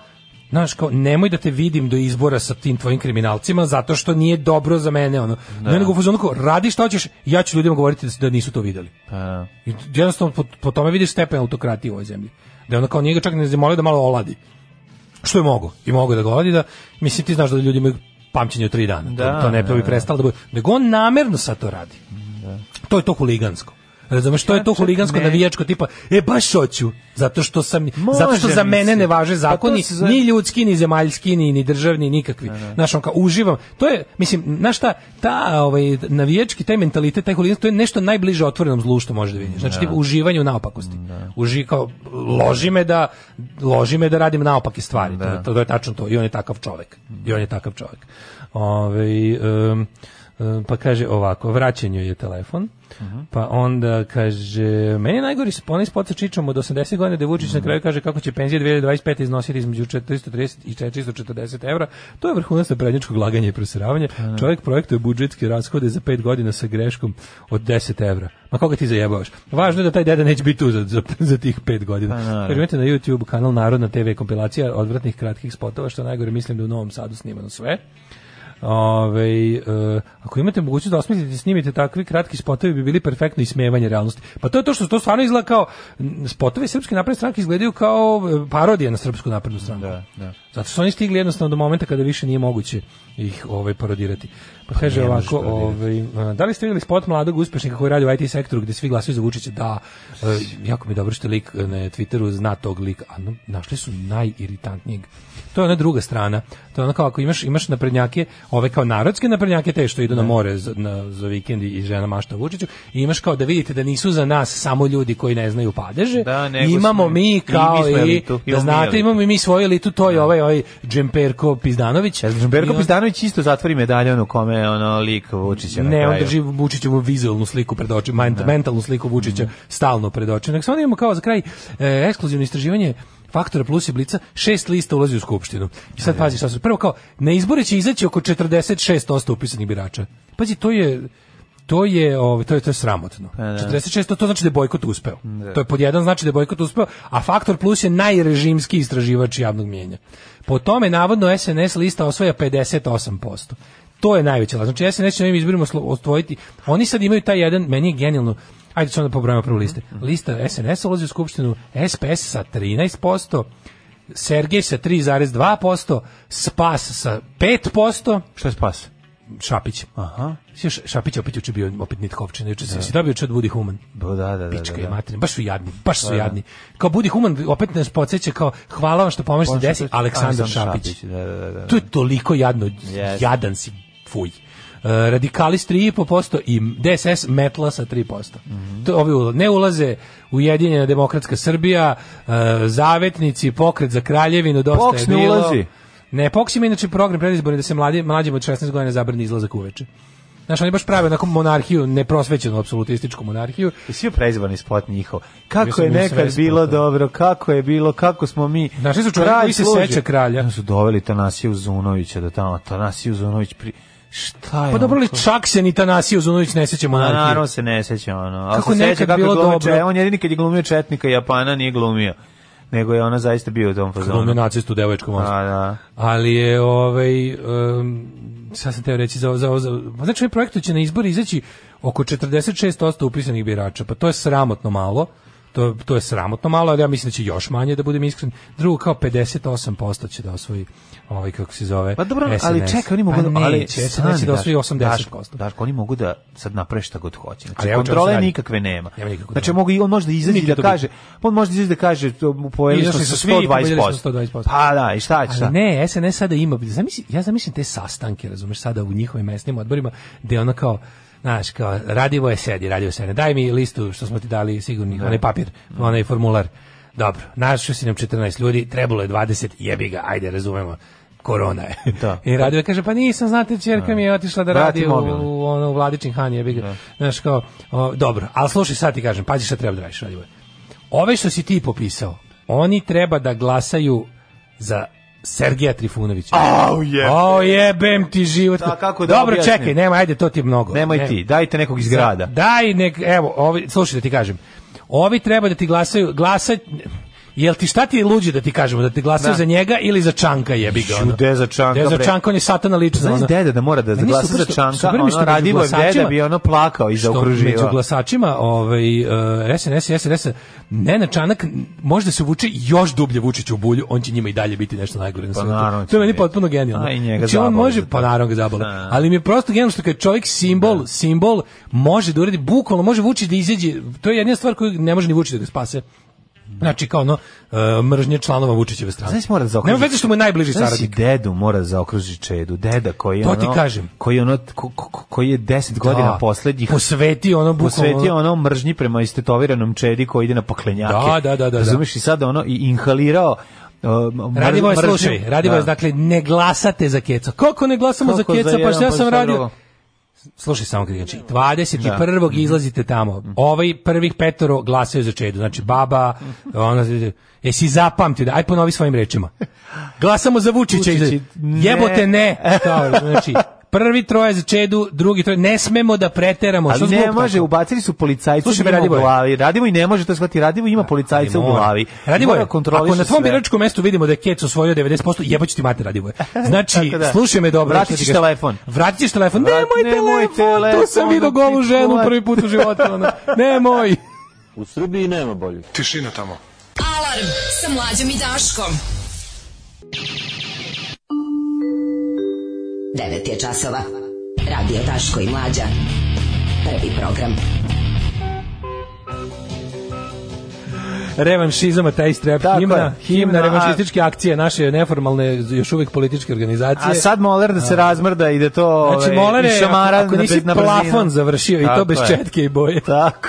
znaš kao nemoj da te vidim do izbora sa tim tvojim kriminalcima zato što nije dobro za mene ono. Ne nego u fazonu kao, radi šta hoćeš, ja ću ljudima govoriti da, da nisu to videli. Pa, I jednostavno po, po tome vidiš stepen autokratije u ovoj zemlji. Da je ono kao njega čak ne zamolio da malo oladi. Što je mogo? I mogo da ga oladi da, mislim ti znaš da ljudi imaju pamćenje od tri dana. Da, to, to ne to da, bi da. prestalo da bude. Nego on namerno sad to radi. To je to huligansko. Razumeš, to je to čak huligansko ne. navijačko tipa, e baš hoću, zato što sam Može, zato što za mene mislim. ne važe zakoni, Pa to se zove- ni ljudski, ni zemaljski, ni, ni državni, nikakvi. Znaš, on kao, uživam. To je, mislim, znaš šta, ta ovaj, navijački, taj mentalitet, taj huligansko, to je nešto najbliže otvorenom zlu što možeš da vidiš. Znači, tipa, uživanje u naopakosti. Uži, kao, loži me da, loži me da radim naopake stvari. To, to je tačno to. I on je takav čovek. I on je takav čovek. Ovaj, em, em, pa kaže ovako, vraćanju je telefon. Pa onda kaže, meni je najgori sp- onaj spot sa Čičom od 80 godina da Vučić na kraju kaže kako će penzija 2025 iznositi između 430 i 440 evra. To je vrhunac prednjačkog laganja i prosiravanja. Čovjek projektuje budžetske rashode za 5 godina sa greškom od 10 evra. Ma koga ti zajebavaš? Važno je da taj deda neće biti tu za, za, za tih 5 godina. Kaže, imate na YouTube kanal Narodna TV kompilacija odvratnih kratkih spotova, što najgore mislim da u Novom Sadu snimano sve. Ove, e, ako imate mogućnost da osmislite i snimite takvi kratki spotovi bi bili perfektno ismevanje realnosti. Pa to je to što to stvarno izgleda kao m, spotovi srpske napredne stranke izgledaju kao e, parodije na srpsku naprednu stranku. Zato što su oni stigli jednostavno do momenta kada više nije moguće ih ovaj parodirati. Pa, kaže ovako, ovaj a, da li ste vidjeli spot mladog uspešnika koji radi u IT sektoru gdje svi glasaju za Vučića? Da, e, jako mi je dobro što je lik e, na Twitteru zna tog lika. A no, našli su najiritantnijeg. To je ona druga strana. To je ono kao ako imaš imaš naprednjake, ove kao narodske naprednjake te što idu na more za, na, za vikend i žena mašta Vučiću i imaš kao da vidite da nisu za nas samo ljudi koji ne znaju padeže. Da, nego imamo smo- i mi mi kao smo i, elitu. da Imamo mi znate elitu. imamo i mi svoju elitu, to je ovaj ovaj Džemperko Pizdanović. I Berko on- Pizdanović isto zatvori medalje ono kome ono lik Vučića na ne, on kraju. drži Vučićevu vizualnu sliku pred očima, ment- mentalnu sliku Mhm. Vučića stalno pred očima. Nek samo imamo kao za kraj e, ekskluzivno istraživanje Faktora plus i Blica, šest lista ulazi u Skupštinu. I sad pazi šta su. Prvo kao, na izbore će izaći oko 46% upisanih birača. Pazi, to je... To je, ovaj, to je, to je sramotno. 46, to, to znači da je bojkot uspeo. To je pod jedan znači da je bojkot uspeo, a Faktor Plus je najrežimski istraživač javnog mijenja. Po tome, navodno, SNS lista osvaja 58%. To je najveća laž. Znači, SNS će na ovim izborima oslo- osvojiti. Oni sad imaju taj jedan, meni je genijalno, ajde sad da pobrojimo prvo liste. Lista SNS ulazi u Skupštinu, SPS sa 13%, Sergej sa 3,2%, Spas sa 5%, Šta je spas? Šapić. Aha. Sjećaš, Šapić je opet juče bio opet nitkovčina, juče se si dobio juče od Budi Human. Bo, da, da, da, da, Pička da. je materina, baš su jadni, baš su jadni. Kao Budi Human opet nas podsjeća kao hvala vam što pomažete desi Aleksandar Šapić. Da, da, da, da. To je toliko jadno, Yes. jadan si, fuj. E, radikali s 3,5% i DSS metla sa 3%. Mhm. To ovi ula- ne ulaze Ujedinjena demokratska Srbija, e, zavetnici, pokret za kraljevinu, dosta Poks je ne bilo. ulazi. Ne, POKS ima inače program predizborni da se mladi, mlađim od 16 godina zabrani izlazak uveče. Znaš, oni baš prave onako monarhiju, neprosvećenu apsolutističku monarhiju. Svi preizvani spot njihov. Kako Mislim, je mi nekad svesni bilo smo toga. dobro, kako je bilo, kako smo mi... Našli su čovjeka Kralj koji se služi. seća kralja. Onda su doveli Tanasiju Zunovića da tamo, Tanasiju Zunović pri... Šta je Pa dobro on li to? čak se ni Tanasiju Zunović ne seća Pa Naravno monarhije. se ne seća ono. Ako Kako se seća nekad kako je bilo glumio, dobro. če- on jedini kad je glumio Četnika Japana nije glumio. Nego je ona zaista bio u tom Glumio fazonu. nacistu devojačku ono. A, monstru. da. ali je ovaj um, sad sam teo reći za za za ma znači ovaj projektu će na izbori izaći oko 46% upisanih birača pa to je sramotno malo to, to je sramotno malo, ali ja mislim da će još manje da budem iskren. Drugo, kao 58% će da osvoji ovaj, kako se zove, Pa dobro, ali SNS. čekaj, oni mogu pa da... ali ali SNS će stani, da osvoji Daško, 80%. Daško, Daško, oni mogu da sad naprave šta god hoće. Znači, Ali evo čemu se kontrole radi. nikakve nema. Nema nikakve znači, kontrole. mogu, i- on može da izađe Niti i da to bi- kaže, on može da izađe da kaže, to mu pojeli smo Izašli sa su svi i pobedili smo 120%. 120%. Pa da, i šta će šta? Ali ne, SNS sada ima, zamisli, ja zamislim te sastanke, razumeš, sada u njihovim mesnim odborima, gde ono kao, znaš, kao, radivo je sedi, radivo je sedi, daj mi listu što smo ti dali sigurni, onaj papir, onaj formular. Dobro, našao si nam 14 ljudi, trebalo je 20, jebi ga, ajde, razumemo, korona je. Da. I radio je, kaže, pa nisam, znate, čerka mi je otišla da Vrati radi u, mobilni. u, ono, u Vladičin Han, jebi ga. Znaš, kao, o, dobro, ali slušaj, sad ti kažem, pazi šta treba da radiš, Radivoje. Ove što si ti popisao, oni treba da glasaju za Sergeja Trifunovića. Au, je. O, jebem ti život. Da, kako da Dobro, objasnim? čekaj, nema, ajde, to ti je mnogo. Nemoj Ne- ti, dajte nekog iz grada. Daj, nek, evo, ovi, slušaj da ti kažem. Ovi treba da ti glasaju, glasaj, Jel ti šta ti je luđe da ti kažemo da ti glasaju Da. za njega ili za Čanka jebi ga? ono? Ju, de za Čanka, De za bre. Čanka on je satana lično. Znaš ono. deda da mora da Meni glasa super za što- Čanka, super mi je što ono među Radivojev deda glasačima- bi ono plakao i što Među zaokruživao. glasačima ovaj, uh, SNS, SNS, ne na Čanak, možda se vuče još dublje Vučić u bulju, on će njima i dalje biti nešto najgore na svijetu. Pa naravno to je će meni biti. potpuno genijalno. A i njega znači, on zabole može, za to. pa naravno ga zabole. Da. Ali mi je prosto genijalno što kad čovjek simbol, simbol može da uradi, bukvalno može Vučić da izađe, to je jedna stvar koju ne može ni Vučić da ga spase. Znači kao ono, uh, mržnje članova Vučićeve strane. Znaš mora da zaokruži. Nema veze što mu je najbliži Znaš si, saradnik. dedu mora da zaokruži čedu, deda koji je To ono, ti kažem. koji je ono ko- ko- ko- koji je 10 godina Da. poslednjih Posveti ono bukvalno. posvetio ono mržnji prema istetoviranom čedi koji ide na paklenjake. Da, da, da, da, Razumeš i sad ono i inhalirao uh, mr- Radivoje, mržnju. slušaj, Radivoje, Da. dakle, ne glasate za keca. Koliko ne glasamo Kako za keca, pa jedan, šta ja za sam radio? drugo? Slušaj samo kada znači, 21. izlazite tamo, Mhm. ovaj prvih petoro glasaju za čedu, znači baba, Mhm. ona, jesi zapamtio, da, aj ponovi svojim rečima. Glasamo za Vučića, Vučić, iza- ne. jebote ne, Kao, znači, prvi troje za čedu, drugi troje, ne smemo da preteramo. Pa što Ali zbog ne tako? može, ubacili su policajci Slušaj me, njima u Radivoje. glavi. Radimo i ne može to shvatiti. Radimo ima policajca u Ali mora. glavi. Radivoje, Mora kontroliše ako na tvom sve. biračkom mestu vidimo da je Kec osvojio 90%, jebaću ti mate Radivoje. Znači, Tako da. slušaj me dobro. Vratit što ti ćeš kažem. telefon. Vratit ćeš telefon. Vrat- nemoj, nemoj telefon, tu sam telefon, vidio da ti golu ženu čuvar. prvi put u životu. Ono. Nemoj. Alarm sa mlađom i Daškom. 9 je časova. Radio Daško i Mlađa. Prvi program. Revanšizam, a taj strep, Tako himna, je, himna, himna, revanšističke akcije, naše neformalne, još uvijek političke organizacije. A sad ovaj, moler da se razmrda i da to Znači, ove, molere, i šamara ako, ako na nisi brzinu. plafon završio i to Tako bez je. četke i boje. Tako.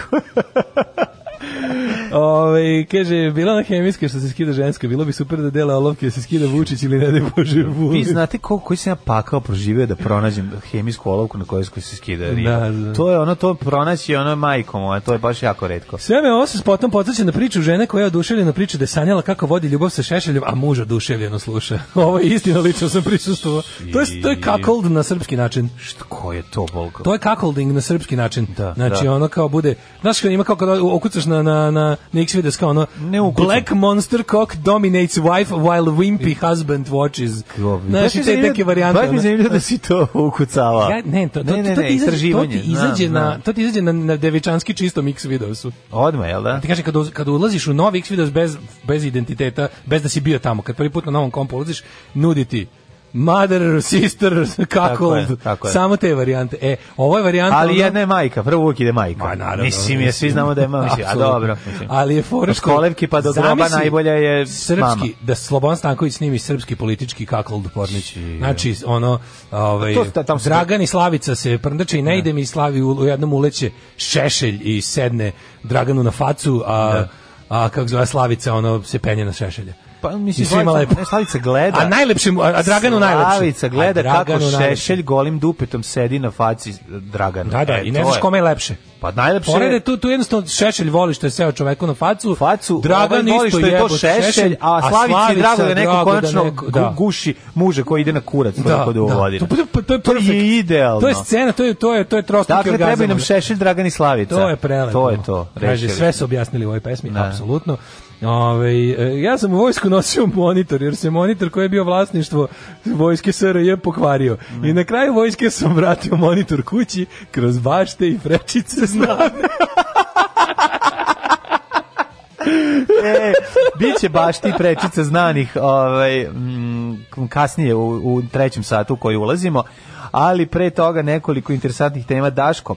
Ove, Ovaj, kaže, bila na hemijska što se skida ženska, bilo bi super da dela olovke da se skida Vučić ili ne daj Bože Vulin. Vi znate ko, koji sam ja pakao proživio da pronađem hemijsku olovku na kojoj se skida riba. Da, da. To je ono, to pronaći ono majko moja, to je baš jako redko. Sve me ovo se potom podsjeća na priču žene koja je oduševljena priča da je sanjala kako vodi ljubav sa Šešeljem, a muž oduševljeno sluša. Ovo je istina, lično sam prisustvovao. To je, to je cuckold na srpski način. Što, ko je to, Volko? To je cuckolding na srpski način. Da, znači da. ono kao bude, znaš kad ima kao kada okucaš na, na, na, na X videos kao ono Ne ukucam. Black monster cock dominates wife while wimpy husband watches. Znaš Baš mi i te zanimljivo- neke varijante. Baš mi ono. je zanimljivo da si to ukucava. Ja, ne, to, to, to, ti izađe, to ti istraživanje. izađe Znam, na, znam. to ti izađe na, na devičanski čistom X videosu. Odmah, jel da? Ti kaže kad, uz- kad ulaziš u novi X videos bez, bez identiteta, bez da si bio tamo, kad prvi put na novom kompu ulaziš, nudi ti mother, sister, kako, je, tako je. samo te varijante. E, ovo je varijanta... Ali ono- jedna je majka, prvo uvijek ide majka. Ma, naravno, mislim, je, svi znamo da je majka, a Apsolutno. dobro. Mislim. Ali je fora Od što- kolevke pa do groba Zamisli najbolja je srpski mama. da Slobodan Stanković snimi srpski politički kakold pornić. Znači ono ovaj To sta- tamo se- Dragan i Slavica se prndače i ne ide mi i Slavi u, u jednom uleće šešelj i sedne Draganu na facu, a a kako zove Slavica ono se penje na šešelje. Pa mislim, I svima Slavica- lepo. ne, Slavica gleda. A najlepše mu, a a Draganu najlepše. Slavica A gleda kako Draganu najlepše. Šešelj golim dupetom sedi na faci Dragana. Da, da, E, i ne to znaš je. kome je lepše. Pa najlepše Pored je je tu, tu jednostavno Šešelj voli što je seo čoveku na facu. facu, ovaj Dragan voli isto što je to jebote šešelj, a Slavici je drago da neko drago da konačno neko- gu- da. guši muže koji ide na kurac Da, da, da. da. To, to, to je perfekt. idealno. To je scena, to je to je to je trostruki Dakle, orgazam. treba nam šešelj Dragan i Slavica. To je prelepo. To je to. Kaže, rešili sve smo. su objasnili u ovoj pesmi, apsolutno. Ove, e, ja sam u vojsku nosio monitor, jer se monitor koji je bio vlasništvo vojske SRJ pokvario. I Mm. na kraju vojske sam vratio monitor kući kroz bašte i frečice znane. e, biće baš ti prečica znanih ovaj, mm, kasnije u, u trećem satu u koji ulazimo, ali pre toga nekoliko interesantnih tema. Daško,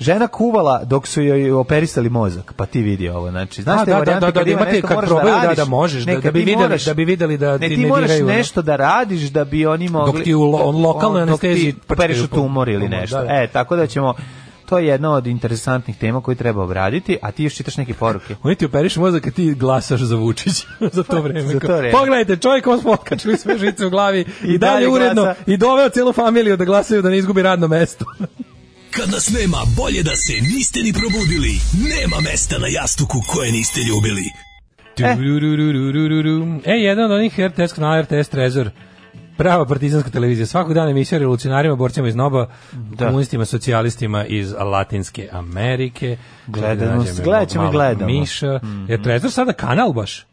žena kuvala dok su joj operisali mozak, pa ti vidi ovo. Znači, znaš A, te da, varijante da, da, kad da, ima imate nešto kad moraš probaju, da, da, radiš, da, možeš, da- ne, kad da bi ti videli- moraš- da bi videli da ne, ti ti, ne moraš diraju, ono. nešto da radiš da bi oni mogli... ti u lo- on lokalnoj on- dok ti anesteziji prčkaju Pereš po- tumor ili tumor, nešto. da, da. E, tako da ćemo... To je jedna od interesantnih tema koju treba obraditi, a ti još čitaš neke poruke. Oni ti operiš mozak a ti glasaš za Vučić za to vreme. Pa, Za to vreme. Pogledajte, čovjek vam smo otkačili sve žice u glavi i, I dalje dalje uredno glasa. i doveo cijelu familiju da glasaju da ne izgubi radno mesto. Kad nas nema, bolje da se niste ni probudili. Nema mesta na jastuku koje niste ljubili. E, jedan od onih RTS kanala RTS Trezor Prava partizanska televizija. Svakog dana emisija o revolucionarima, borcima iz Noba, komunistima, socijalistima iz Latinske Amerike. Gledamo Da nađem se, gledat ćemo i malo gledamo. Mhm. Miša. Je Trezor sada kanal baš?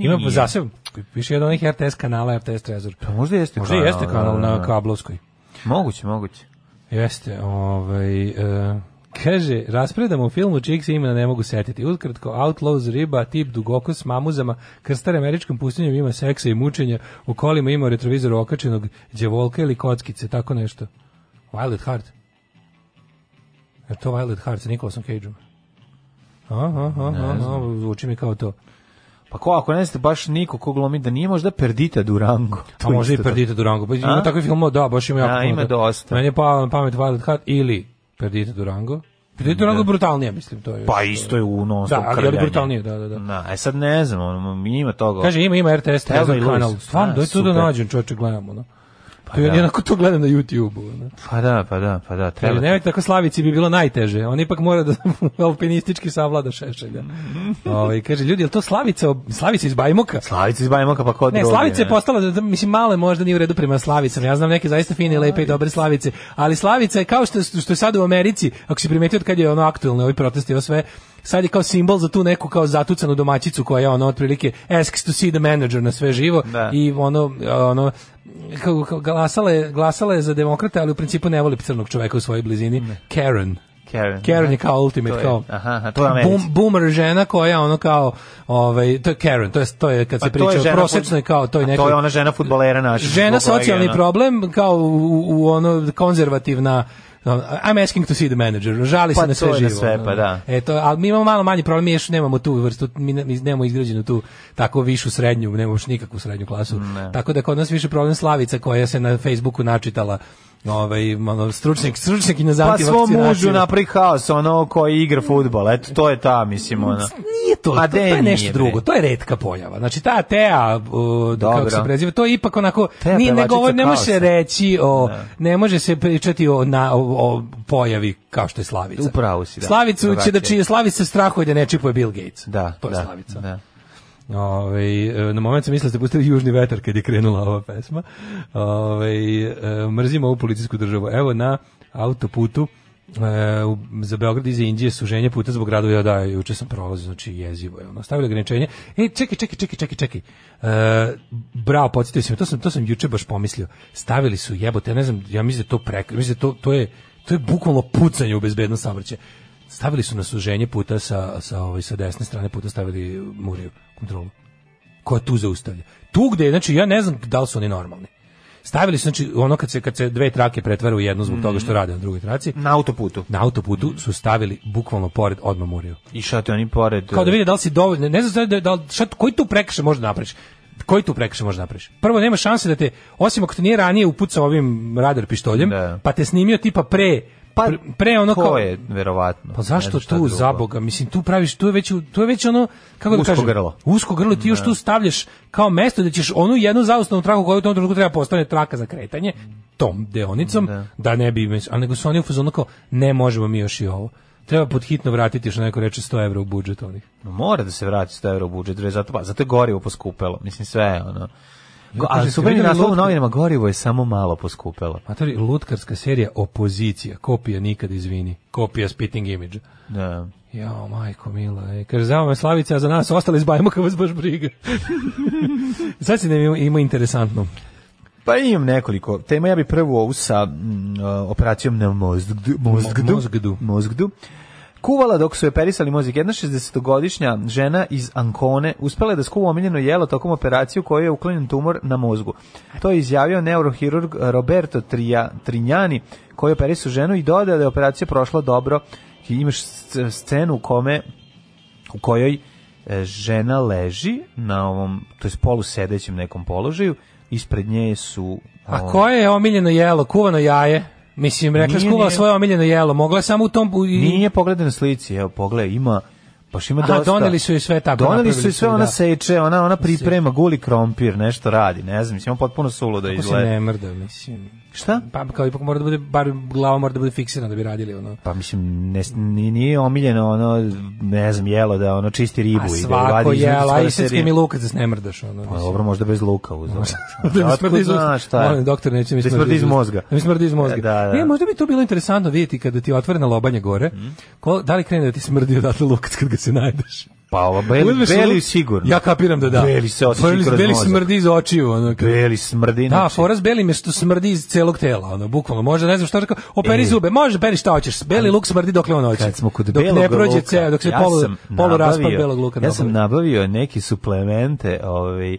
Ima zaseb, piše jedan od onih RTS kanala, RTS Trezor. Pa možda jeste Možda i kanal, jeste da, da, kanal na da. kablovskoj. Moguće, moguće. Jeste, ovaj, e, kaže, raspredamo u filmu čijeg se imena ne mogu setiti. Utkratko, Outlaws, riba, tip, dugoko s mamuzama, krstar američkom pustinjem ima seksa i mučenja, u kolima ima u retrovizoru okačenog djevolka ili kockice, tako nešto. Violet Heart. Je to Violet Heart sa Nicolasom Cageom? Aha, aha, aha, zvuči mi kao to. Pa ko, ako ne znate baš niko ko glomi da nije možda Perdita Durango. A može Pa i Perdita Durango. Pa ima A? takvi film, da, baš ima jako Da, puno ima to- dosta. Meni je pao na pamet Violet Heart ili Perdita Durango. Perdita Durango je brutalnije, mislim. To je Pa isto je u non Da, ali- ali brutalnije, da, da, da. Na, e sad ne znam, ono, ima toga. Kaže, ima, ima RTS, Thelma Trezor i Louise. kanal. Stvarno, A, doj tu da super. nađem, čoveče, gledamo. No. Pa da. ja onako to gledam na YouTube-u. ono. Pa da, pa da, pa da, treba. Jer ne tako slavici bi bilo najteže. On ipak mora da alpinistički savlada šešelja. Mm. Ovaj kaže ljudi, jel to slavica, ob- slavica iz Bajmoka? Slavica iz Bajmoka, pa ko drugi. Ne, Slavica je ne? postala, da- da, mislim, male možda nije u redu prema Slavicama. Ja znam neke zaista fine, lepe i dobre Slavice. Ali Slavica je kao što, što je sad u Americi, ako si primetio od kad je ono aktualno, ovi protesti, ovo sve, sad je kao simbol za tu neku kao zatucanu domaćicu koja je ono otprilike asks to see the manager na sve živo Da. i ono, ono kao, kao glasala, je, glasala je za demokrate, ali u principu ne voli crnog čoveka u svojoj blizini. Karen. Karen. Karen je kao ultimate, To je- kao aha, aha, to je u Americi. boom- boomer žena koja ono kao, ovaj, to je Karen, to je, to je kad se Pa to je priča žena o prosečnoj fut- kao toj A nekoj... To je ona ono. žena fudbalera naša. Žena fudbalera, socijalni ona. problem kao u, u ono konzervativna ono, I'm asking to see the manager. Žali Pa se na sve to je živo. na sve, ono. pa da. E to, ali mi imamo malo manji problem, mi još nemamo tu vrstu, mi ne- mi nemamo izgrađenu tu tako višu srednju, nemamo još nikakvu srednju klasu. Tako da kod nas više problem Slavica koja se na Facebooku načitala ovaj, ono, stručnik, stručnik i na Pa svom mužu antivakcinaciju. napravi haos, ono koji igra fudbal. Eto, to je ta, mislim, ono. ona. Nije to, A to, to de, je nešto nije, bre. drugo, to je retka pojava. Znači ta Tea, uh, da kako Dobro. se preziva, to je ipak onako, Tea nije, ne, pevačica govor, ne može kaosa. se reći, o, ne može se pričati o, na, o, o pojavi kao što je Slavica. U pravu si, da. Slavicu će da Drugačije. čije Slavica strahuje da ne čipuje Bill Gates. Da, to je da, Slavica. Da. Ovaj, e, na moment sam mislio da ste pustili južni vetar kad je krenula ova pesma. Ovaj, e, mrzimo ovu policijsku državu. Evo na autoputu e, u- za Beograd iz Indije suženje puta zbog gradu ja da juče sam prolazio znači jezivo je ono stavili ograničenje e čekaj čekaj čekaj čekaj čekaj e, bravo podsjetio si me to sam to sam juče baš pomislio stavili su jebote ja ne znam ja mislim da je to preka mislim da to to je to je bukvalno pucanje u bezbednost saobraćaja stavili su na suženje puta sa, sa, ovaj, sa desne strane puta stavili Muriju kontrolu koja tu zaustavlja. Tu gde, je, znači ja ne znam da li su oni normalni. Stavili su, znači, ono kad se, kad se dve trake pretvara u jednu zbog toga što Mhm. rade na drugoj traci, Na autoputu. na autoputu su stavili bukvalno pored odmah Muriju. I šate oni pored... Kao da vide da li si dovoljno, ne znam da, da li, šta, koji tu prekršaj može da napraviš? Koji tu prekršaj može da napraviš? Prvo, nema šanse da te, osim ako te nije ranije upucao ovim radar pištoljem, Da. pa te snimio tipa pre, Pa, pre, pre ono to kao... je, verovatno. Pa Ne zašto znam šta tu drugo. za boga? Mislim tu praviš tu je već u- tu je već ono kako da Usko kažem grlo. Usko grlo ti još tu stavljaš kao mesto da ćeš onu jednu zaustavnu traku koja u tom trenutku treba postane traka za kretanje tom deonicom da, ne bi mes- a nego su oni u fazonu kao ne možemo mi još i ovo. Treba pod hitno vratiti što neko reče 100 evra u budžet onih. No, Mora da se vrati 100 evra u budžet, bre, zato, pa, zato je gorivo poskupelo. Mislim, sve je ono... Go, Kaže, ali ste super je videli naslov u lutku? novinama, gorivo je samo malo poskupelo. Matori, lutkarska serija Opozicija, kopija nikad izvini, kopija spitting image. Da. Jao, majko mila, e, kaže, za me Slavica, a za nas ostale iz Bajmoka vas baš briga. Sad se ne ima interesantno. Pa imam nekoliko tema. Ja bi prvu ovu sa mm, operacijom na mozgdu. Mozgdu. Mo- mozgdu. mozgdu. Kuvala dok su je perisali mozik. Jedna 60-godišnja žena iz Ankone uspela je da skuva omiljeno jelo tokom operacije u kojoj je uklonjen tumor na mozgu. To je izjavio neurohirurg Roberto Trija, Trinjani koji je operisao ženu i dodao da je operacija prošla dobro. I imaš sc- scenu u kome u kojoj e, žena leži na ovom, to jest polusedećem nekom položaju, ispred nje su... ono, A o, koje je omiljeno jelo? Kuvano jaje? Mislim, rekla Nije, je kuvala nije. svoje omiljeno jelo. Mogla je samo u tom... u- i- Nije pogledaj na slici, evo, pogledaj, ima... Baš ima Aha, dosta. doneli su joj sve tako, Doneli su napravili joj sve, su, ona da. seče, ona, ona priprema, guli krompir, nešto radi, ne znam, mislim, ima potpuno suludo Kako se ne izgleda. mrda, mislim. Šta? Pa kao ipak mora da bude, bar glava mora da bude fiksirana da bi radili ono. Pa mislim, ne, ni- nije omiljeno ono, ne znam, jelo da ono čisti ribu. A i da je svako vadi iz- jelo, a iz- i srpski mi lukac da se ne mrdaš ono. Pa mislim. dobro, možda bez luka uz. da mi Otkud smrdi iz usta. znaš šta je? Molim, doktor, neće mi Da smrdi iz usta. mozga. Da mi smrdi iz mozga. E, da, da. Mhm. E, možda bi to bilo interesantno vidjeti kada ti je otvorena lobanja gore, ko, da li krene da ti smrdi odatle lukac kad ga se najdeš. pa ovo, beli, Uzmeš beli luk- sigurno. Ja kapiram da da. Beli se osjeća Beli- kroz Beli mozak. smrdi iz očiju. Ono, kad- Beli smrdi. Da, znači. fora s belim je što smrdi iz celog tela, ono, bukvalno. Može, ne znam što rekao, operi E. zube, može, peri šta hoćeš. Beli luk smrdi dokle on hoće. Kad smo kod dok belog ne prođe luka, ceo, dok se ja polu, sam polu raspad nabavio- belog luka Ja sam nabavi. nabavio neke suplemente, ovaj,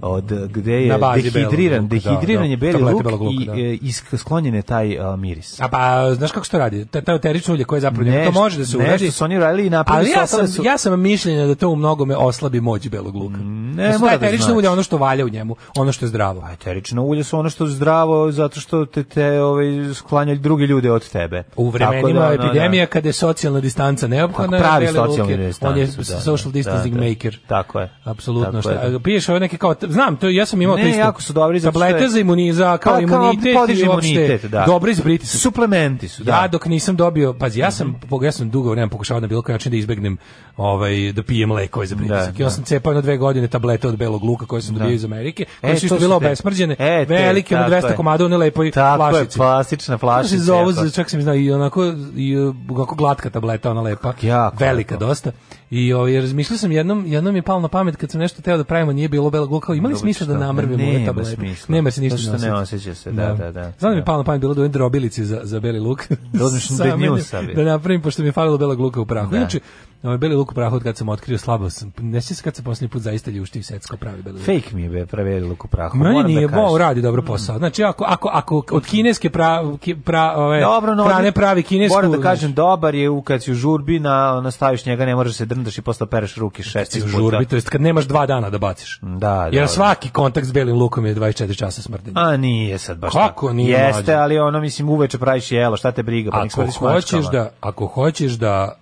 od gde je Na bazi belog dehidriran, luka, dehidriran da, je da. beli Tablete luk, belog luka, i da. e, isk- sklonjen je taj a, miris. A pa, znaš kako se to radi? Ta, ta eterično ulje koje je zapravo njega, to Nešto- može da se uradi. Nešto su oni radili i napravili Ali su, ja ostale sam, su... ja sam mišljenja da to u mnogome oslabi moć belog luka. ne Da su ta mora da eterična znači. ulja ono što valja u njemu, ono što je zdravo. Pa eterično ulje su ono što je zdravo zato što te te ovaj sklanjaju drugi ljude od tebe. U Tako vremenima da, ono, epidemija kada je socijalna distanca neophodna, Tako, pravi Beli Luk je- socijalni on je distancu, da, da, social distancing da, da. maker. Tako je. Tako Apsolutno. Šta, je. piješ ove neke kao, znam, to ja sam imao Ne, to isto. jako su dobri, zato što je- Tablete za imuniza, kao Pa, kao imunitet, podiže i uopšte imunitet, da. Dobro iz pritiska. Suplementi su, da. Ja dok nisam dobio, pazi, ja sam, mm ja sam dugo vremena pokušavao na bilo koji način da izbegnem ovaj, da pijem lekove za pritisak. Da, I onda da. sam cepao jedno dve godine tablete od belog luka koje sam dobio iz Amerike, koje E, su isto to su bilo te- obesmrđene, e, te, velike, ono tako 200 je. komada u one lepoj Tako je, flašici. plastična flašica, Znaš, za ovo, pa- čak sam znao, i onako, i, uh, onako glatka tableta, ona lepa, Jako velika lepo. dosta. I ovaj, razmišljao sam jednom, jednom mi je palo na pamet kad sam nešto teo da pravimo, nije bilo belog luka, kao, ima li Dobro, smisla da šta? namrvim ove Nema tablete? smisla. Nema se ništa Zato što ne osjeća se, da, da, da. Znam da mi je Da. palo na pamet bilo da uvedem drobilici za, za beli luk. Da uzmeš Sa bednju menjem, sebi. Da napravim, pošto mi je falilo belog luka u prahu. Da. Inače, ovaj beli luk u prahu, od kad sam otkrio slabo sam, ne sjećam se kad sam posljednji put zaista ljuštio i secko pravi beli luk. Fake mi je be preverilo luk u prahu. Meni moram da nije, kažem. bo, radi dobro posao. Znači, ako, ako, ako od kineske pra, ki- pra, ove, Dobro, no, prane ovdje- pravi kinesku... Moram da znaš, kažem, dobar je u kad si u žurbi, na, ono, staviš njega, ne možeš se drndaš i posle pereš ruke šest ti Znači, u puta. žurbi, to jest kad nemaš dva dana da baciš. Da, Jer da. svaki kontakt s belim lukom je 24 časa smrdenja. A nije sad baš Kako tako. nije, Jeste, mlađe? ali ono, mislim, uveče praviš jelo, šta te briga, pa nek ako smrdiš mačkama. hoćeš da, ako hoćeš da,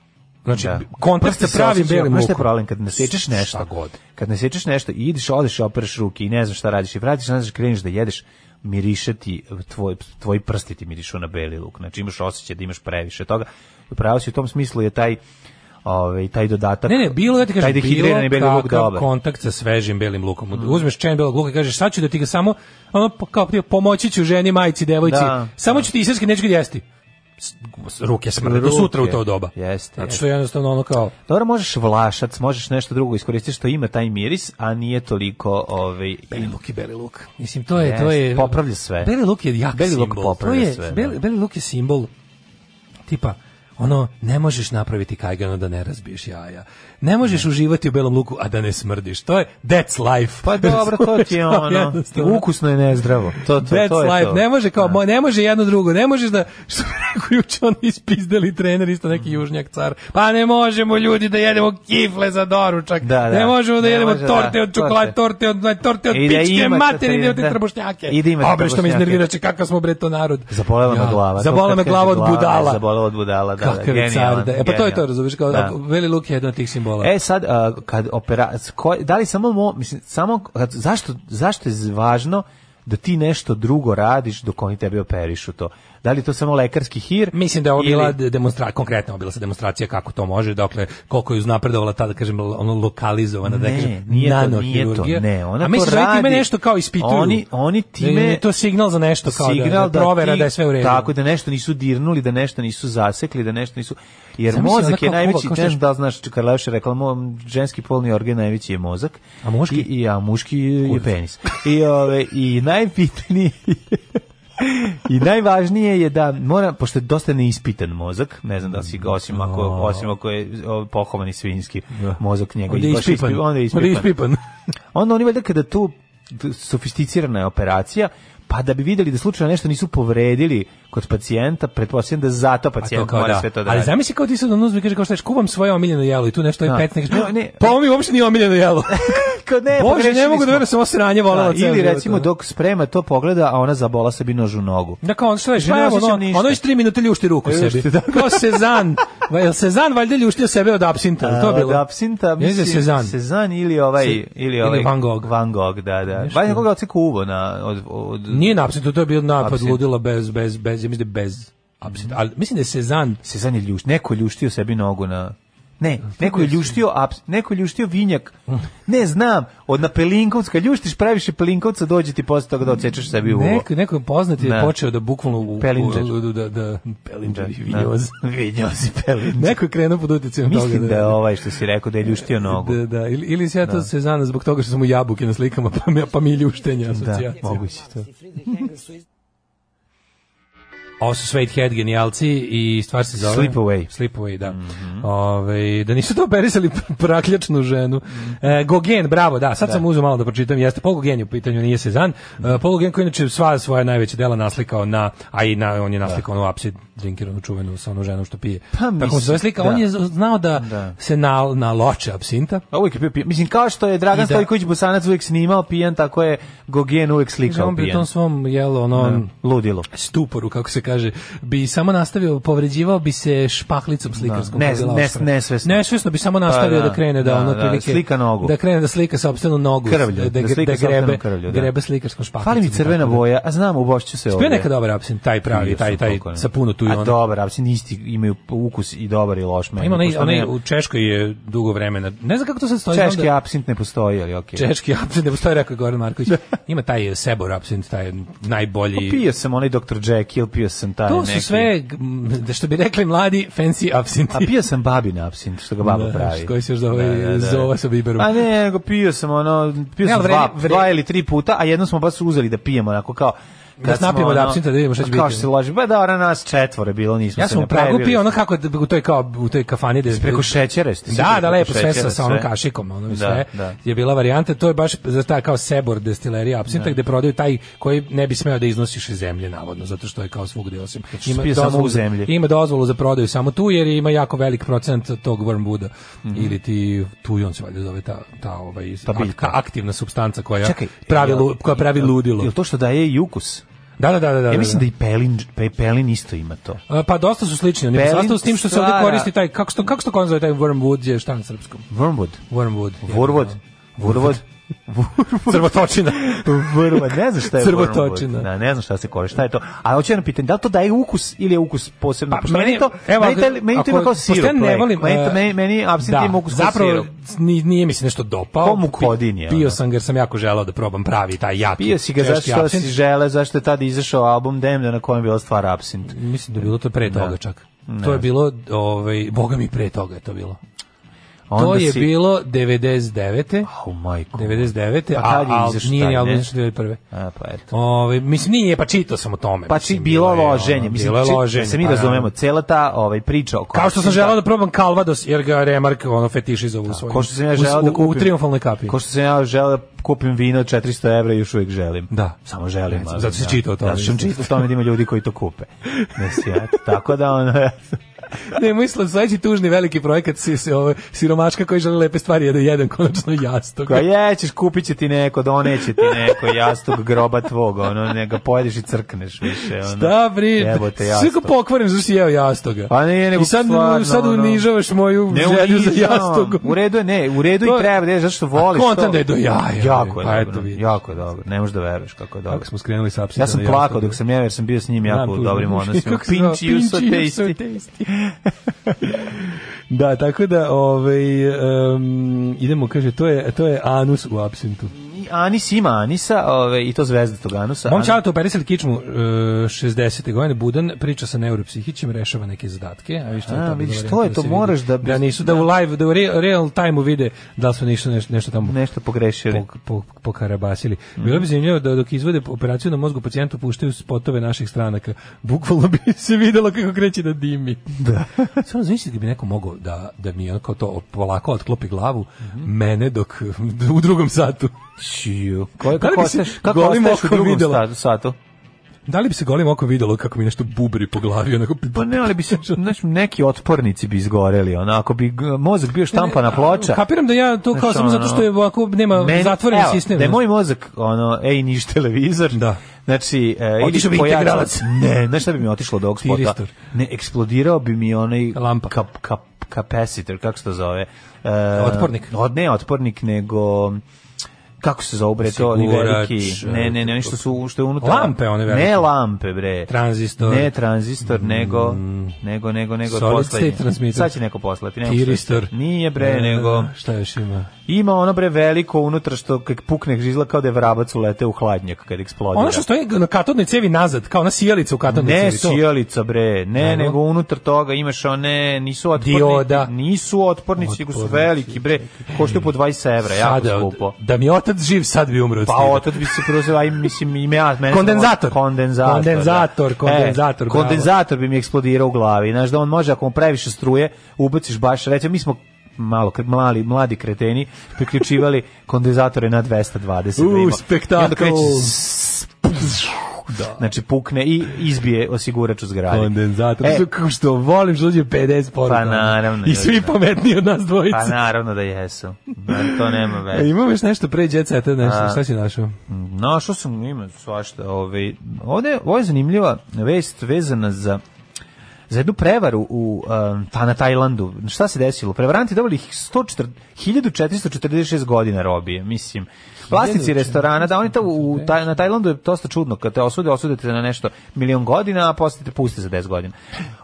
znači, Da. kontakt Prsti sa se pravim osjećaju, belim znaš šta lukom. je problem kad nasečeš nešto. Šta god. Kad nasečeš nešto i ideš, odeš i opereš ruke i ne znaš šta radiš i vratiš, ne znaš kreneš da jedeš, miriše ti tvoj tvoji prsti ti mirišu na beli luk. Znači imaš osjećaj da imaš previše toga. Upravo si u tom smislu je taj ovaj taj dodatak. Ne, ne, bilo ja ti taj kažem, dehidrirani beli bilo luk Mm. kakav dobar. kontakt sa svežim belim lukom. Uzmeš čen belog luka i kažeš, sad ću da ti ga samo, ono, po- kao prije, pomoći ću ženi, majci, devojci, Da, samo ću ti iserski, neću ga jesti. S- Ruke smrde, do Ruke. sutra u to doba. Jeste, Zato jeste. što je jednostavno ono kao, Dobro, možeš vlašac, možeš nešto drugo iskoristiti što ima taj miris, a nije toliko ovaj Beli luk je beli luk. Mislim, to je... to Jest, je popravlja sve. Beli luk je jak Beli luk simbol. popravlja to je, sve, da. Beli, beli luk je simbol tipa ono, ne možeš napraviti kajgano da ne razbiješ jaja. Ne možeš uživati u belom luku, a da ne smrdiš. To je that's life. Pa dobro, to ti je Razumeš? ono. Jednostavno. Ukusno je nezdravo. To, to, That's to je life. to. Ne može kao, mo- ne može jedno drugo. Ne možeš da što bi rekao juče on ispizdeli trener isto neki Mhm. južnjak car. Pa ne možemo ljudi da jedemo kifle za doručak. Da, da. Ne možemo da Ne jedemo može, torte da, od čokolade, torte od torte od I da pičke imate materine, te- od te da. trbušnjake. I da imate A, bre, što me trbušnjake. iznerviraće kakav smo bre to narod. Zabolela me Ja, glava. To Zabolela kad me kaže glava od budala. Zabolela od budala, da. da, Kakav je genijalan, car. da- E pa to je to, genijalan. razumiješ, kao Da. ako- Veli Luk je jedan od tih simbola. E sad a, kad opera s ko- da li samo mo, mislim samo kad, zašto zašto je važno da ti nešto drugo radiš dok oni tebe operišu to. Da li je to samo lekarski hir? Mislim da je ovo ili- bila demonstracija, konkretno ovo bila se demonstracija kako to može, dokle koliko je uznapredovala ta, da kažem, lo- ono lokalizovana, da Ne, kažem, nije to, nanohirurgija. nije to, ne, ona A misliš to da oni time radi- nešto kao ispituju? Oni- oni time- Da je to signal za nešto kao da- signal da, provera ti- da je sve u redu. Tako da nešto nisu dirnuli, da nešto nisu zasekli, da nešto nisu jer Zamisli onda mozak kao je kuva, najveći, kao ne što je- znam da li znaš, Karlaš je rekla, mo- ženski polni organ najveći je mozak. A muški? I, i- a muški je penis. I ove i najbitniji I najvažnije je da mora, pošto je dosta neispitan mozak, ne znam da li si ga, osim ako, osim ako je o, pohovani svinjski mozak njega Onda je izbaš ispipan. ispi- onda je Onda je ispipan ispipan. onda oni valjda kada tu d- sofisticirana je operacija, pa da bi videli da slučajno nešto nisu povredili kod pacijenta, pretpostavljam da zato Pa to pacijent kao mora da. sve to da Ali radi. zamisli kao ti sad on uzme i kaže kao šta ješ, kuvam svoje omiljeno jelo i tu nešto je Da. pecnik. Ne, E, ne. Pa ovo mi uopšte nije omiljeno jelo. Kad ne, Bože, ne pogrešili mogu da smo. verujem, sam ovo sranje volela Da, ceo Ili život, recimo ono. dok sprema to pogleda, a ona zabola sebi nož u nogu. Da kao on šta je, Kaže, ne šta je ono, osjećam ono, ništa. E, ono iz tri minute ljušti ruku Ljušti, sebi. da. Kao Sezan, Va- jel Sezan valjda ljuštio sebe od apsinta, jel to je A, bilo? Od apsinta, Mislim da je Sezan. Sezan ili ovaj, Se- ili ovaj Van Gogh. Van Gogh, da, da. Nešto. Valjda koga odseku uvo na, od, od, Nije na apsintu, to je bio napad Apsint. ludila bez, bez, bez, ja mislim da je bez apsinta. Ali mislim da je Sezan, Sezan je ljuš, neko ljuštio sebi nogu na, Ne, neko je ljuštio, aps, neko je ljuštio vinjak. Ne znam, od na Pelinkovca, kad ljuštiš previše Pelinkovca, dođe ti posle toga da odsečeš sebi u uvo. Neko, neko poznat je Da. počeo da bukvalno... U, Pelinđer. u- da, da, Pelinđer i Da. vinjoz. Vinjoz i Pelinđer. Neko je krenuo pod utjecem toga. Mislim da je ovaj što si rekao da je ljuštio nogu. Da, da, ili, ili se ja to se zna zbog toga što sam u jabuke na slikama, pa mi, pa mi je ljuštenje Da, asocijacija. moguće to. Ovo su Suede Head genijalci i stvar se zove... Sleepaway. Mhm. Sleepaway, da. Ovaj, da nisu to operisali pr- prakljačnu ženu. E, Gogen, bravo, da, sad sam uzeo malo da pročitam, jeste Paul Gogen je u pitanju, nije Sezan. E, Paul Gogen koji je inače sva svoja najveća dela naslikao na, a i na, on je naslikao onu apsid drinker, onu čuvenu sa onom ženom što pije. Tako mu se zove mislim, slika, da. on je znao da, Da. se na, naloče apsinta. A uvijek je bio pijan. Mislim, kao što je Dragan I da- Stojković Bosanac uvijek snimao pijan, tako je Gogijen uvijek Kaže, slikao on bi u pijan. tom svom jelu, ono, Ludilo. stuporu, kako se kaže, bi samo nastavio, povređivao bi se špahlicom slikarskom. Da, koja je bila ne- ne- oštrena. nesvesno. Nesvesno bi samo nastavio Pa, da, da, krene, da, da, ono, da, otprilike- slika nogu. Da krene da slika sopstvenu nogu. Krvlju, da, da da, slika grebe, sopstvenu krvlju, da. grebe slikarskom špahlicom. Fali mi crvena boja, a znam, u Bošću se Bio ovdje. je neka dobar absint, taj pravi, taj, taj, Koliko ne. sa puno tu i A ono. dobar, apsin isti imaju ukus i dobar i loš meni. Ima onaj, pošto onaj, nema- u Češkoj je dugo vremena, ne znam kako to sad stoji. znam Češki da- apsint ne postoji, ali okej. Češki absint, ne postoji, rekao je Goran Marković. Ima taj Sebor absint, taj najbolji. Pio sam onaj Dr. Jekyll, pio sam taj To neki. su Pa sve, m, da što bi rekli mladi, fancy absinti. A pio sam babin apsint, što ga baba Da, pravi. koji se još zove- zove sa biberom. A ne, nego pio sam ono, pio Ne, sam ali dva, vredi- vre- dva ili tri puta, a jedno smo baš uzeli da pijemo, onako kao... ono- se napijemo od apsinta da vidimo šta će Kao biti. što se loži, ba da, ona nas četvore bilo, nismo Ja se sam u ne Pragu previli. pio ono kako da- u toj kao u toj kafani da Preko šećera ste Da, da, lepo, sve sa, sa onom kašikom, ono i Da, sve, da. je bila varijanta, to je baš za ta kao Sebor destilerija apsinta, gde prodaju taj koji ne bi smeo da iznosiš iz zemlje, navodno, zato što je kao svugde osim. što pije samo u zemlji. Ima dozvolu za prodaju samo tu, jer ima jako velik procent tog wormwooda, ili ti tujon se valjda zove ta, ta ovaj, Mhm. Ta biljka. ak- aktivna substanca koja, Čekaj, pravi, jel- lu- koja pravi ludilo. Jel to što daje i ukus? Da, da, da, da, da. Ja mislim da. da i pelin, pe, pelin isto ima to. A, Pa dosta su slični, oni Pelin sastavu s tim što se ovde stvara- koristi taj, kako se to, kako se to konzove, taj wormwood je šta na srpskom? Wormwood. Wormwood. Vorvod. Vorvod. Crvotočina. Vrva, ne znam šta je Crvotočina. Crvotočina. Da, ne znam šta se koristi, šta je to. A hoću jedno pitanje, da li to daje ukus ili je ukus posebno? Pa, Pošto meni, to, evo, meni, ako- taj- meni to ima ako- kao pošto sirup. ja ne lek. volim, meni, to- e, meni, meni absint da, ima ukus kao zapravo sirup. ni- nije mi se nešto dopao. Ko mukodin je, Pi- Pio ono. sam ga jer sam jako želao da probam pravi taj jaki. Pio si ga češki zašto što apsint. si žele, zašto je tada izašao album Demda na kojem je bila stvar absint. Mislim da je bilo to pre toga čak. To je bilo, ovaj, boga mi pre toga je to bilo. to je bilo 99. Oh, majko. 99. Pa tad je a, a izašao nije taj, ni ne? album, izašao 2001. A, pa eto. Ove, mislim, nije, pa čitao sam o tome. Pa či mislim, bilo je, ono, loženje, mislim, bilo je či- loženje. da se mi pa naravno. razumemo, cela ta ovaj, priča oko Kao što sam absinta- želao da probam Calvados, jer ga Remark ono fetiši za ovu svoju. Ko što sam ja želeo u, da kupim. U triumfalnoj kapi. Ko što sam ja želeo da kupim vino od 400 evra i još uvijek želim. Da. Samo želim. Recimo, ali zato si da. čitao o tome. Zato sam čitao o tome da ima ljudi koji to kupe. Mislim, ja, tako da ono... Ne, mislim, sledeći tužni veliki projekat si, si, ove, siromačka koji želi lepe stvari je da jedan konačno jastok. Ko je, ćeš, kupit će ti neko, doneće ti neko jastuk groba tvog, ono, ne ga pojedeš i crkneš više. Ono. Da, bri, Jebote, sve ko jastuk. pokvarim zašto si jeo jastoga. Pa nije, nego I sad, stvarno, sad ono. unižavaš moju Ne želju za unižavam. jastogu. U redu je, ne, u redu To i je- treba da je, zato što voliš. kontam to. da je do jaja, Jako je pa eto dobro, vidiš. jako je dobro. Ne možeš da veruješ kako je dobro. Kako smo skrenuli sa apsitom Ja sam na plakao jastogu. dok sam ja, jer sam bio s njim jako Znam, u tužno. dobrim odnosima. Kako se zove? Pinch you so Pinch you so tasty. tasty. da, tako da, ovaj, em, idemo, kaže, to je, to je anus u absintu. I Anis ima Anisa, ove, i to zvezda tog Anusa. Mom An- čalata operisali kičmu e, 60. godine, Budan priča sa neuropsihićem, rešava neke zadatke. A, viš, to A, je, to vidiš, bila to varijanta je, da to se moraš vidi. da- Da nisu, da u live, da u real, real time vide da li su nešto, nešto tamo Nešto pogrešili. pok- pok- pokarabasili. Bilo Mm. bi zanimljivo da dok izvode operaciju na mozgu pacijentu puštaju spotove naših stranaka. Bukvalno bi se videlo kako kreće da dimi. Da. Samo znači da bi neko mogao da, da mi onako to polako otklopi glavu, Mhm. mene dok u drugom satu. Čiju. Ko, Da li kako bi se ostaješ, kako golim ostaješ u okom drugom videla? sta- satu? Da li bi se golim okom videlo kako mi nešto bubri po glavi? Onako... Pa ne, ali bi se, znaš, neki otpornici bi izgoreli, onako bi g- mozak bio štampana ploča. Kapiram da ja to kao Znaš, ono, samo zato što je ovako nema Meni- zatvoren evo, sistem. Da je moj mozak, ono, ej, niš televizor. Da. Znači, e, ili Otišao bi pojačalo- integralac. Ne, znaš šta bi mi otišlo od ovog spota? Tiristor. Ne, eksplodirao bi mi onaj... Lampa. Kap, kap, kapacitor, kako se to zove? E, Otpornik. Od, ne, otpornik, nego kako se zove bre to oni Osigurač, e, veliki ne ne ne nešto su što je unutra Lampe one velike. ne lampe bre Tranzistor. Mm. ne tranzistor nego nego nego nego Solid poslednji. state transmitter. sad će neko poslati ne Tiristor. nije bre E, nego Šta još ima? ima ono bre veliko unutra što kak pukne žizla kao da je vrabac ulete u hladnjak kad eksplodira Ono što stoji na katodnoj cevi nazad, kao ona sijalica u katodnoj ne cevi. to. sijalica bre, ne, Nego? nego unutar toga imaš one, nisu otporni, Dioda. nisu otpornici, nego su Otpornici. veliki bre, koštaju po 20 evra, jako Sada, skupo. Da mi je otac živ, sad bi umro. od Pa stida. otac bi se prozeo, aj mislim ime ja, mene Kondenzator. kondenzator. Kondenzator, da. E, kondenzator, bravo. kondenzator bi mi eksplodirao u glavi. Znaš da on može ako mu previše struje, ubaciš baš, reći mi smo malo kre- mlali mladi kreteni priključivali kondenzatore na 220 U, da ima. spektakl. I onda kreće s- Da. Znači pukne i izbije osigurač u zgradi. Kondenzator. E, Što, kako što volim što dođe 50 poruka. Pa naravno, I svi ljudi, da. pametniji od nas dvojice. pa naravno da jesu. Da, To nema E, veze. imam još nešto pre Jet Seta, nešto, A. šta si našao? No, što sam ima svašta. Ovaj, ovde, ovo je zanimljiva vest vezana za za jednu prevaru u um, ta na Tajlandu. Šta se desilo? Prevaranti dobili 104 1446 godina robije, mislim. Vlasnici restorana, da oni to u, taj, na Tajlandu je dosta čudno, kad te osude, osude te na nešto milion godina, a posle te puste za 10 godina.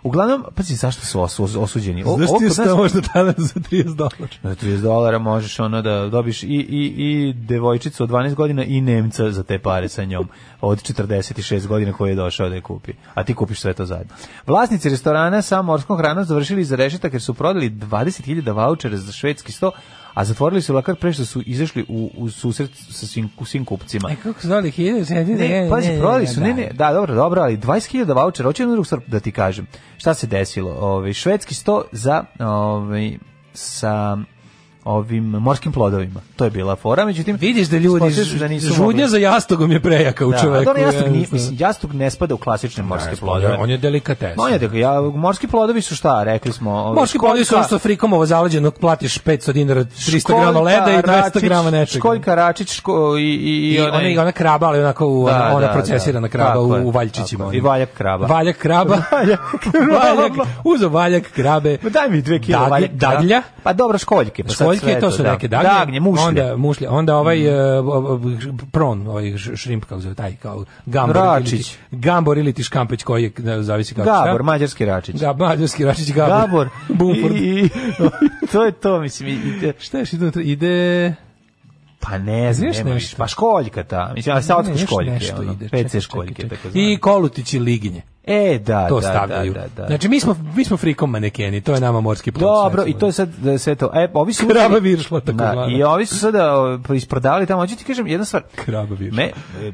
Uglavnom, pazi zašto su osu- osuđeni. O- Znaš ovo ti je kod nas- stao možda tada za 30 dolara? Za 30 dolara možeš ono da dobiš i, i, i devojčicu od 12 godina i Nemca za te pare sa njom od 46 godina koji je došao da je kupi. A ti kupiš sve to zajedno. Vlasnici restorana sa morskom hranom završili za rešetak jer su prodali 20.000 vouchera za švedski sto, a zatvorili su lakar pre što su izašli u, u susret sa svim, svim kupcima. E, kako su zvali? Ne, pazi, prodali su, ne, ne, da, dobro, dobro, ali 20.000 vouchera, hoću jednu drugu stvar da ti kažem. Šta se desilo? Ovaj švedski sto za ovaj sa ovim morskim plodovima. To je bila fora, međutim Vidiš da ljudi, spočeš da nisu žudnja mogli. za jastogom je Pa prejaka u Da, čoveku. a dobro, jastuk, nije, jednostavno. mislim, jastuk ne spada u klasične morske plodove. On je- On je delikatesan. On je tako, ja, morski plodovi su šta, rekli smo... ovaj, Morski plodi su školjka- ono što frikomovo zaleđeno, platiš 500 dinara, 300 grama školjka, leda i 200 račić, grama nečega. Školjka, račić, ško- i, i, I ona, i ona kraba, ali onako u, Da, ona, ona da, procesirana da. kraba Tako je, u, u valjčićima. ono. tako je. I valjak kraba. Valjak kraba. Valjak kraba. valjak, uzo valjak krabe. Ma daj mi dve kilo Daglje- valjka. Daglja. Pa dobro, školjke. Pa sad Školjke, sve to su da. neke dagnje. Dagnje, mušlje. Mm. Onda, mušlje. Onda ovaj pron, ovaj š- šrimp, kako zove, taj, kao gambor. Račić. ili ti- Gambor ili ti škampeć koji je, ne, zavisi kako. šta. Gabor, mađarski račić. Gab, mađarski račić Pa Gabor. Gabor. Bumford. I, i- to je to, mislim. i- i- Šta još ide? Ide... pa ne znam, Znaš nema nešto? više. Pa školjka ta. Mislim, ali sad Ne, otkud još školjke. nešto Ono, ide, čekaj, PC čekaj, školjke, čekaj. tako I kolutići liginje. E, da, to da, stavljaju. Da, da, da. Znači, mi smo, mi smo frikom manekeni, to je nama morski plus. Dobro, i to je sad da, sve to. E, ovi su Kraba viršla, tako da, zvana. I ovi su sada o, isprodavali tamo. Hoću ti kažem jedna stvar. Kraba viršla. Me, e,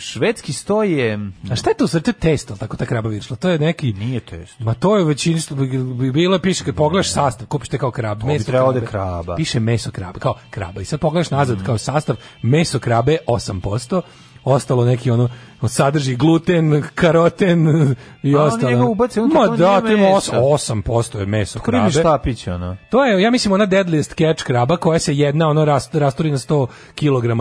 švedski sto je... A šta je to u srce testo, tako ta kraba viršla? To je neki... Nije test. Ma to je u većini stu- bi bilo piše kad pogledaš sastav, kupiš te kao krab, meso trebalo da krabe. je kraba. Piše meso krabe, kao kraba. I sad pogledaš nazad kao sastav, meso krabe 8%, ostalo neki ono sadrži gluten, karoten i A oni ostalo. njega ubace unutra, to Ma da, nije to ima meso. 8% je meso Kuri mi krabe. štapić, ono. To je, ja mislim, ona deadliest catch kraba koja se jedna ono rast, rasturi na 100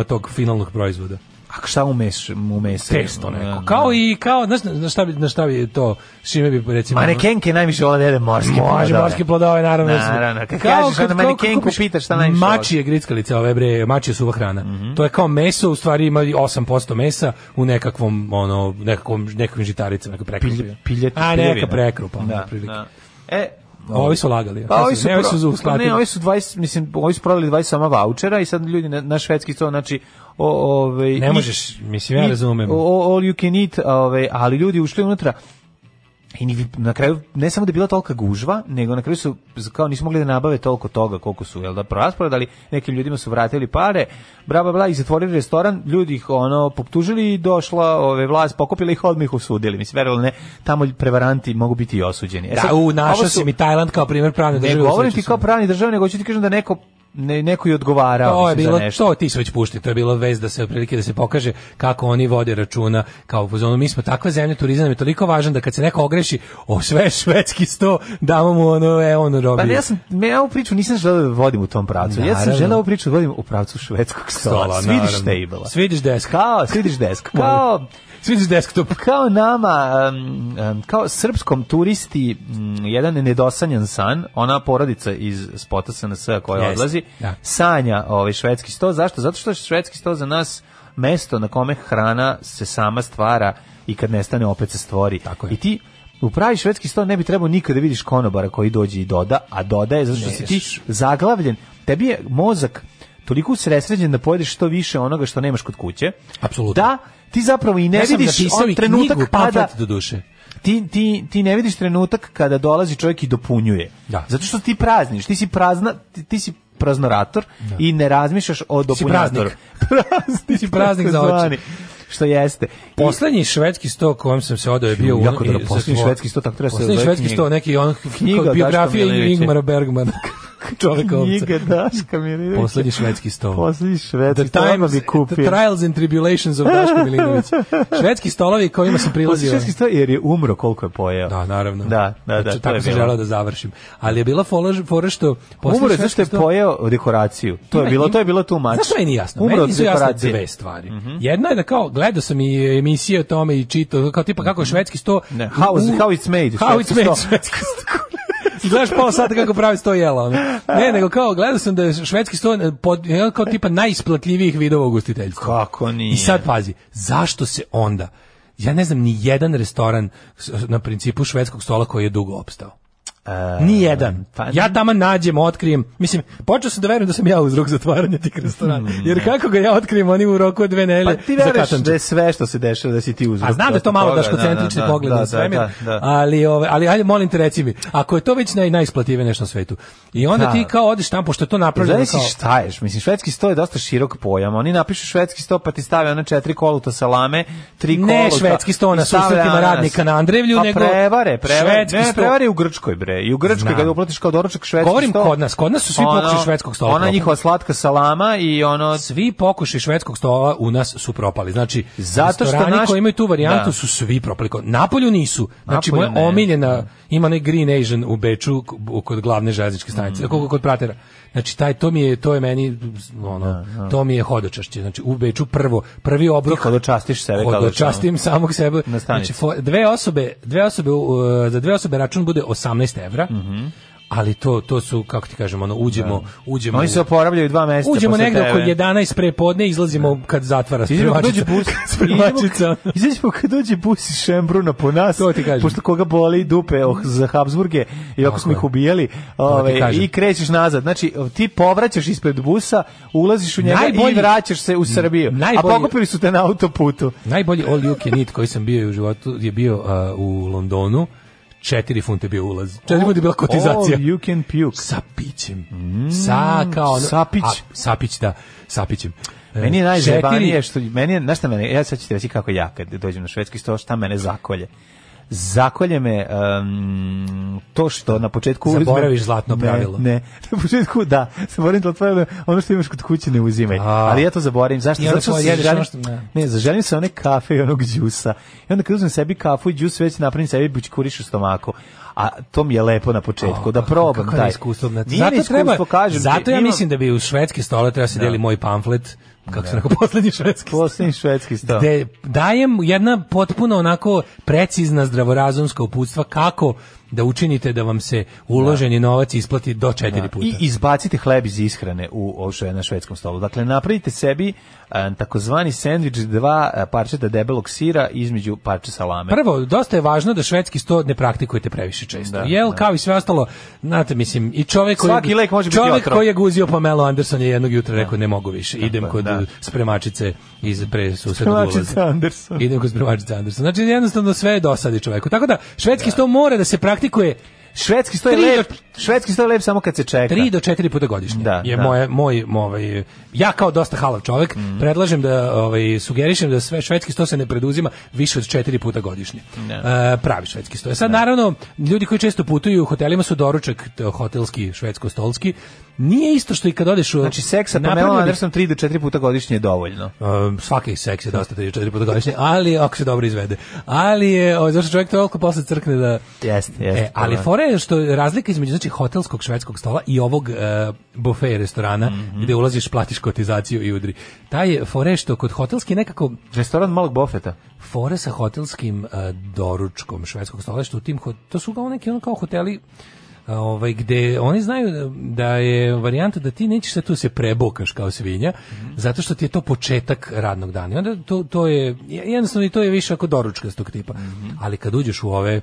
kg tog finalnog proizvoda. A šta umeš, ono, umese? Testo neko. Kao i, kao, znaš, na šta bi, na šta bi to, s čime bi recimo... Manekenke najviše vole da jede morske ono? Može plodove. morski plodove, naravno. Naravno, kad kažeš onda manekenku, pitaš šta najviše voliš. Mhm. Mačije grickalice, ove bre, mačije suva hrana. To je kao meso, u stvari ima 8% mesa u nekakvom, ono, nekakvom, nekakvim žitaricama, nekakvim prekrupi. Pilje- piljeti A, neka piljevina. prekrupa, ono, Da, otprilike. da. E, Ovi su lagali. Pa ovi su, ne, ovi su pro- uskladili. ne, ovi su 20, mislim, ovi su prodali 20 sama vouchera i sad ljudi na, na švedski to, znači, o, ovaj, Ne i- možeš, mislim, ja i- razumem. o- o- all you can eat, ovaj, ali ljudi ušli unutra i ni- na kraju ne samo da je bila tolika gužva, nego na kraju su kao nisu mogli da nabave toliko toga koliko su jel da proraspodali, nekim ljudima su vratili pare, bra bla bla i zatvorili restoran, ljudi ih ono poptužili i došla ove vlast, pokupila ih odmah ih osudili. Mislim verovali ne, tamo prevaranti mogu biti i osuđeni. E sad, Da, u, našao ovo si su- mi Tajland kao primjer pravne ne države. govorim uzet ću ti kao sam. pravni državni, nego ću ti kažem da neko ne, neko je odgovarao To je mislim, bilo za nešto. to ti su već pušti, to je bilo vez da se otprilike da se pokaže kako oni vode računa kao u zonu mi smo takva zemlja turizam je toliko važan da kad se neko ogreši o sve švedski sto damo mu ono e on robi. Pa ne, ja sam, me, ja ovu priču nisam želeo da vodim u tom pravcu. Ja sam Naravno. želeo ovu priču da vodim u pravcu švedskog stola. Svidiš table. ono, Svidiš desk. Kao, svidiš desk. Kao, Svidiš desktop. kao nama, um, um, kao srpskom turisti, um, jedan nedosanjan san, ona porodica iz spota SNS koja Jeste. odlazi, Da. sanja ovaj švedski sto. Zašto? Zato što je švedski sto za nas mesto na kome hrana se sama stvara i kad nestane opet se stvori. Tako je. I ti u pravi švedski sto ne bi trebao nikada vidiš konobara koji dođe i doda, a dodaje zato što Ne, si ti zaglavljen. Tebi je mozak toliko usresređen da pojedeš što više onoga što nemaš kod kuće. Apsolutno. Da, ti zapravo i ne Ne vidiš vidiš on trenutak pada, pa do duše. ti, ti, ti ne vidiš trenutak kada dolazi čovjek i dopunjuje. Da. Zato što ti prazniš, ti si prazna, ti, ti si praznorator i ne razmišljaš o si dopunjatoru. praznik. Ti si praznik za oči. takozvani, Što jeste. I- Poslednji švedski sto kojem sam se odao je bio u Jako dobro, poslednji švedski sto, tako treba se Poslednji zove švedski knjiga. sto neki on Knjiga knjiga Daška biografija Milinovića. Ingmara Bergmana. Čovek Knjiga ovce. Daška Milinovića. Poslednji švedski sto. Poslednji švedski The sto, odmah Times, bi kupio. the Trials and Tribulations of Daško Milinović. Švedski stolovi kojima sam Poslednji prilazio. švedski sto, jer je umro koliko je pojeo. Da, naravno. Da, da, da, Znači, to je tako sam bilo. želeo da završim. Ali je bila fola- fora što... poslednji Umro je švedski zašto je sto- pojeo dekoraciju. To je Ima- bilo, to je bilo tu Znaš što meni nije jasno? Umro meni od nisu jasne dekoracije. Mhm. dve stvari. Jedna je da kao, gledao sam i emisije o tome i čitao, kao tipa kako je švedski sto... Ne, how is- how it's made, How švedski it's made, sto. švedski sto. I gledaš pola sata kako pravi sto jela. Ono. Ne, nego kao, gledao sam da je švedski sto eh, pod, eh, kao tipa najisplatljivijih vidova ugostiteljstva. Kako nije? I sad pazi, zašto se onda, ja ne znam, ni jedan restoran s- na principu švedskog stola koji je dugo opstao. Ni jedan. pa- ja tamo nađem, otkrijem. Mislim, počeo sam da verujem da sam ja uzrok zatvaranja tih restorana. Jer kako ga ja otkrijem, oni u roku od dve Hmm. Pa nelje ti veruješ zakatanče. da je sve što se dešava da si ti uzrok. A znam da je to malo toga, daškocentrični da, da, pogled da, na da, svemir, da, da. ali, ove, ali ajde, molim te, reci mi, ako je to već naj, najisplativije nešto na svetu, i onda Da. ti kao odeš tamo, pošto je to napravljeno Pa Zavisi kao... šta ješ, mislim, švedski sto je dosta širok pojam, oni napišu švedski sto pa ti stave ona četiri koluta salame, tri Ne koluta... švedski sto na i stave susretima ananas. radnika na Andrevlju, pa nego prevare, prevare, švedski ne, sto. prevare i u Grčkoj, bre, i u Grčkoj Znam. kada uplatiš kao doručak švedski Govorim sto... kod nas, kod nas su svi ono- pokušaj švedskog stola Ona propali. njihova slatka salama i ono... Svi pokušaj švedskog stola u nas su propali. Znači, Zato što restorani naš- koji imaju tu varijantu Da. su svi propali. Kod- Napolju nisu. Znači, Napolju moja ne. omiljena, ima onaj Green Asian u Beču k- u- kod glavne željezničke stanice, Mm. koliko kod pratera. Znači, taj, to mi je, to je meni, ono, to mi je hodočašće. Znači, u Beču prvo, prvi obrok. Ti hodočastiš sebe kao da- Hodočastim samog sebe. Na stanici. Znači, fo- dve osobe, dve osobe, u- e, za dve osobe račun bude 18 evra. Mhm. Ali to, to su, kako ti kažemo, ono, uđemo, uđemo Oni se u- oporavljaju dva meseca Uđemo posle negde oko tebe. 11 pre podne, izlazimo kad zatvara Idemo kad dođe spremačica. bus, spremačica. idemo- Izađemo kad dođe bus iz Šembruna po nas, To ti kažem. pošto koga boli dupe oh, za Habsburge i ako smo je. ih ubijali, ti ove, kažem. i krećeš nazad. Znači, ti povraćaš ispred busa, ulaziš u njega Najbolji- i vraćaš se u Srbiju. najbolji- A pokupili su te na autoputu. Najbolji all you can eat koji sam bio u životu je bio a, u Londonu. 4 funte bio ulaz. 4 funte je bila kotizacija. All you can puke. Sa pićem. sa Mm, kao... ono- sapić. A, sapić, da. Sapićem. E, Meni je najzajebanije četiri- što meni je, znaš šta mene, ja sad ću ti reći kako ja kad dođem na švedski sto, šta mene zakolje. Zakolje me em, to što na početku uzmem- Zaboraviš zlatno pravilo. Ne, ne. na početku da, zaboravim zlatno pravilo, ono što imaš kod kuće ne uzimaj. Ali ja to zaboravim, zašto? I onda Zato što se pojedeš želim, ono što- ne. ne, zaželim se one kafe i onog džusa. I onda kad uzmem sebi kafu i džus, već napravim sebi bućkuriš u stomaku. A to mi je lepo na početku, da probam Kako taj. je iskustvo, znači, Nije zato neiskustvo, treba, kažem ti, zato ja imam- mislim da bi u švedski stole treba se deli moj pamflet, kako se rekao, poslednji švedski stol. Poslednji švedski sto. gde dajem jedna potpuno onako precizna zdravorazumska uputstva kako da učinite da vam se uloženi novac isplati do četiri puta. I izbacite hleb iz ishrane u u šve- na švedskom stolu. Dakle, napravite sebi e, takozvani sendvič dva e, parčeta debelog sira između parče salame. Prvo, dosta je važno da švedski sto ne praktikujete previše često. Jel, kao i sve ostalo, znate, mislim, i čovjek koji, Svaki lek može biti čovjek otrov. koji je guzio Pamelo Anderson je jednog jutra rekao, ne mogu više, idem kod da. uh, spremačice iz pre susednog Spremačica ulaza. Anderson. Idem kod spremačice Anderson. Znači, jednostavno sve je dosadi čoveku. Tako da, švedski sto mora da se praktikuje Švedski sto je Tri do- lep, švedski sto je lep samo kad se čeka. Tri do četiri puta godišnje. Da, je da. Mhm. moje moj moj ovaj ja kao dosta halav čovjek predlažem da ovaj sugerišem da sve švedski sto se ne preduzima više od četiri puta godišnje. E, pravi švedski sto. E Sad naravno ljudi koji često putuju u hotelima su doručak t- hotelski švedsko-stolski. Nije isto što i kad odeš u Znači, seks sa Napravio Pamela bih- Anderson 3 do 4 puta godišnje je dovoljno. Um, svaki seks je dosta 3-4 puta godišnje, ali ako se dobro izvede. Ali je, o, zašto čovjek toliko posle crkne da... Jeste, jeste, E, ali da. fora je što je razlika između znači, hotelskog švedskog stola i ovog e, bufe restorana gde ulaziš, platiš kotizaciju i udri. Taj je fora je što kod hotelski nekako Restoran malog bofeta. fore sa hotelskim e, doručkom švedskog stola što u tim hot- to su kao neki ono kao hoteli a, ovaj, gde oni znaju da je varijanta da ti nećeš sad tu se prebokaš kao svinja, Mhm. zato što ti je to početak radnog dana. I onda to, to je, jednostavno i to je više ako doručkastog tipa. Mhm. Ali kad uđeš u ove,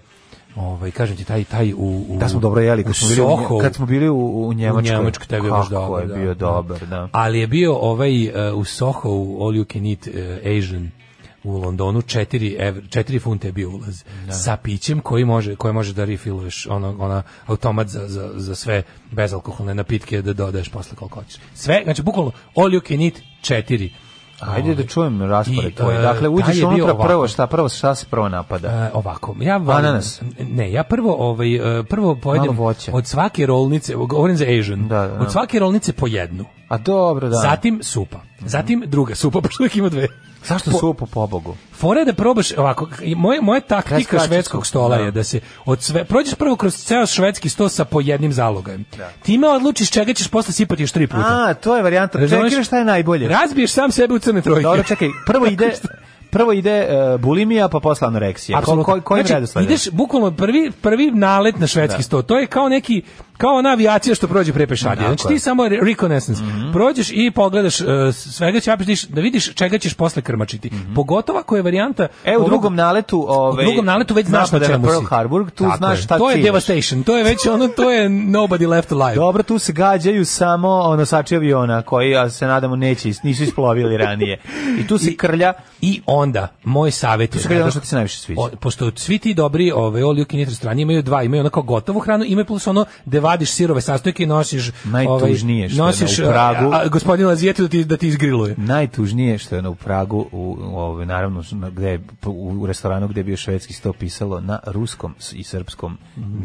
ovaj, kažem ti, taj, taj u, u Da smo dobro jeli kad smo bili u, Soho, kad smo bili u, u Njemačkoj. u Njemačkoj taj je bio baš dobar. Kako da, je bio da. dobar, da. Ali je bio ovaj uh, u Soho, u All You Can Eat uh, Asian u Londonu 4 ev, 4 funte je bio ulaz sa pićem koji može koje može da refilluješ ono ona automat za, za, za sve bezalkoholne napitke da dodaješ posle koliko hoćeš. Sve, znači bukvalno All You Can Eat 4. Ajde da čujem raspored I, tvoj. e, Dakle, taj uđeš je bio unutra ovako. prvo, šta, prvo, šta se prvo napada? E, ovako, ja volim, Ananas. Ne, ja prvo ovaj e, prvo pojedem Malo voća. od svake rolnice, govorim za Asian. Da, da, da. Od svake rolnice po jednu. A dobro, da. Zatim supa. Zatim druga supa, pošto uvijek ima dve. Zašto Po- supu pobogu? Fora je da probaš ovako, i moje, moja taktika Raskraćicu, švedskog stola da. je da se od sve, prođeš prvo kroz ceo švedski sto sa po jednim zalogajem. Time odlučiš čega ćeš posle sipati još tri puta. A, to je varijanta. Razumeš? Čekaj šta je najbolje. Razbiješ sam sebe u crne trojke. Dobro, čekaj, prvo ide prvo ide e, bulimija pa posle anoreksija. Ko, Apsolutno. ko, kojim znači, redosledom? ideš bukvalno prvi, prvi nalet na švedski sto. To je kao neki kao ona avijacija što prođe pre pešadije. Znači Tako je. Mhm. ti samo re- reconnaissance. Prođeš i pogledaš uh, svega ćapiš da vidiš čega ćeš posle krmačiti. Pogotovo ako je varijanta Mhm. E, u ovog- drugom naletu, u ovaj drugom naletu već znaš na napada čemu si. Pearl Harbor, tu Tako znaš je. šta To je ciljaš. devastation. To je već ono to je nobody left alive. Dobro, tu se gađaju samo nosači aviona koji ja se nadamo neće is- nisu isplovili ranije. I tu se krlja, I onda moj savjet je se krlja ono da- što ti se najviše sviđa. O, pošto svi ti dobri ove all you can eat restorani imaju dva, imaju onako gotovu hranu, imaju plus ono da vadiš sirove sastojke i nosiš ovaj, Najtužnije što je nosiš da u Pragu- a, a, gospodin Lazijetu da ti da ti izgriluje. Najtužnije što je na u Pragu, u, u, ovaj, naravno na- gde, je- u restoranu gde je bio švedski sto pisalo na ruskom s- i srpskom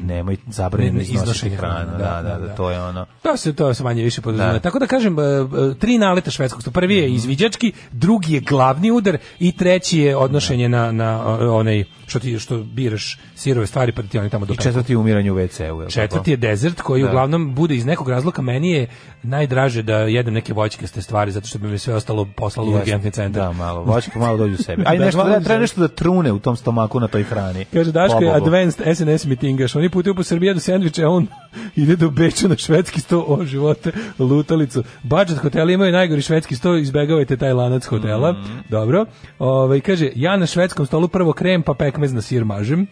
nemoj zabranjeno Ne, ne, iznositi iznošenje hranu. Da, da, da, to je ono. To se to se manje više podrazumeva. Da. Mhm. Tako da kažem e, e, tri naleta švedskog stola. Prvi je izviđački, drugi je glavni udar i treći je odnošenje na na o, onaj što ti što biraš sirove stvari pa da ti oni tamo I dopeku. četvrti je umiranje u WC-u. je li Četvrti je desert koji uglavnom bude iz nekog razloka meni je najdraže da jedem neke voćkaste stvari zato što bi mi sve ostalo poslalo u Jeste. urgentni centar. Da, malo, voćka malo dođu u sebe. Aj Da, nešto, malo da, dođu treba u nešto da trune u tom stomaku na toj hrani. Pa, Kaže Daško je Pobogu. advanced SNS mitingaš, oni putuju po Srbiji do sendviče, a on ide do Beča na švedski sto o živote, lutalicu. Budget hoteli imaju najgori švedski sto, izbegavajte taj lanac hotela. Mhm. Dobro. Ove, kaže, ja na švedskom stolu prvo krem, pa pekmez na sir mažem.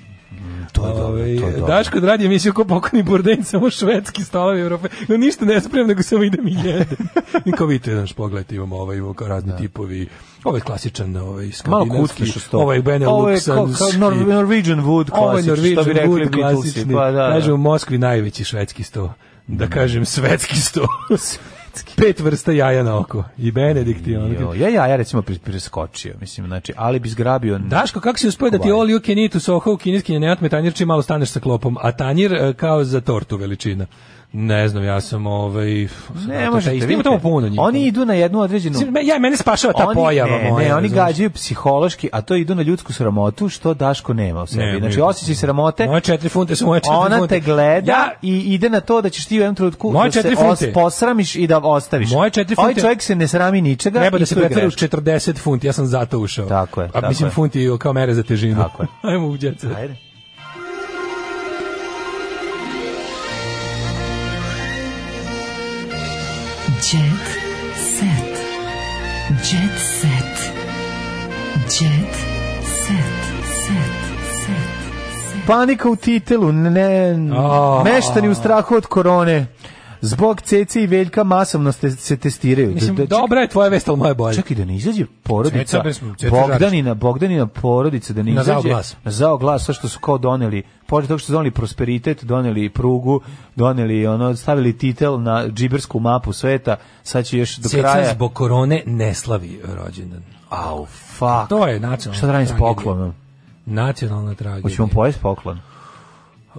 To je dobro, to Ovaj, je dobro. Daško dradi emisiju ko pokojni Burden, samo švedski stolovi Evrope. No ništa ne spremam, nego samo idem i jedem. Niko vidite, naš pogled, imamo ovaj, imamo kao razni tipovi. Ovo je ovaj klasičan, ovaj, malo skandinavski. kutki što sto. Ovo je Beneluksanski. Nor Norwegian Wood klasič, Ovo je Norwegian što bi rekli Wood Beatlesi, klasični. Pa, da, Kaže, da. u Moskvi najveći švedski sto. Da kažem, svetski sto. Pet vrsta jaja na oko. I Benedikt i ono. Jo, ja, ja, ja recimo pri- preskočio, mislim, znači, ali bi zgrabio... Daško, kako si uspio da ti Kobaje. all you can eat u Soho u kineski janjat me tanjir čim malo staneš sa klopom, a tanjir e, kao za tortu veličina. Ne znam, ja sam ovaj... f- sam Ne to možete, taj isti. Ima vidite. tamo puno njih. ono. Oni idu na jednu određenu... Mislim, me- Ja, mene spašava ta pojava ne, moja, ne, oni razumeš? gađaju psihološki, a to idu na ljudsku sramotu, što Daško nema u sebi. Ne, znači, ne. osjećaj sramote, Moje četiri funte su moje četiri funte. ona te gleda Znači, Ja- i ide na to da ćeš ti u jednom trenutku Moje da se četiri funte. os, posramiš i da ostaviš. Moje četiri Ovaj funte. čovjek se ne srami ničega. Treba i da se tu je pretvori u greška. 40 funti, ja sam zato ušao. Tako je, A tako mislim je. funti kao mere za težinu. Tako je. Ajmo u djeca. Ajde. Jet set. Jet set. Jet set. Set. Set. Panika u titelu, ne, A. meštani u strahu od korone. Zbog Cece i Veljka masovno ste, se testiraju. Mislim, Da- da- dobra je tvoja vest, ali moja je Pa bolja. Čekaj da ne izađe Ceca porodica bez- Ceca Bogdanina, Bogdanina porodica da ne Na izađe. zao glas. Na zao glas, sve što su kao doneli, pored toga što su doneli prosperitet, doneli prugu, doneli ono, stavili titel na džibersku mapu sveta, sad će još do Ceca kraja. zbog korone ne slavi rođendan. Au, fuck. To je nacionalna Šta da radim s tragedija. poklonom? Nacionalna tragedija. Hoćemo pojesti poklon.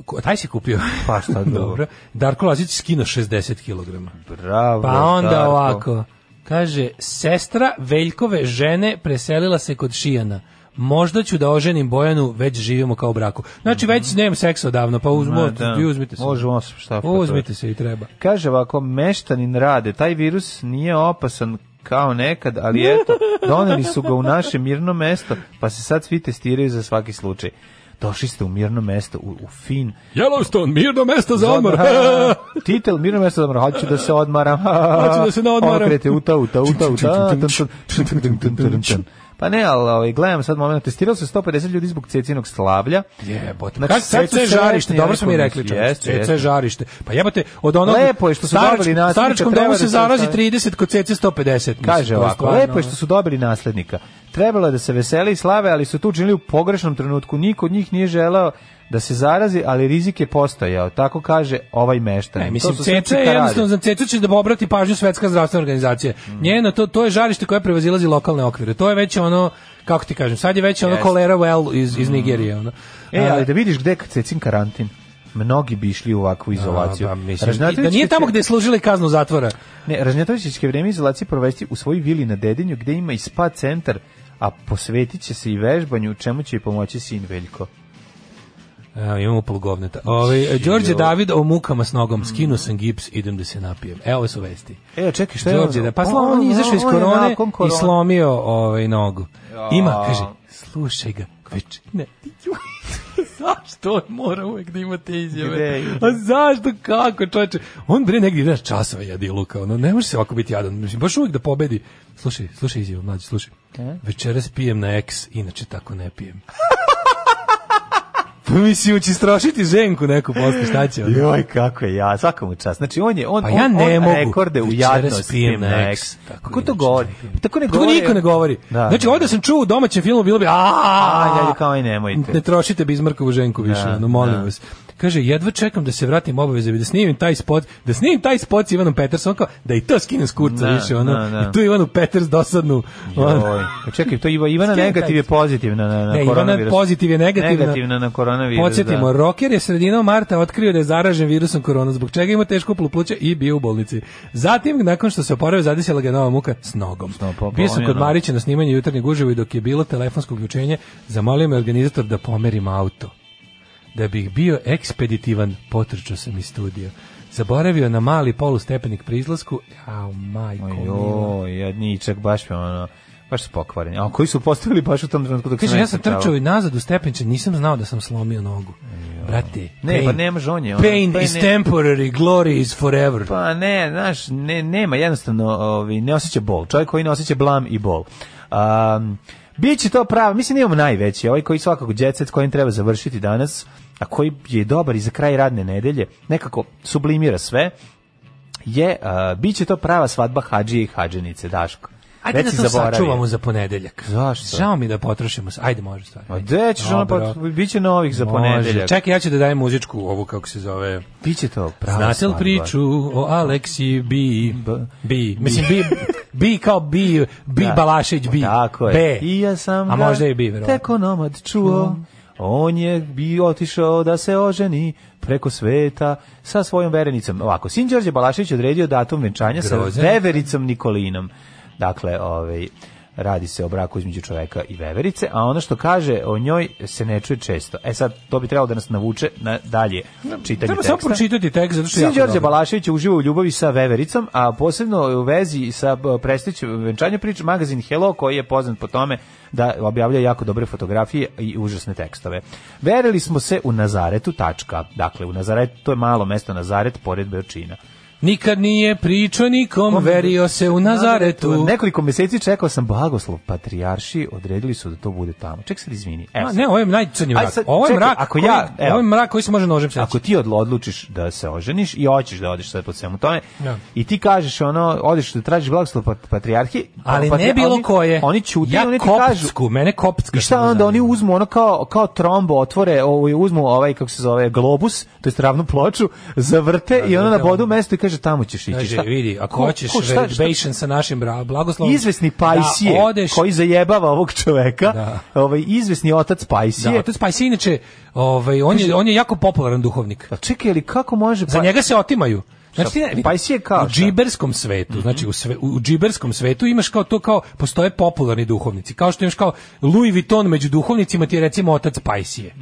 Ko- Taj si kupio. Pa šta drugo. Dobro. Darko Lazić skino 60 kg. Bravo. Pa onda Darko. ovako. Kaže, sestra Veljkove žene preselila se kod Šijana. Možda ću da oženim Bojanu, već živimo kao u braku. Znači, već nemam seksa odavno, pa uzmo, Mhm. Ma, da. vi uzmite se. Možemo se šta pa Uzmite se i treba. Kaže ovako, meštanin rade, taj virus nije opasan kao nekad, ali eto, doneli su ga u naše mirno mesto, pa se sad svi testiraju za svaki slučaj. došli ste u mirno mesto, u, u fin. Yellowstone, mirno mesto za odmor. Ha, Titel, mirno mesto za odmor, hoću da se odmaram. Hoću da se naodmaram. Ono krete, uta, uta, uta, uta. tun, tun, tun, tun, tun, tun, tun, tun. Pa ne, ali ovaj, gledam sad moment, testiralo se 150 ljudi zbog cecinog slavlja. Jebote. Znači, Znači, sad su CC žarište, sretni, dobro smo mi rekao, rekli. čovječe, jeste, CC jeste. žarište. Pa jebote, od onog... Lepo je što su dobili nasljednika, Staračkom treba domu da se se zarazi ostavi. 30, kod CC 150. mislim, to Kaže je ovako, stvarno- lepo je što su dobili naslednika. Trebalo je da se veseli i slave, ali su tu činili u pogrešnom trenutku. Niko od njih nije želeo da se zarazi, ali rizik je postojao. Tako kaže ovaj meštan. Ne, To mislim, su sve CC je cikarade. jednostavno, za CC će da obrati pažnju Svetska zdravstvena organizacija. Njeno, to, to je žarište koje prevazilazi lokalne okvire. To je već ono, kako ti kažem, sad je već ono Jeste. kolera well iz, iz Nigerije. Ono. E, A, ali da vidiš gde je cecin karantin. Mnogi bi išli u ovakvu izolaciju. a, pa, mislim, Ražnjatović da nije će- tamo gde je služili kaznu zatvora. Ne, Ražnjatović će vreme izolacije provesti u svojoj vili na Dedinju, gde ima i spa centar, a posvetit će se i vežbanju, čemu će i pomoći sin Veljko. Evo, E, imamo polgovneta. Ove, e, Đorđe David o mukama s nogom. Skinu sam gips, idem da se napijem. Evo su vesti. E, čekaj, šta je Đorđe, ono? da, pa On- slo, on je izašao iz on je korone nakon i korone. slomio ovaj nogu. Ima, kaže, slušaj ga, kveč, ne, ti- juj, zašto on mora uvek da ima te Gde izjave? ide? A zašto, kako, čovječe? On bre negdje ide časova jedi luka, ono, ne može se ovako biti jadan, mislim, baš uvek da pobedi. Slušaj, slušaj izjavu, mlađi, slušaj. E? Večeras pijem na eks, inače tako ne pijem. Pa mislim, ući strašiti ženku neku posle, šta će ono? Joj, kako je ja, svaka mu čast. Znači, on je, on, Pa ja ne on, on mogu. rekorde u Večeras jadnosti pijem pijem na na eks. eks. Tako Kako Pa to inače govori? ne pijem. Tako ne Tako govori. niko ne govori. Da, znači, da. ovdje sam čuo u domaćem filmu, bilo bi a Aj, ajde, kao i nemojte. Ne trošite Bizmarkovu ženku više, Da, no molim da. vas. Kaže, jedva čekam da se vratim obaveze, da snimim taj spot, da snimim taj spot s Ivanom Petersom, kao, da i to skinem s kurca Da, više, ono, da, da. i tu Ivanu Peters dosadnu. ono. Joj. Pa Čekaj, to Iva, Ivana Skidaj negativ je taj. pozitivna na, na Ne, Ivana koronavirus. pozitiv je negativna. Negativna na koronavirus, Podsjetimo, da. roker je sredinom marta otkrio da je zaražen virusom korona, zbog čega ima teško pluća i bio u bolnici. Zatim, nakon što se oporavio, zadesila ga je nova muka s nogom. nogom, bio sam polomio kod nogu. Marića na snimanju jutarnjeg uživo i dok je bilo telefonsko uključenje, zamolio me organizator da pomerim auto. Da bih bio ekspeditivan, potrčao sam iz studija. Zaboravio na mali polustepenik pri izlasku. Au, majko, mila. Joj, jadničak, baš mi ono, baš su pokvareni. A koji su postavili baš u tom trenutku dok sam Kaže, ja sam trčao? trčao i nazad u stepenice, nisam znao da sam slomio nogu. Brate, Ne, pain- pa nemaš, on je ono, Pain pa is ne- temporary, glory is forever. Pa ne, znaš, ne, nema jednostavno, ovi, ne osjeća bol. Čovjek koji ne osjeća blam i bol. Um, Biće to pravo, mislim da imamo najveći, ovaj koji svakako džetset kojim treba završiti danas, a koji je dobar i za kraj radne nedelje, nekako sublimira sve, je, uh, biće to prava svadba Hadžije i Hadženice, Daško. Ajde da Već si to zaboravio. sačuvamo za ponedeljak. Zašto? Žao mi da potrošimo. se. Ajde, može stvar. Ma gde ćeš ono, Dobro. pa biće novih za ponedeljak. Čekaj, ja ću da dajem muzičku, ovu kako se zove. Biće to prava Znate li svadba. priču o Aleksi B? B. Mislim, B, B kao B, B Da. Balašić B. Tako je. B. I ja sam A ga možda i B, verovatno. Teko nomad čuo. On je bio otišao da se oženi preko sveta sa svojom verenicom. Ovako, sin Đorđe Balašević odredio datum venčanja sa Grozan. vevericom Nikolinom. Dakle, ovaj, radi se o braku između čoveka i veverice, a ono što kaže o njoj se ne čuje često. E sad, to bi trebalo da nas navuče na dalje čitanje Treba teksta. samo pročitati tekst, zato što je Sin jako Đorđe dobro. Balašević uživa u ljubavi sa Vevericom, a posebno u vezi sa e, b, predstojećim venčanjem priča magazin Hello koji je poznat po tome da objavlja jako dobre fotografije i užasne tekstove. Verili smo se u Nazaretu, tačka. Dakle, u Nazaretu, to je malo mesto Nazaret pored Beočina. Nikad nije pričao nikom, verio se u Nazaretu. Nekoliko meseci čekao sam blagoslov patrijarši, odredili su da to bude tamo. Ček sad izvini. Evo Ma, sad. ne, ovo je najcrnji Aj, mrak. sad, Ovo je čekaj, mrak, ako koji, ja- evo. ovo je mrak koji se može nožem seći. Ako ti odl- odlučiš da se oženiš i hoćeš da odeš sad po svemu tome Da. i ti kažeš ono, odeš da tražiš blagoslov pat- patrijarhi, pa- Ali patri- ne bilo oni- koje. Oni ćute, ja oni ti kažu. koptsku, mene koptska. I šta onda oni uzmu ono kao kao trombo otvore ovaj uzmu ovaj kako se zove globus, to jest ravnu ploču, zavrte i ono na bodu mesto i kaže tamo ćeš ići. Kaže, Šta- vidi, ako ko- hoćeš ko- šta- šta- reservation sa našim bra- blagoslovom... izvesni Pajsije da odeš, koji zajebava ovog čoveka, ovaj izvesni otac Pajsije. Da, pa otac Pajsije, inače, ovaj, on, je, on je jako popularan duhovnik. Pa čekaj, ali kako može Za Pa- njega se otimaju. Znači, ti ne- vidi, Pajsi je kao u šta? Mhm. džiberskom svetu, znači u, sve, u- u džiberskom svetu imaš kao to kao postoje popularni duhovnici, kao što imaš kao Louis Vuitton među duhovnicima ti je recimo otac Pajsije.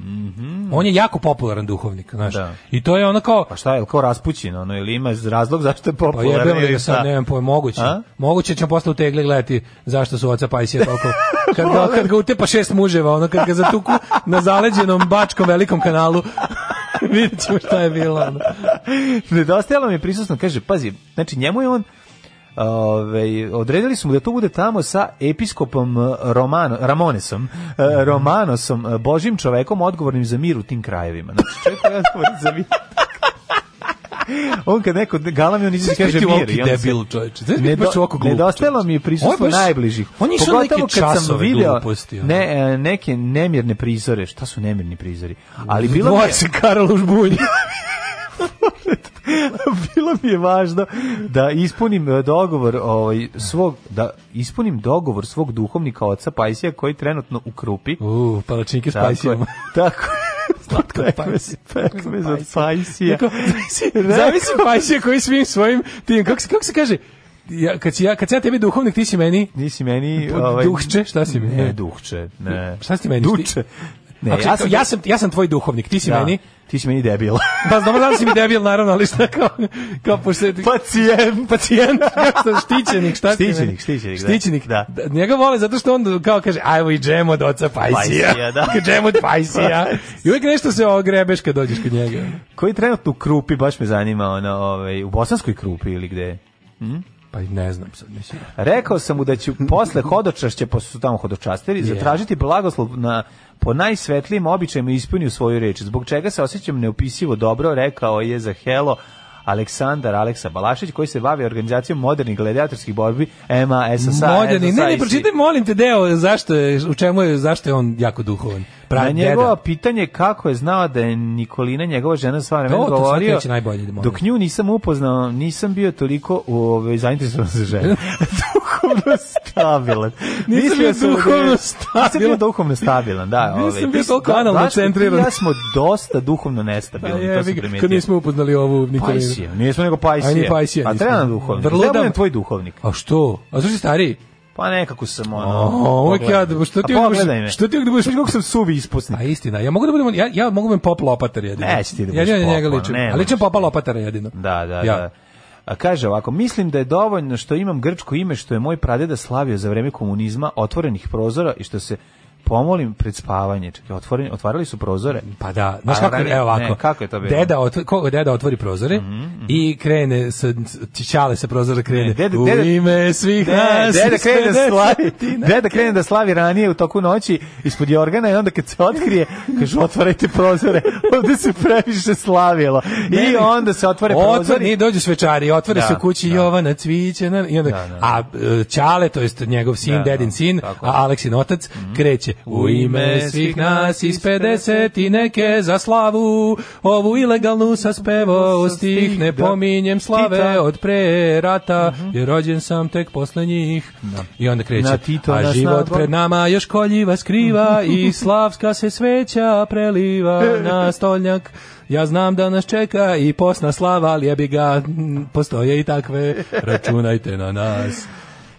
On je jako popularan duhovnik, znaš. Mhm. Da. I to je ono kao Pa šta je, kao raspućin, ono, ili ima razlog zašto je pa popularan? jebem li ili ga šta? sad, nemam pojma, moguće. A? Moguće ćemo posle u tegli gledati zašto su oca Pajsija toliko... Kad ga, kad ga utepa šest muževa, ono, kad ga zatuku na zaleđenom bačkom velikom kanalu, vidjet ćemo šta je bilo. Ono. Nedostajalo mi je prisutno, kaže, pazi, znači njemu je on Ove, odredili smo da to bude tamo sa episkopom eh, Romano, Ramonesom, Mhm. eh, Romanosom, eh, božim čovekom odgovornim za mir u tim krajevima. Znači, čovjek koji je odgovoran za mir. on kad neko galami, on izgleda Znaš kaže biti mir. ovaki i on se- debil, čovječe. Znaš biti Nedo- baš ovako glup, Nedostajalo mi je čovječe. prisustvo Ovo je baš- najbližih. On je išao na Pogotovo neke kad sam časove video gluposti, ono. ne, eh, neke nemirne prizore. Šta su nemirni prizori? Ali bilo mi je... Dvoje se karalo u žbunju. bilo mi je važno da ispunim e, dogovor ovaj svog da ispunim dogovor svog duhovnika oca Pajsija koji trenutno u Krupi. U, palačinke s je, Ja. Pajsijom. tako. Slatko Slatko je Pajsija. Pekmez od Pajsija. Tako, Zavisi Pajsija koji svim svojim tim, kako se, kako se kaže, ja, kad, si ja, kad sam ja tebi duhovnik, ti si meni Nisi meni ovaj duhče, šta si mi? Ne, duhče, ne. Šta si ti meni? Duče. Ne, ja, sam, ja, sam, ja sam tvoj duhovnik, ti si da, meni. Ti si meni debil. Pa znam da si mi debil, naravno, ali šta kao, kao pošto je Pacijent. pacijent, kako sam štićenik, šta si meni? Štićenik, štićenik, da. štićenik. Da. Njega vole zato što on kao kaže, a evo i džem od oca Pajsija. Pajsija, da. džem od Pajsija. I uvijek nešto se ogrebeš kad dođeš kod njega. Koji trenutno u Krupi, baš me zanima, ono, ovaj, u bosanskoj Krupi ili gde je? Pa i ne znam sad, mislim. Rekao sam mu da ću posle hodočašća, pošto su tamo hodočasteri, zatražiti blagoslov na po najsvetlijim običajima i ispunio svoju reč. Zbog čega se osjećam neopisivo dobro, rekao je za Helo Aleksandar Aleksa Balašić, koji se bavi organizacijom modernih gladiatorskih borbi EMA, SSA, Moderni, SSA, ne, ne, pročitaj molim te deo zašto je, u čemu je, zašto je on jako duhovan. Na Pravi njegovo deda. pitanje kako je znao da je Nikolina njegova žena sva vremena To, to sam govorio, treći najbolji, molim. dok nju nisam upoznao, nisam bio toliko ovaj, zainteresovan za žene. duhovno stabilan. Nisam Mislio bio sam da je- duhovno Nisam bio stabilan. duhovno stabilan, da. Nisam ovaj. bio toliko Da, analno Daško, ti i centriran. Ja smo dosta duhovno Pa nestabilni, to jebi sam ga, primetio. Kad nismo upoznali ovu Nikolinu. Pajsija, nismo nego Pajsija. A ni Pajsija Pa nismo. treba nam duhovnik. Vrlo Treba da- nam tvoj duhovnik. A što? A zašto si stariji? Pa nekako sam ono... O, uvek pogledaj. ja, što ti A uvek budeš- pogledaj me. što ti uvek budeš- Znaš kako sam suvi ispusnik. A istina, ja mogu da budem, ja, ja mogu da budem pop lopatar jedino. Neće ti da budeš Jedino na njega pop, ono, ličim. ne A ličim možeš. popa lopatara jedino. Da, da, Ja. da. A kaže ovako, mislim da je dovoljno što imam grčko ime što je moj pradeda slavio za vreme komunizma, otvorenih prozora i što se pomolim pred spavanje. Čekaj, otvoreni, otvarali su prozore. Pa da, znaš A, kako, ranije- evo ovako. ne, kako je to bilo? Mhm, Deda, otv, ko, deda otvori prozore i krene, sa, čičale se prozora krene. Ne, deda- u deda- ime svih Ne, nas. deda iz krene da 50 slavi, tina. deda krene da slavi ranije u toku noći ispod jorgana i onda kad se otkrije, kažu otvarajte prozore, ovde se previše slavilo. I onda se otvore Otvori, prozori. nije dođu svečari, otvore Da, se u kući da. Jovana Cvićana i onda, Da, da. a e, Ćale, to jest njegov sin, Da, da, dedin sin, tako a je. Mhm. Aleksin otac, kreće u ime svih nas iz 50 i neke za slavu, ovu ilegalnu sa spevo stih, ne Da. pominjem slave Tita. E, od pre rata, jer rođen sam tek posle njih. I onda kreće, Mhm. Na Tito a nas život nabog. pred nama još koljiva skriva i slavska se sveća preliva na stolnjak. Ja znam da nas čeka i posna slava, ali jebi ga, mm, postoje i takve, računajte na nas.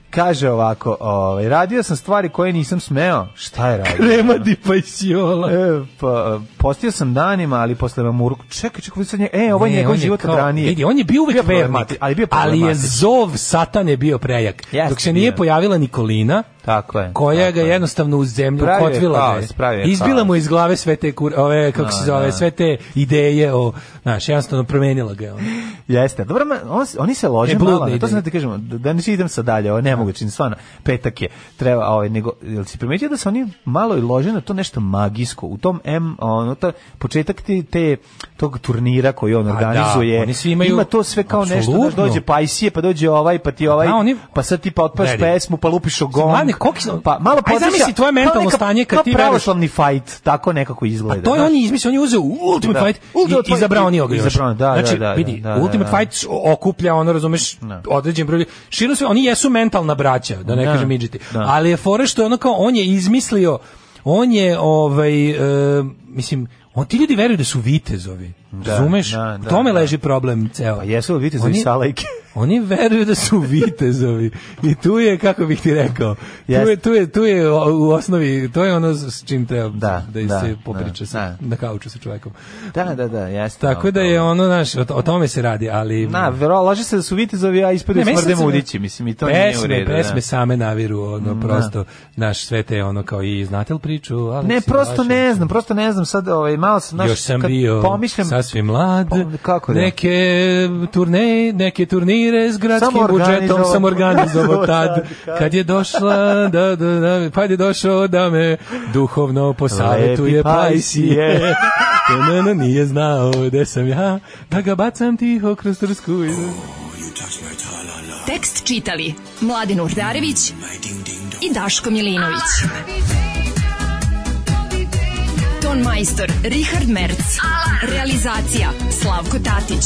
Kaže ovako, ovaj, radio sam stvari koje nisam smeo. Šta je radio? Remadi pa i siola. E, pa, postio sam danima, ali posle mamurku, čekaj, čekaj, sad nje, e, ovo je Ne, njegov on je život kao- od ranije. Vidi, on je bio uvek vernik, problemati- ali bio ali je problematičan. zov satane bio prejak. Jeste Dok se nije bio. pojavila Nikolina, Tako je. koja tako ga jednostavno u zemlju Pravio je kotvila haos, ga pravio je. je Izbila haos. mu iz glave sve te kur, ove kako se zove, sve te ideje o, znaš, jednostavno promenila ga je ona. Jeste. Dobro, ma, on, s- oni se lože E, bludne malo, na to ideje. sam da ti kažemo, da, da ne idem sa dalje, ovo je nemoguće, stvarno, petak je, treba, ovaj, nego, jel si primetio da se oni malo i lože na to nešto magijsko, u tom M, ono, ta, početak te, te, tog turnira koji on Pa da, organizuje, oni svi imaju- ima to sve kao nešto, Apsolutno. da dođe Pajsije, pa dođe ovaj, pa ti ovaj, Da, oni- pa sad ti pa otpaš Veri. pesmu, pa lupiš o gong, Mlade, koliki su- pa malo Aj, zamisli tvoje mentalno stanje kad ti veruješ. veruješ- pravoslavni fight, tako nekako izgleda. A to je znaš. on je izmislio, on je uzeo Ultimate Da. Fight Ultimate i Fight izabrao i- on igra. izabrao, da, da, znači, da, da, vidi, da, da, Ultimate da. Fight s- okuplja, ono, razumeš, određen broj. ljudi. Širno sve, oni jesu mentalna braća, da ne Da. kažem midžeti. Da. Ali je fore što je ono kao, on je izmislio, on je, ovaj, e, mislim, O, ti ljudi veruju da su vitezovi. Razumeš? da, da, U tome da. leži problem ceo. Pa jesu li vidite za Oni- salajke? Oni veruju da su vitezovi i tu je, kako bih ti rekao, tu Jeste. je, tu je, tu je o- u osnovi, to je ono s s čim treba Da, da, da, se popriča da, sa, da. na kauču sa čovekom. Da, da, da, jeste. Tako ali da to- je ono, znaš, o, o tome se radi, ali... Na, vero, laže se da su vitezovi, a ispade meni smrde sad se- mudići, mislim, i to nije u pesme, redu. da. pesme same naviru, ono, prosto, znaš, sve te ono kao i znate li priču? Ne, Aleksi prosto ne Miloševiću? znam, prosto ne znam, sad ovaj, malo sam, znaš, Još sam kad bio pomišljam, sasvim mlad, Pom- kako da? neke, turneje, neke turnire s gradskim Samo budžetom organizovao- sam organizovao tad, Kad- kad je došla, da, da, da, pa je došao da me duhovno Lepi posavetuje, pa i si je. je. Ne, ne, nije znao gde sam ja, da ga bacam tiho kroz trsku. Tekst čitali Mladin Urdarević i Daško Milinović. Ton majstor Richard Merc. Realizacija Slavko Tatić.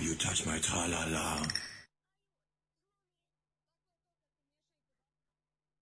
You touch my tra-la-la.